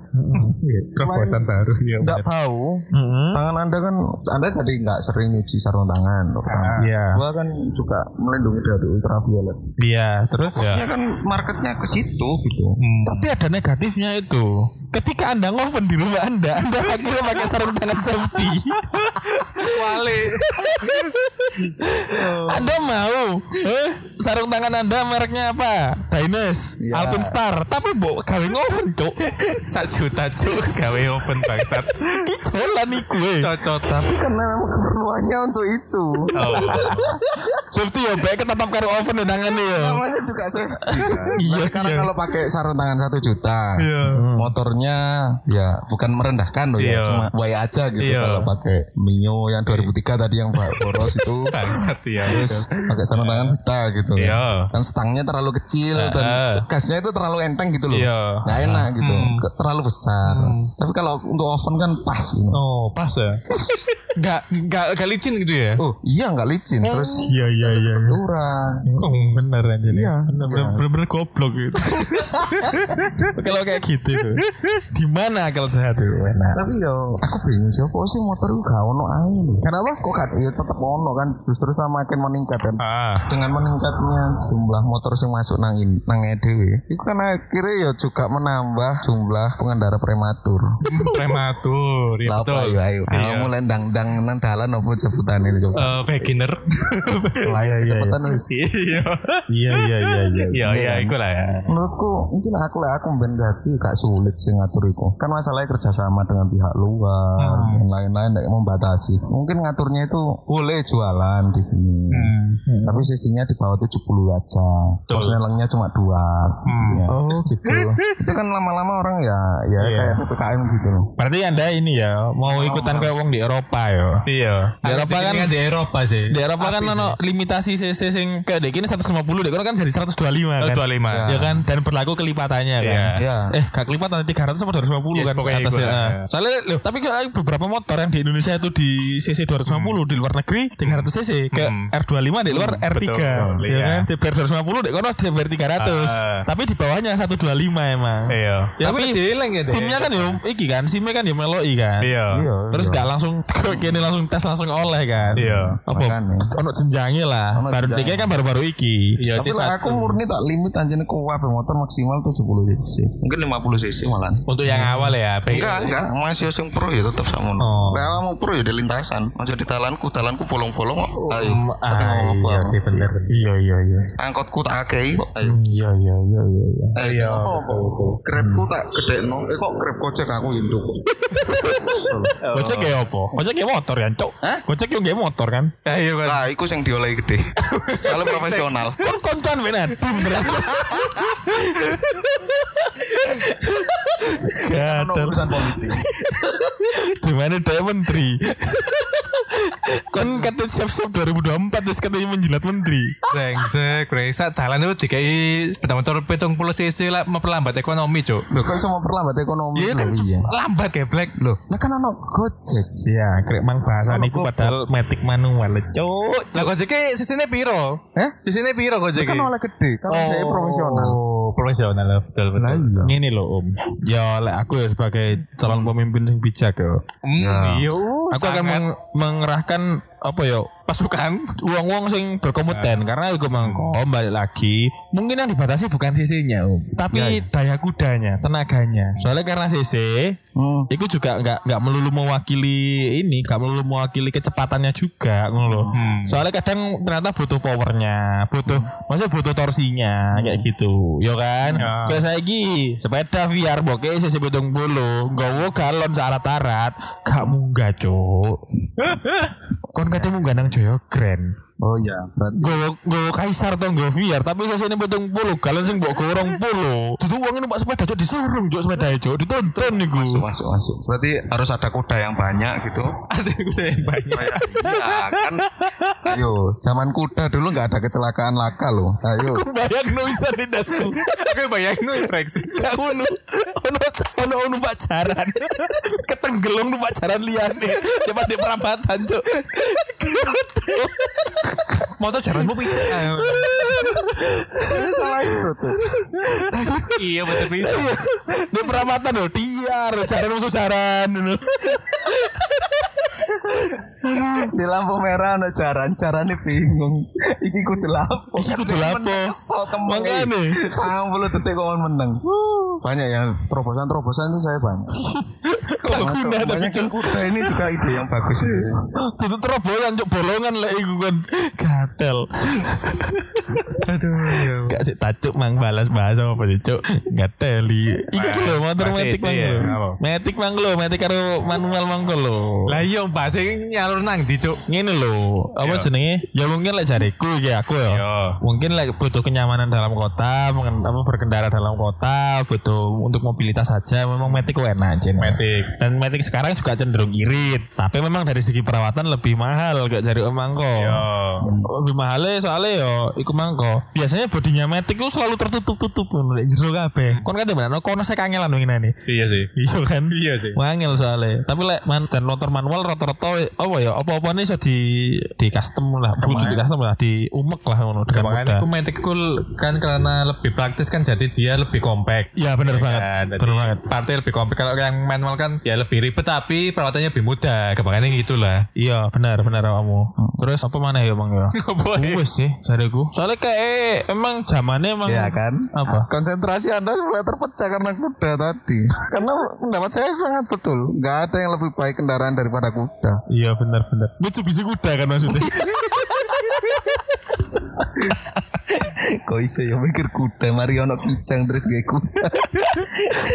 [SPEAKER 5] Terobosan Iya, baru ya.
[SPEAKER 4] nggak bau
[SPEAKER 2] Heeh.
[SPEAKER 4] tangan anda kan anda jadi nggak sering nyuci sarung tangan pertama.
[SPEAKER 2] Iya.
[SPEAKER 4] Gua kan juga melindungi dari ultraviolet
[SPEAKER 2] Iya, terus ya. Hmm.
[SPEAKER 6] ya kan marketnya ke situ gitu.
[SPEAKER 2] Tapi ada negatifnya itu. Ketika Anda ngoven di rumah Anda, Anda akhirnya pakai sarung tangan safety. *laughs* anda mau eh sarung tangan Anda mereknya apa? Dynas,
[SPEAKER 4] Ya.
[SPEAKER 2] Alpine Star. Tapi mbok gawe ngoven, Cuk.
[SPEAKER 5] Sak juta cuk gawe open bangsat.
[SPEAKER 2] Ki jalan iku. eh.
[SPEAKER 5] Cocot.
[SPEAKER 4] tapi karena memang keperluannya untuk itu
[SPEAKER 2] Ah.
[SPEAKER 5] Oh.
[SPEAKER 2] Safety ya baik ketatap karo oven ya tangannya ya.
[SPEAKER 4] namanya juga safety kan?
[SPEAKER 2] *laughs* Iya,
[SPEAKER 4] Nah, sekarang
[SPEAKER 2] iya.
[SPEAKER 4] kalau pakai sarung tangan satu juta Hmm. motornya ya bukan merendahkan loh
[SPEAKER 5] Iya.
[SPEAKER 4] ya cuma way aja gitu
[SPEAKER 5] Iya.
[SPEAKER 4] kalau pakai Mio yang 2003 tadi yang Pak Boros
[SPEAKER 2] *laughs*
[SPEAKER 4] itu
[SPEAKER 5] Bangsat ya.
[SPEAKER 4] terus Gitu. pakai sarung tangan juta gitu kan.
[SPEAKER 5] Iya.
[SPEAKER 4] dan stangnya terlalu kecil dan
[SPEAKER 5] Ah.
[SPEAKER 4] gasnya itu terlalu enteng gitu loh
[SPEAKER 5] Iya. Hmm.
[SPEAKER 4] nggak enak gitu Ke- terlalu besar tapi kalau untuk oven kan pas gitu.
[SPEAKER 5] Oh, pas ya. nggak nggak nggak licin gitu ya
[SPEAKER 4] Oh iya nggak licin terus
[SPEAKER 2] Iya iya iya.
[SPEAKER 4] turang.
[SPEAKER 2] Oh, bener anjir. Iya. Bener, bener, bener, bener goblok gitu. kalau kayak gitu. Di mana akal sehat itu? Enak.
[SPEAKER 4] Tapi yo aku bingung sih kok sih motor itu gak ono angin. Kenapa kok gak ya tetep ono kan justru sama makin meningkat kan.
[SPEAKER 5] ah
[SPEAKER 4] Dengan meningkatnya jumlah motor yang masuk nang in- nang EDW, itu kan akhirnya ya juga menambah jumlah pengendara prematur.
[SPEAKER 5] prematur
[SPEAKER 2] Iya,
[SPEAKER 5] ya
[SPEAKER 4] Lah,
[SPEAKER 5] betul
[SPEAKER 4] apa, Ayo, ayo. Kalau mulai dang-dang nang dalan apa sebutan ini
[SPEAKER 2] *laughs*
[SPEAKER 4] coba.
[SPEAKER 5] Eh, beginner
[SPEAKER 4] Lah ya cepetan wis.
[SPEAKER 5] iya
[SPEAKER 2] Iya iya iya iya.
[SPEAKER 5] iya iya iku lah ya
[SPEAKER 4] Menurutku mungkin aku lah aku mendati gak sulit sih ngatur itu. Kan masalahnya kerjasama dengan pihak luar
[SPEAKER 2] Hmm.
[SPEAKER 4] dan lain-lain kayak membatasi. Mungkin ngaturnya itu boleh jualan di sini.
[SPEAKER 2] Hmm,
[SPEAKER 4] Tapi sisinya di bawah 70 aja. Terus nelangnya cuma dua. gitu ya.
[SPEAKER 2] Oh gitu. Iya.
[SPEAKER 4] Itu kan lama-lama orang ya ya kayak PPKM gitu loh.
[SPEAKER 2] Berarti anda ini ya mau ikutan kayak wong di Eropa ya.
[SPEAKER 5] iya
[SPEAKER 2] Di Eropa kan
[SPEAKER 5] di Eropa sih
[SPEAKER 2] di Eropa kan ono limitasi cc sing kayak dek ini 150 dek kono kan jadi 125 kan.
[SPEAKER 5] 25.
[SPEAKER 2] Ya kan dan berlaku kelipatannya kan.
[SPEAKER 5] Iya.
[SPEAKER 4] Iya.
[SPEAKER 2] Eh, gak kelipatan 300 sampai 250
[SPEAKER 5] Yes,
[SPEAKER 2] kan
[SPEAKER 5] pokoknya
[SPEAKER 2] atas
[SPEAKER 5] itu
[SPEAKER 2] ya.
[SPEAKER 5] lah,
[SPEAKER 2] Ah.
[SPEAKER 5] ya.
[SPEAKER 2] Soalnya loh, tapi kayak beberapa motor yang di Indonesia itu di CC 250
[SPEAKER 5] Hmm.
[SPEAKER 2] di luar negeri 300 CC ke R25 di luar R3.
[SPEAKER 5] betul,
[SPEAKER 2] ya
[SPEAKER 5] iya.
[SPEAKER 2] kan? CBR 250 di kono CBR 300.
[SPEAKER 5] Ah.
[SPEAKER 2] Tapi di bawahnya 125 emang.
[SPEAKER 5] iya
[SPEAKER 2] Ya, tapi SIM-nya kan ya iki kan, SIM-nya kan ya meloi kan.
[SPEAKER 5] iya
[SPEAKER 2] Terus gak langsung *laughs* kene langsung tes langsung oleh kan.
[SPEAKER 5] Iya.
[SPEAKER 2] Apa
[SPEAKER 4] Makanya.
[SPEAKER 2] ono jenjangnya lah.
[SPEAKER 4] Ono
[SPEAKER 2] Baru
[SPEAKER 4] jenjangnya.
[SPEAKER 2] dikira kan baru-baru iki.
[SPEAKER 5] iya
[SPEAKER 4] Tapi
[SPEAKER 5] sih
[SPEAKER 4] lah aku murni tak limit anjir ke motor maksimal 70 cc. Mungkin 50 cc malah.
[SPEAKER 5] untuk yang awal ya baik
[SPEAKER 6] Hmm. Enggak, enggak. Masih sing pro ya tetap sama.
[SPEAKER 2] Oh.
[SPEAKER 6] Lah mau pro ya di lintasan. Masih di talanku, talanku folong-folong. kok. Ayo. Nanti
[SPEAKER 2] Ah,
[SPEAKER 6] ngomong
[SPEAKER 2] iya
[SPEAKER 6] apa.
[SPEAKER 2] sih bener. Iya iya iya.
[SPEAKER 6] Angkotku tak akei kok. Ayo.
[SPEAKER 2] Iya iya iya iya. iya.
[SPEAKER 6] Ayo. Grabku tak gedekno. Eh kok grab Gojek aku induk.
[SPEAKER 2] Gojek ya apa? Gojek ya motor kan, Cok. Gojek yo nggih motor kan.
[SPEAKER 5] ayo
[SPEAKER 4] Ah.
[SPEAKER 5] kan
[SPEAKER 6] Lah iku sing diolehi gede. Soalnya profesional.
[SPEAKER 2] Kon koncoan benar. *laughs*
[SPEAKER 6] Ono urusan politik.
[SPEAKER 2] Gimana dia menteri? Kon kata siap-siap 2024 terus katanya menjilat menteri.
[SPEAKER 5] Sengsek, Reza, jalan itu dikai motor pitung puluh cc lah memperlambat ekonomi cok
[SPEAKER 4] Loh, kan cuma perlambat ekonomi.
[SPEAKER 5] Iya kan
[SPEAKER 4] loh, iya.
[SPEAKER 5] lambat ya Black loh
[SPEAKER 4] Lah kan ono Gojek.
[SPEAKER 2] Iya, krek mang bahasa niku padahal metik manual, Cok.
[SPEAKER 5] lah gojeknya sisinya piro
[SPEAKER 4] Eh?
[SPEAKER 5] sisinya piro gojeknya
[SPEAKER 4] Kan
[SPEAKER 6] Iya.
[SPEAKER 4] oleh gede,
[SPEAKER 6] Oh.
[SPEAKER 4] kan oleh profesional.
[SPEAKER 5] oh profesional iya. betul betul
[SPEAKER 2] Ini loh Om. Ya lek aku ya sebagai calon pemimpin yang bijak ya.
[SPEAKER 5] Hmm, iya
[SPEAKER 2] Aku akan meng- mengerahkan apa ya pasukan uang-uang sing berkompeten karena aku mengkom balik lagi mungkin yang dibatasi bukan CC-nya om
[SPEAKER 5] Ya,
[SPEAKER 2] tapi daya kudanya tenaganya soalnya karena CC
[SPEAKER 6] Oh.
[SPEAKER 2] itu juga nggak nggak melulu mewakili ini nggak melulu mewakili kecepatannya juga ngono loh soalnya kadang ternyata butuh powernya butuh maksudnya butuh torsinya kayak gitu ya kan kayak saya iki sepeda VR boke CC bedong bulu nggawa galon syarat-syarat gak munggah cuk kon katanya munggah nang Joyo Grand
[SPEAKER 4] Oh iya, berarti
[SPEAKER 2] Gowo gowo kaisar atau gowo VR tapi saya sini betung puluh kalian sing bawa gorong puluh itu uangnya numpak sepeda cok disurung cok sepeda cok ditonton nih gue
[SPEAKER 6] Masuk masuk. Berarti harus ada kuda yang banyak gitu.
[SPEAKER 5] ada kuda yang
[SPEAKER 2] *laughs*
[SPEAKER 5] banyak
[SPEAKER 6] Iya kan.
[SPEAKER 4] ayo zaman kuda dulu nggak ada kecelakaan laka loh. Ayo.
[SPEAKER 2] aku bayang bisa di
[SPEAKER 5] *laughs*
[SPEAKER 2] dasku
[SPEAKER 5] aku bayangin lu Rex
[SPEAKER 2] gak ono ono ono ono pacaran ketenggelung numpak pacaran liane cepat di perabatan cok
[SPEAKER 5] motor jalanmu pijak salah itu iya betul bisa
[SPEAKER 2] di perabatan loh tiar jaran musuh jaran
[SPEAKER 4] Di lampu merah ada jaran, jarannya bingung. Iki kudu lapo.
[SPEAKER 2] Iki kudu lapo.
[SPEAKER 4] Kesel kemeng.
[SPEAKER 2] Makanya.
[SPEAKER 4] 90 detik kok menang. Banyak ya terobosan-terobosan itu saya banyak.
[SPEAKER 2] kok guna tapi
[SPEAKER 4] Banyak yang kuda ini juga ide yang bagus.
[SPEAKER 2] itu terobolan cok bolongan lah iku kan gatel
[SPEAKER 5] aduh iya
[SPEAKER 2] Gak sih tacuk mang balas bahasa apa sih cuk Gateli Iki lho motor
[SPEAKER 5] Bahasa
[SPEAKER 2] metik
[SPEAKER 5] isi
[SPEAKER 2] mang
[SPEAKER 5] ya,
[SPEAKER 2] lho
[SPEAKER 5] apa?
[SPEAKER 2] Metik mang lho Metik karo manual mang lho
[SPEAKER 5] lah iya mbak sing nyalur nang di cok
[SPEAKER 2] Ngene lho Apa
[SPEAKER 5] Iya.
[SPEAKER 2] jenenge Ya mungkin lek jariku ya aku
[SPEAKER 5] Iya.
[SPEAKER 2] ya Mungkin lek butuh kenyamanan dalam kota mengen- apa, Berkendara dalam kota Butuh untuk mobilitas saja Memang metik ku enak jen
[SPEAKER 5] metik Matic.
[SPEAKER 2] Dan Matic sekarang juga cenderung irit, tapi memang dari segi perawatan lebih mahal gak cari emang kok.
[SPEAKER 5] Oh,
[SPEAKER 2] Lebih mahalnya soalnya yo iku mangko. Biasanya bodinya Matic itu selalu tertutup-tutup ngono nek jero kabeh. Kon kate mana kono sek kangelan winginane.
[SPEAKER 5] Iya sih.
[SPEAKER 2] Iya kan?
[SPEAKER 5] Iya sih.
[SPEAKER 2] Wangil soalnya. Tapi lek man dan motor manual rata-rata apa ya apa-apa nih so di di custom lah, butuh di custom lah, di umek lah ngono dengan mudah.
[SPEAKER 5] Makanya aku Matic ku kan karena lebih praktis kan jadi dia lebih compact.
[SPEAKER 2] Ya bener banget.
[SPEAKER 5] Kan, jadi
[SPEAKER 2] Bener banget.
[SPEAKER 5] Partai lebih kompleks kalau yang manual kan ya lebih ribet tapi perawatannya lebih mudah. Kebanyakan gitu gitulah.
[SPEAKER 2] Iya benar benar kamu. Terus apa mana ya bang ya?
[SPEAKER 5] Hmm. *laughs* Apa ya?
[SPEAKER 2] Wes sih jariku. Soalnya kayak emang zamannya emang
[SPEAKER 5] Iya
[SPEAKER 4] Ya kan?
[SPEAKER 2] Apa?
[SPEAKER 4] Konsentrasi Anda mulai terpecah karena kuda tadi. Karena pendapat saya sangat betul. Gak ada yang lebih baik kendaraan daripada kuda.
[SPEAKER 2] Iya benar benar. Mitsubishi kuda kan
[SPEAKER 5] *laughs*
[SPEAKER 2] maksudnya.
[SPEAKER 4] Kok iso ya mikir kuda? Mari ono kijang terus kayak kuda.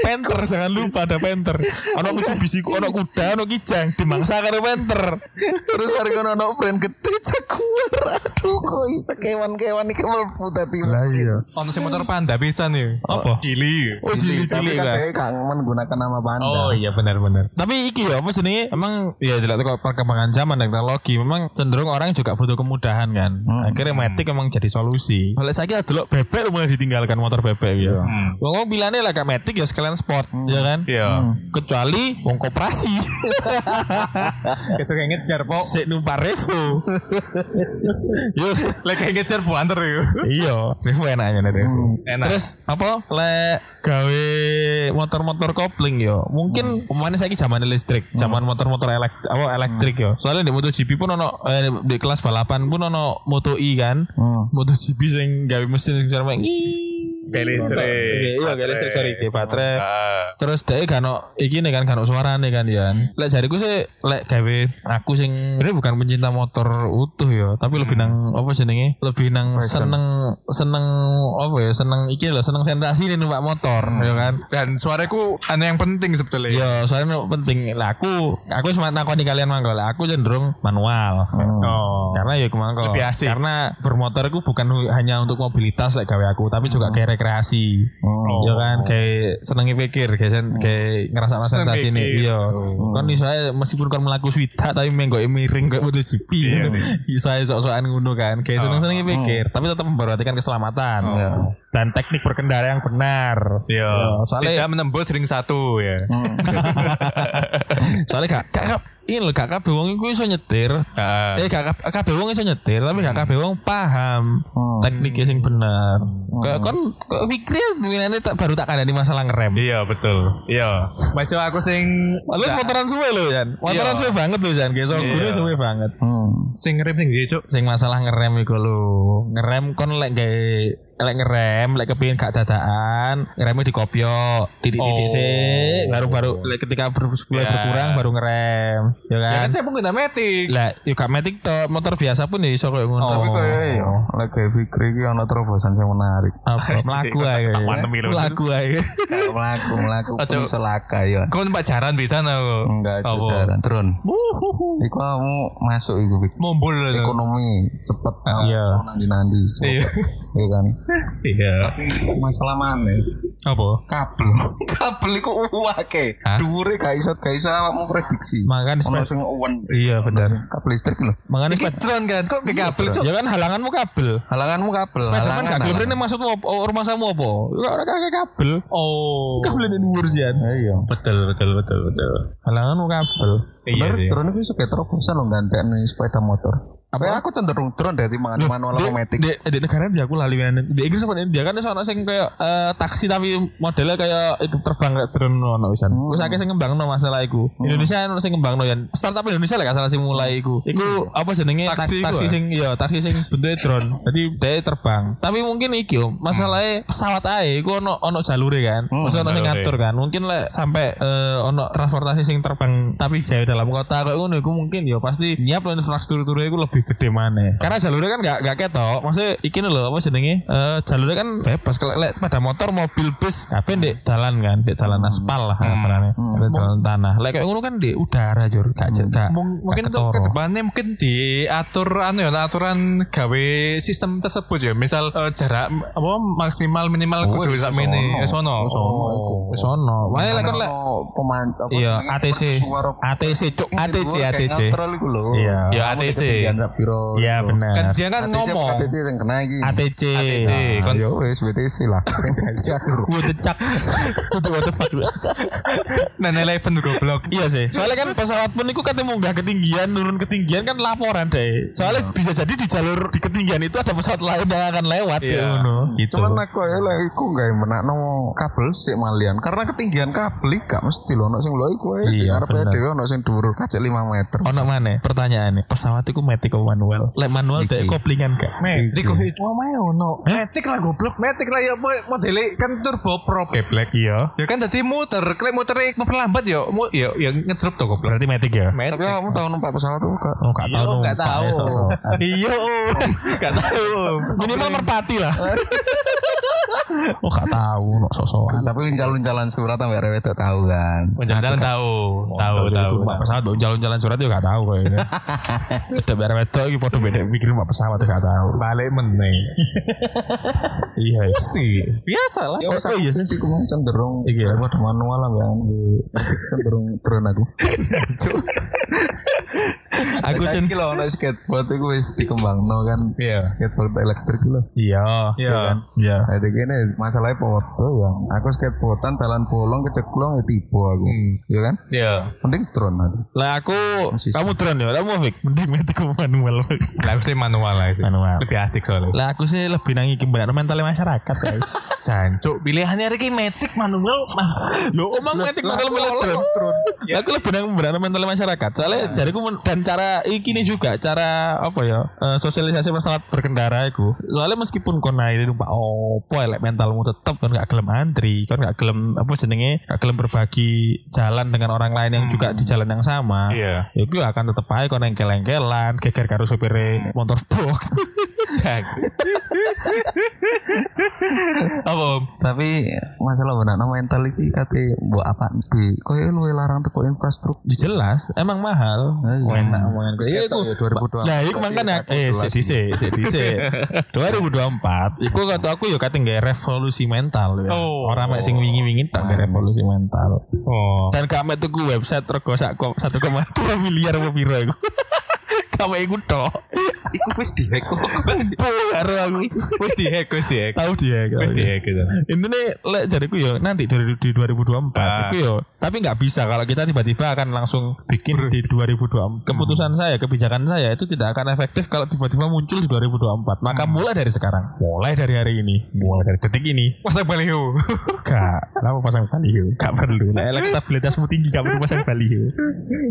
[SPEAKER 2] Panther jangan lupa ada Panther. Ono Mitsubishi, ono kuda, ono kijang dimangsa karo Panther.
[SPEAKER 4] Terus hari kono ono brand gede Jaguar. Aduh, kok iso kewan-kewan iki mlebu tadi. Lah iya.
[SPEAKER 5] Ono sing motor panda bisa nih. Apa? Cili.
[SPEAKER 4] Oh, cilik
[SPEAKER 5] Cili
[SPEAKER 4] cilik
[SPEAKER 5] lah.
[SPEAKER 4] kan kan menggunakan nama panda.
[SPEAKER 5] Oh iya benar-benar.
[SPEAKER 2] Tapi iki ya apa jenenge emang ya jelas kok perkembangan zaman dan teknologi memang cenderung orang juga butuh kemudahan kan. Akhirnya Matic emang jadi solusi. Oleh saya dulu bebek rumah ditinggalkan motor bebek ya. Wong wong bilangnya lah kayak Matic ya sekalian sport ya kan.
[SPEAKER 5] Iya.
[SPEAKER 2] Kecuali wong koperasi.
[SPEAKER 5] Kayak kayak ngejar po.
[SPEAKER 2] *laughs* Sik numpak Revo. *laughs* Yo
[SPEAKER 5] Lek kayak ngejar po anter yo.
[SPEAKER 2] iya, Revo enaknya nih Revo.
[SPEAKER 5] Enak.
[SPEAKER 2] Terus apa lek gawe motor-motor kopling yo. Mungkin umumnya saiki zaman listrik, zaman motor-motor elek- apa elektrik yo. Soalnya di MotoGP pun ono eh, di kelas balapan pun ono Moto E kan.
[SPEAKER 4] Hmm,
[SPEAKER 2] MotoGP sing gawe mesin sing cara
[SPEAKER 5] kayak listrik.
[SPEAKER 2] Iya, gawe listrik sorry, gawe baterai. Terus dhek kan iki nih kan kan suarane kan ya. Lek jariku sih lek gawe aku sing sebenarnya bukan pencinta motor utuh ya, tapi lebih nang apa jenenge? Lebih nang seneng seneng apa ya? Seneng iki lho, seneng sensasi nih numpak motor ya kan.
[SPEAKER 5] Dan suaraku aneh yang penting sebetulnya.
[SPEAKER 2] Ya, soalnya no- penting lah aku aku cuma nakoni kalian mangko lah. Aku cenderung manual.
[SPEAKER 5] Oh.
[SPEAKER 2] Karena ya aku mangko.
[SPEAKER 5] Lebih asik.
[SPEAKER 2] Karena bermotor aku bukan hu- hanya untuk mobilitas lek gawe aku, tapi juga kayak rekreasi. Ya kan, kayak senengi pikir, kayak sen, kayak ngerasa
[SPEAKER 5] Seneng
[SPEAKER 2] sensasi
[SPEAKER 5] pikir.
[SPEAKER 2] ini. Iya. Kan iso ae meskipun kan melaku swida tapi menggo miring kayak butuh GP. Iso ae sok-sokan ngono kan, kayak seneng-senengi pikir, tapi tetap memperhatikan keselamatan. Ya. Dan teknik berkendara yang benar.
[SPEAKER 5] Iya.
[SPEAKER 2] soalnya-
[SPEAKER 5] Tidak menembus ring satu ya.
[SPEAKER 2] *laughs* Soalnya gak gak gak- ini lho gak kabeh wong iku iso nyetir.
[SPEAKER 5] Ah.
[SPEAKER 2] Eh gak kab- kabeh wong iso nyetir, tapi gak kabeh wong paham
[SPEAKER 5] Hmm.
[SPEAKER 2] tekniknya sing bener. Kayak kon kok Fikri sebenarnya tak baru tak kandani masalah ngerem.
[SPEAKER 5] Iya betul. Iya. Masih aku sing
[SPEAKER 2] Lu motoran suwe lho Jan. Motoran
[SPEAKER 5] Iya.
[SPEAKER 2] suwe banget lho Jan, guys. Gue
[SPEAKER 5] Iya.
[SPEAKER 2] suwe banget.
[SPEAKER 4] hmm.
[SPEAKER 5] sing ngerem sing dia, Cuk.
[SPEAKER 2] Sing masalah ngerem iku lho. Ngerem kon lek gawe lek ngerem, lek kepingin gak dadaan, ngeremnya dikopyo,
[SPEAKER 5] Oh.
[SPEAKER 2] dididik-didik sik, baru-baru lek ketika ber- mulai
[SPEAKER 5] Ya.
[SPEAKER 2] berkurang baru ngerem, ya
[SPEAKER 5] Ya
[SPEAKER 2] kan?
[SPEAKER 5] kan saya pengguna metik.
[SPEAKER 2] lah yuk gak matic to motor biasa pun ya iso koyo
[SPEAKER 5] Oh.
[SPEAKER 2] ngono
[SPEAKER 4] Tapi kok ya iya, lek gawe pikir iki ono terobosan sing menarik.
[SPEAKER 2] Oh. apa melaku ae
[SPEAKER 5] pandemi lho.
[SPEAKER 2] melaku ae
[SPEAKER 4] Kalau melaku melaku
[SPEAKER 5] Ojo.
[SPEAKER 4] iso laka ya.
[SPEAKER 5] Kau numpak jaran bisa no.
[SPEAKER 4] Enggak aja
[SPEAKER 5] Apa?
[SPEAKER 4] saran. Drone. Iku kamu masuk iku Fik.
[SPEAKER 5] Mumbul. no.
[SPEAKER 4] ekonomi cepet nanti nanti
[SPEAKER 5] Iya.
[SPEAKER 4] iya kan
[SPEAKER 5] Iya.
[SPEAKER 6] Masalah mana?
[SPEAKER 5] Apa?
[SPEAKER 4] *laughs*
[SPEAKER 6] Kabel. Kabel iku uwake.
[SPEAKER 5] Hah?
[SPEAKER 6] Dure gak iso gak iso awakmu prediksi.
[SPEAKER 2] Makan
[SPEAKER 6] ono
[SPEAKER 2] spek-
[SPEAKER 6] sing uwen.
[SPEAKER 2] iya benar
[SPEAKER 4] kabel listrik lho
[SPEAKER 2] makanya
[SPEAKER 5] Iki
[SPEAKER 2] sepeda
[SPEAKER 5] drone kan kok ke kabel Cuk?
[SPEAKER 2] ya kan halanganmu kabel
[SPEAKER 4] halanganmu kabel
[SPEAKER 2] sepeda kan gak
[SPEAKER 4] halangan.
[SPEAKER 2] gelem rene maksudmu apa? Oh, rumah samu apa ora ora kakek kabel
[SPEAKER 5] Oh.
[SPEAKER 2] kabel ini dhuwur sih Jan.
[SPEAKER 4] iya
[SPEAKER 5] Betul betul betul betul.
[SPEAKER 2] halanganmu kabel
[SPEAKER 4] bener
[SPEAKER 5] sih.
[SPEAKER 4] drone itu sebagai terobosan lho gantian nih sepeda motor Iya, apa aku cenderung drone dari mangan manual
[SPEAKER 2] di,
[SPEAKER 4] otomatis
[SPEAKER 2] di, di negara dia aku lali wenen. di Inggris apa di India kan soalnya sing kayak eh, taksi tapi modelnya kayak itu terbang kayak drone ono wisan
[SPEAKER 5] Hmm.
[SPEAKER 2] gue sakit sing ngembang masalah iku Indonesia ono sing ngembang no startup Indonesia lah gak salah sing mulai iku iku apa jenenge ta- taksi,
[SPEAKER 5] Taksi iku, ah?
[SPEAKER 2] sing iya taksi sing bentuknya drone jadi dia terbang tapi mungkin iki om masalahnya pesawat ae iku ono ono jalure kan
[SPEAKER 5] Hmm,
[SPEAKER 2] maksudnya ono sing
[SPEAKER 5] jalure.
[SPEAKER 2] ngatur kan mungkin lek sampai eh, ono transportasi sing terbang tapi jauh dalam kota kayak ngono iku mungkin ya pasti nyiap infrastrukturnya iku lebih lebih gede mana karena jalurnya kan gak, gak ketok maksudnya iki nih loh apa jenenge Eh jalurnya kan bebas kalau lek pada motor mobil bis kabeh ndek dalan kan ndek dalan aspal lah asalane Ndek jalan tanah lek kayak ngono kan di udara jur gak jek gak
[SPEAKER 5] Mung- mungkin tuh ke depannya mungkin diatur anu ya aturan gawe sistem tersebut ya misal eh, jarak m- apa maksimal minimal kudu sak mene Eh, sono
[SPEAKER 2] sono wae lek kon lek
[SPEAKER 4] Oh, peman apa
[SPEAKER 2] iya
[SPEAKER 4] jenenge?
[SPEAKER 2] ATC
[SPEAKER 4] Suara
[SPEAKER 2] ATC cuk ATC ATC
[SPEAKER 4] Neutral iku lho.
[SPEAKER 2] Iya.
[SPEAKER 5] Ya,
[SPEAKER 4] Kamu
[SPEAKER 5] ATC.
[SPEAKER 4] ketinggian sak piro.
[SPEAKER 2] iya
[SPEAKER 5] kan
[SPEAKER 2] benar
[SPEAKER 5] dia kan
[SPEAKER 4] ATC
[SPEAKER 5] ngomong
[SPEAKER 4] ATC yang kena iki.
[SPEAKER 2] ATC
[SPEAKER 5] ATC
[SPEAKER 2] Ah.
[SPEAKER 5] kon
[SPEAKER 4] Ya wis WTC lah. *laughs* Sing saja suruh.
[SPEAKER 2] gue decak gue
[SPEAKER 5] *laughs* nene leven goblok
[SPEAKER 2] Iya sih. Soalnya kan pesawat pun itu katanya mau nggak ketinggian, turun ketinggian kan laporan deh. Soalnya bisa jadi di jalur di ketinggian itu ada pesawat lain yang akan lewat
[SPEAKER 5] Iya.
[SPEAKER 2] ya, ngono. Gitu.
[SPEAKER 4] Cuman aku ya lah iku gak menakno kabel sik malian karena ketinggian kabel iki gak mesti lho ono sing lho iku ae
[SPEAKER 2] Iya,
[SPEAKER 4] arepe
[SPEAKER 2] bener.
[SPEAKER 4] dhewe ono sing dhuwur kacek 5 meter.
[SPEAKER 2] ono mana? Pertanyaannya, pesawat itu metik apa manual? Lek manual deh koplingan gak?
[SPEAKER 5] Metik kok itu omae ono. Metik lah goblok, metik lah ya mo- modele kan turbo prop. Geblek iya. Ya kan tadi muter, klek muter memperlambat ya, mu ya ya ngedrop to goblok.
[SPEAKER 2] Berarti metik ya?
[SPEAKER 5] Metik.
[SPEAKER 4] Tapi kamu tahu numpak pesawat tuh kak?
[SPEAKER 2] Oh, gak tahu.
[SPEAKER 5] nggak
[SPEAKER 2] Pak,
[SPEAKER 5] tahu.
[SPEAKER 2] esok, *laughs* esok.
[SPEAKER 5] Iya, gak tahu.
[SPEAKER 2] Minimal merpati lah. *laughs* oh, gak tahu no sosokan.
[SPEAKER 4] Tapi jalan-jalan surat sampai rewe tak tahu kan.
[SPEAKER 5] Penjelasan tahu, tahu, tahu.
[SPEAKER 2] Mbak pesawat mbak jalan-jalan surat juga gak tahu
[SPEAKER 5] *laughs*
[SPEAKER 2] kayaknya. Cedek bareng wedok iki padha bedek mikir mbak pesawat gak tahu.
[SPEAKER 5] Balik meneh.
[SPEAKER 2] Iya. iya.
[SPEAKER 5] Biasa lah.
[SPEAKER 4] Oh, oh iya sih, aku cenderung iya, aku ada manual lah kan, cenderung turun aku. *laughs* aku cenderung kalau ono skateboard itu wis dikembangno kan,
[SPEAKER 5] Iya.
[SPEAKER 4] skateboard elektrik lho.
[SPEAKER 2] Iya.
[SPEAKER 5] Iya.
[SPEAKER 2] Iya.
[SPEAKER 4] Nah, itu gini, masalahnya foto yang aku skateboardan, talan bolong, keceklong, ya tiba aku, Iya kan?
[SPEAKER 5] Iya.
[SPEAKER 4] Mending turun aku.
[SPEAKER 2] Lah aku
[SPEAKER 4] Masih
[SPEAKER 2] kamu drone ya, kamu Fik. Mending metik aku manual. Fik.
[SPEAKER 5] Lah aku sih manual lah sih.
[SPEAKER 2] Manual.
[SPEAKER 5] Lebih asik soalnya.
[SPEAKER 2] Lah aku sih lebih nang iki benar mentalnya masyarakat guys.
[SPEAKER 5] *laughs* Jancuk pilihannya Ricky metik manual.
[SPEAKER 2] Yo omang metik bakal milih drone. Lah Nah, aku lebih nang benar mentalnya masyarakat. Soalnya jariku men- dan cara iki nih juga cara apa ya? eh, sosialisasi masalah berkendara iku. Soalnya meskipun kon naik itu Pak opo elek mentalmu tetep kon gak gelem antri, kon gak gelem apa jenenge? Gak gelem berbagi jalan dengan orang lain yang juga di jalan yang sama.
[SPEAKER 5] Iya.
[SPEAKER 2] Ya gue akan tetep aja kon engkel-engkelan, geger karo supire motor box. *laughs*
[SPEAKER 5] Jancuk. Apa? Om?
[SPEAKER 4] Tapi masalah benar nama mental iki kate mbok apa iki? Koyo luwe larang teko infrastruktur.
[SPEAKER 2] Ya jelas, emang mahal.
[SPEAKER 4] Ayo.
[SPEAKER 2] Oh, enak omongan gue. Iya, aku-
[SPEAKER 4] Sekitar ya 2024.
[SPEAKER 2] Nah, iku makanya eh sik dhisik, sik
[SPEAKER 5] *laughs*
[SPEAKER 2] dhisik. 2024 iku kata aku yo kate nggae revolusi mental ya.
[SPEAKER 5] Oh.
[SPEAKER 2] Ora mek sing wingi-wingi tak nggae revolusi mental.
[SPEAKER 5] Oh.
[SPEAKER 2] Dan gak mek tuku website rego sak kom- 1,2 miliar apa piro iku. *laughs* Gak mek iku tok.
[SPEAKER 5] Iku wis dihack kok.
[SPEAKER 2] Karo aku
[SPEAKER 5] Wis dihack, wis dihack.
[SPEAKER 2] tahu dia.
[SPEAKER 5] Wis
[SPEAKER 2] kau.
[SPEAKER 5] dihack gitu.
[SPEAKER 2] Intinya lek jariku yo nanti dari di 2024
[SPEAKER 5] Ah.
[SPEAKER 2] iku yo tapi nggak bisa kalau kita tiba-tiba akan langsung bikin di 2024. Keputusan saya, kebijakan saya itu tidak akan efektif kalau tiba-tiba muncul di 2024. Maka mulai dari sekarang, mulai dari hari ini, mulai dari detik ini.
[SPEAKER 5] Pasang baliho.
[SPEAKER 2] Gak, kenapa pasang baliho? Gak perlu. Nah, elektabilitasmu tinggi gak perlu pasang baliho.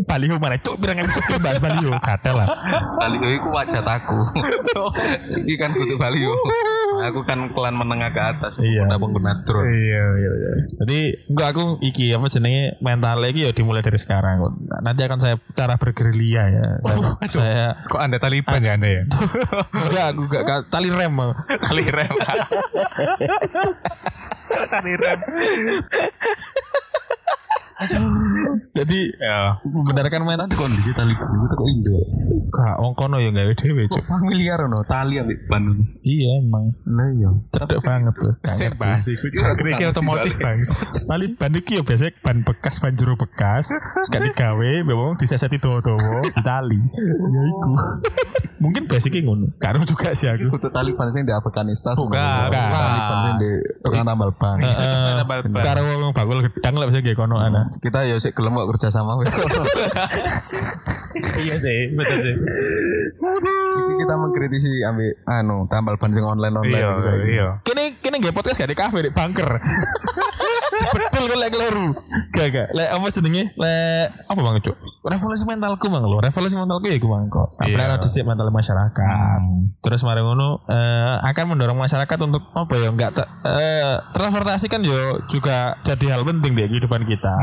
[SPEAKER 2] Baliho mana? Cuk, bilang aku bahas baliho. Gak ada lah.
[SPEAKER 4] Baliho oh, iku wajah aku. iki kan kutu baliho. Aku kan kelan menengah ke atas.
[SPEAKER 2] Iya.
[SPEAKER 4] Pengguna pengguna drone.
[SPEAKER 2] Iya, iya, iya. Jadi enggak aku iki apa jenenge mentalnya iki ya dimulai dari sekarang. Nanti akan saya cara bergerilya ya. Saya, saya
[SPEAKER 5] Kok anda Taliban ya anda ya?
[SPEAKER 2] enggak aku enggak enggak- tali rem.
[SPEAKER 5] Tali rem. *laughs* Tali rem.
[SPEAKER 2] Jadi
[SPEAKER 5] Ya.
[SPEAKER 2] membenarkan mental kondisi tali itu kok Indo. Enggak wong kono ya gawe dhewe, Cuk.
[SPEAKER 4] Familiar no tali ambek ban.
[SPEAKER 2] Iya emang.
[SPEAKER 4] Lah iya.
[SPEAKER 2] Cedek banget tuh.
[SPEAKER 5] Sip bahas iku. Kira-kira otomotif bang.
[SPEAKER 2] Tali ban iki ya biasanya ban bekas, ban jero bekas, terus gak digawe, memang diseseti dawa-dawa tali. Ya iku. Mungkin basicnya ngono. Karo juga sih aku.
[SPEAKER 4] Kutu Taliban sing di Afghanistan.
[SPEAKER 5] Bukan,
[SPEAKER 4] Kutu Taliban sing di tukang tambal ban.
[SPEAKER 2] Heeh.
[SPEAKER 5] Tambal-tambal.
[SPEAKER 2] Karo wong bakul gedang lah bisa kayak kono ana.
[SPEAKER 4] Kita yo sik gelem kok kerja sama wis.
[SPEAKER 5] Iya sih, betul sih.
[SPEAKER 4] Iki kita mengkritisi ambek anu tambal ban sing online-online
[SPEAKER 5] Iya,
[SPEAKER 4] iku saiki.
[SPEAKER 5] iya.
[SPEAKER 2] *laughs* Kini kini nggak podcast gak di kafe di bunker. betul kok lek kleru. Gak gak. Lek apa jenenge? Lek apa Bang Cuk? Revolusi mentalku Bang lho. Revolusi mentalku ya iku Bang kok. Sampeyan ada sik mental masyarakat. Terus mari ngono eh, akan mendorong masyarakat untuk apa ya enggak te- eh, transportasi kan yo juga jadi hal penting di kehidupan kita.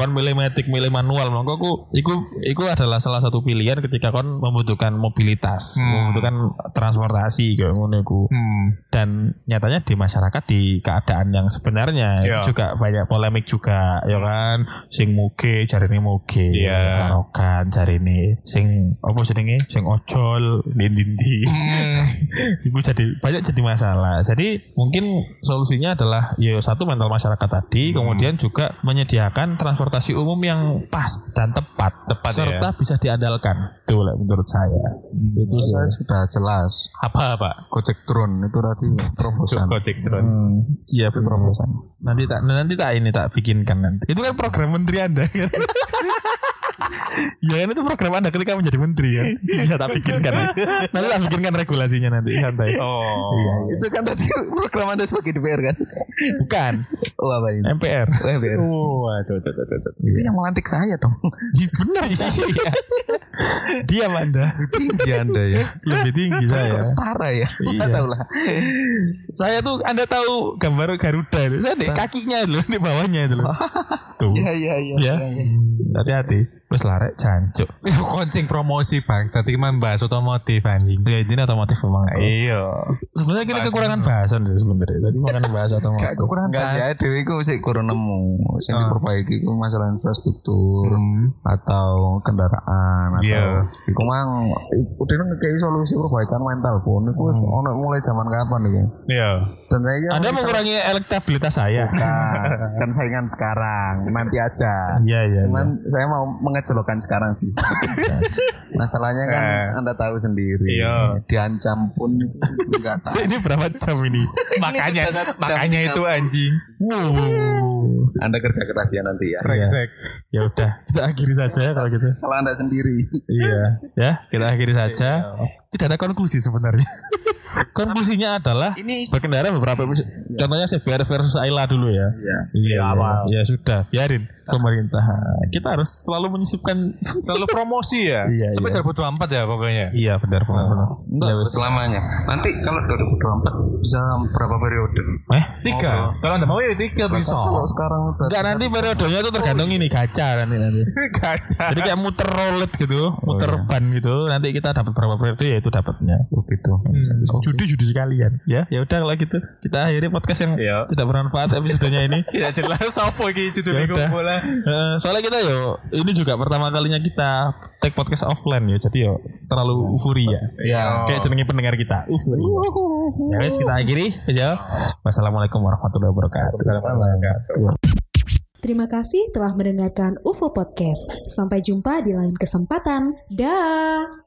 [SPEAKER 2] Kon milih matic, milih manual mongko ku iku iku adalah salah satu pilihan ketika kon membutuhkan mobilitas, membutuhkan transportasi kayak ngono iku
[SPEAKER 5] Hmm.
[SPEAKER 2] dan nyatanya di masyarakat di keadaan yang sebenarnya itu juga banyak polemik juga ya kan sing muge jarine muge
[SPEAKER 5] Iya.
[SPEAKER 2] karokan jarine sing apa jenenge sing ojol dindi *laughs* itu jadi banyak jadi masalah jadi mungkin solusinya adalah ya satu mental masyarakat tadi kemudian juga menyediakan transportasi umum yang pas dan tepat tepat serta bisa diandalkan itu lah menurut saya itu sih.
[SPEAKER 4] Saya sudah jelas.
[SPEAKER 2] apa pak
[SPEAKER 4] Gojek drone itu tadi terobosan.
[SPEAKER 5] Gojek drone.
[SPEAKER 2] Iya, tapi promosan. Nanti tak nanti tak ini tak bikinkan nanti. Itu kan program menteri Anda *laughs* kan. ya kan itu program Anda ketika menjadi menteri ya. Bisa tak bikinkan. nanti tak bikinkan regulasinya nanti santai.
[SPEAKER 5] Oh.
[SPEAKER 2] Iya, iya.
[SPEAKER 4] Itu kan tadi program Anda sebagai DPR kan?
[SPEAKER 2] Bukan
[SPEAKER 4] Oh ya, apa ini?
[SPEAKER 2] MPR.
[SPEAKER 4] DPR.
[SPEAKER 5] Waduh, tuh, tuh, tuh, tuh.
[SPEAKER 4] Ini yang melantik saya dong.
[SPEAKER 2] Iya benar sih. Iya. Diam Anda.
[SPEAKER 4] Tinggi Anda ya.
[SPEAKER 2] Lebih tinggi saya.
[SPEAKER 5] iya.
[SPEAKER 4] Kok setara ya? Iya. tahu lah.
[SPEAKER 2] Saya tuh Anda tahu gambar Garuda itu. Saya di kakinya dulu di bawahnya itu loh. Tuh.
[SPEAKER 4] Iya iya iya.
[SPEAKER 2] Ya. Hati-hati. Wes larek jancuk.
[SPEAKER 5] Koncing promosi bang. Saat ini membahas otomotif anjing.
[SPEAKER 2] Ya ini otomotif memang.
[SPEAKER 5] Iya.
[SPEAKER 2] Sebenarnya kita kekurangan bahasan sih sebenarnya. Tadi makanya bahas
[SPEAKER 5] *laughs*
[SPEAKER 2] otomotif.
[SPEAKER 4] Gak kekurangan Enggak sih, ada dewe iku sik kurang nemu.
[SPEAKER 5] Ah.
[SPEAKER 4] Sing diperbaiki iku masalah infrastruktur atau kendaraan atau
[SPEAKER 5] Hmm. Iya.
[SPEAKER 4] iku mang udah ngekei solusi perbaikan mental pun iku wis ono mulai zaman kapan iku.
[SPEAKER 5] Hmm. Iya.
[SPEAKER 4] Dan saya
[SPEAKER 2] Anda mengurangi elektabilitas saya.
[SPEAKER 4] Nah, kan saingan sekarang, nanti aja.
[SPEAKER 2] Iya iya.
[SPEAKER 4] Cuman saya mau mengecelokan sekarang sih. Masalahnya kan Anda tahu sendiri.
[SPEAKER 5] Eh. Iya.
[SPEAKER 4] Diancam pun *laughs* itu enggak tahu.
[SPEAKER 2] Ini berapa jam ini?
[SPEAKER 5] *laughs* Makanya makanya itu anjing.
[SPEAKER 2] Wow. Iya.
[SPEAKER 4] Anda kerja keras ya nanti ya.
[SPEAKER 5] Brengsek.
[SPEAKER 2] Ya udah, kita akhiri saja ya kalau gitu.
[SPEAKER 4] Salah Anda sendiri.
[SPEAKER 2] Iya, ya kita akhiri
[SPEAKER 5] Iya.
[SPEAKER 2] saja. Tidak ada konklusi
[SPEAKER 5] *laughs*
[SPEAKER 2] sebenarnya. Konklusinya adalah
[SPEAKER 6] Ini-
[SPEAKER 2] berkendara beberapa contohnya CBR versus Ayla dulu ya. Iya. Iya, ya sudah, biarin pemerintah. Kita harus selalu menyisipkan
[SPEAKER 5] Ah. Selalu promosi ya.
[SPEAKER 2] *laughs* Iya,
[SPEAKER 5] Sampai
[SPEAKER 2] iya.
[SPEAKER 5] 2024 ya pokoknya.
[SPEAKER 2] Iya, benar
[SPEAKER 5] Oh.
[SPEAKER 2] benar. benar. Ya
[SPEAKER 4] Enggak, selamanya. Nanti kalau 2024 bisa berapa periode?
[SPEAKER 2] Eh,
[SPEAKER 5] Tiga. Kalau anda mau ya tiga bisa.
[SPEAKER 4] Kalau sekarang udah
[SPEAKER 2] Enggak nanti periodenya itu tergantung ini gacha nanti nanti.
[SPEAKER 5] Kaca.
[SPEAKER 2] Jadi kayak muter roulette gitu, muter ban gitu. Nanti kita dapat berapa periode ya itu dapatnya.
[SPEAKER 4] begitu.
[SPEAKER 2] Hmm,
[SPEAKER 5] Hmm.
[SPEAKER 2] Judi-judi sekalian. Ya, ya udah kalau gitu. Kita akhiri podcast yang
[SPEAKER 5] Iya.
[SPEAKER 2] tidak bermanfaat episodenya
[SPEAKER 5] *laughs*
[SPEAKER 2] ini.
[SPEAKER 5] Tidak jelas apa iki judul
[SPEAKER 2] Ya
[SPEAKER 5] iku
[SPEAKER 2] udah.
[SPEAKER 5] bola.
[SPEAKER 2] Eh, soalnya kita yo ini juga pertama kalinya kita take podcast offline ya. Jadi yo terlalu euforia.
[SPEAKER 5] Iya.
[SPEAKER 4] Ya.
[SPEAKER 2] Kayak jenengi pendengar kita. Euforia. Ya wes kita akhiri aja. Wassalamualaikum warahmatullahi wabarakatuh.
[SPEAKER 1] Terima kasih telah mendengarkan UFO Podcast. Sampai jumpa di lain kesempatan. Dah.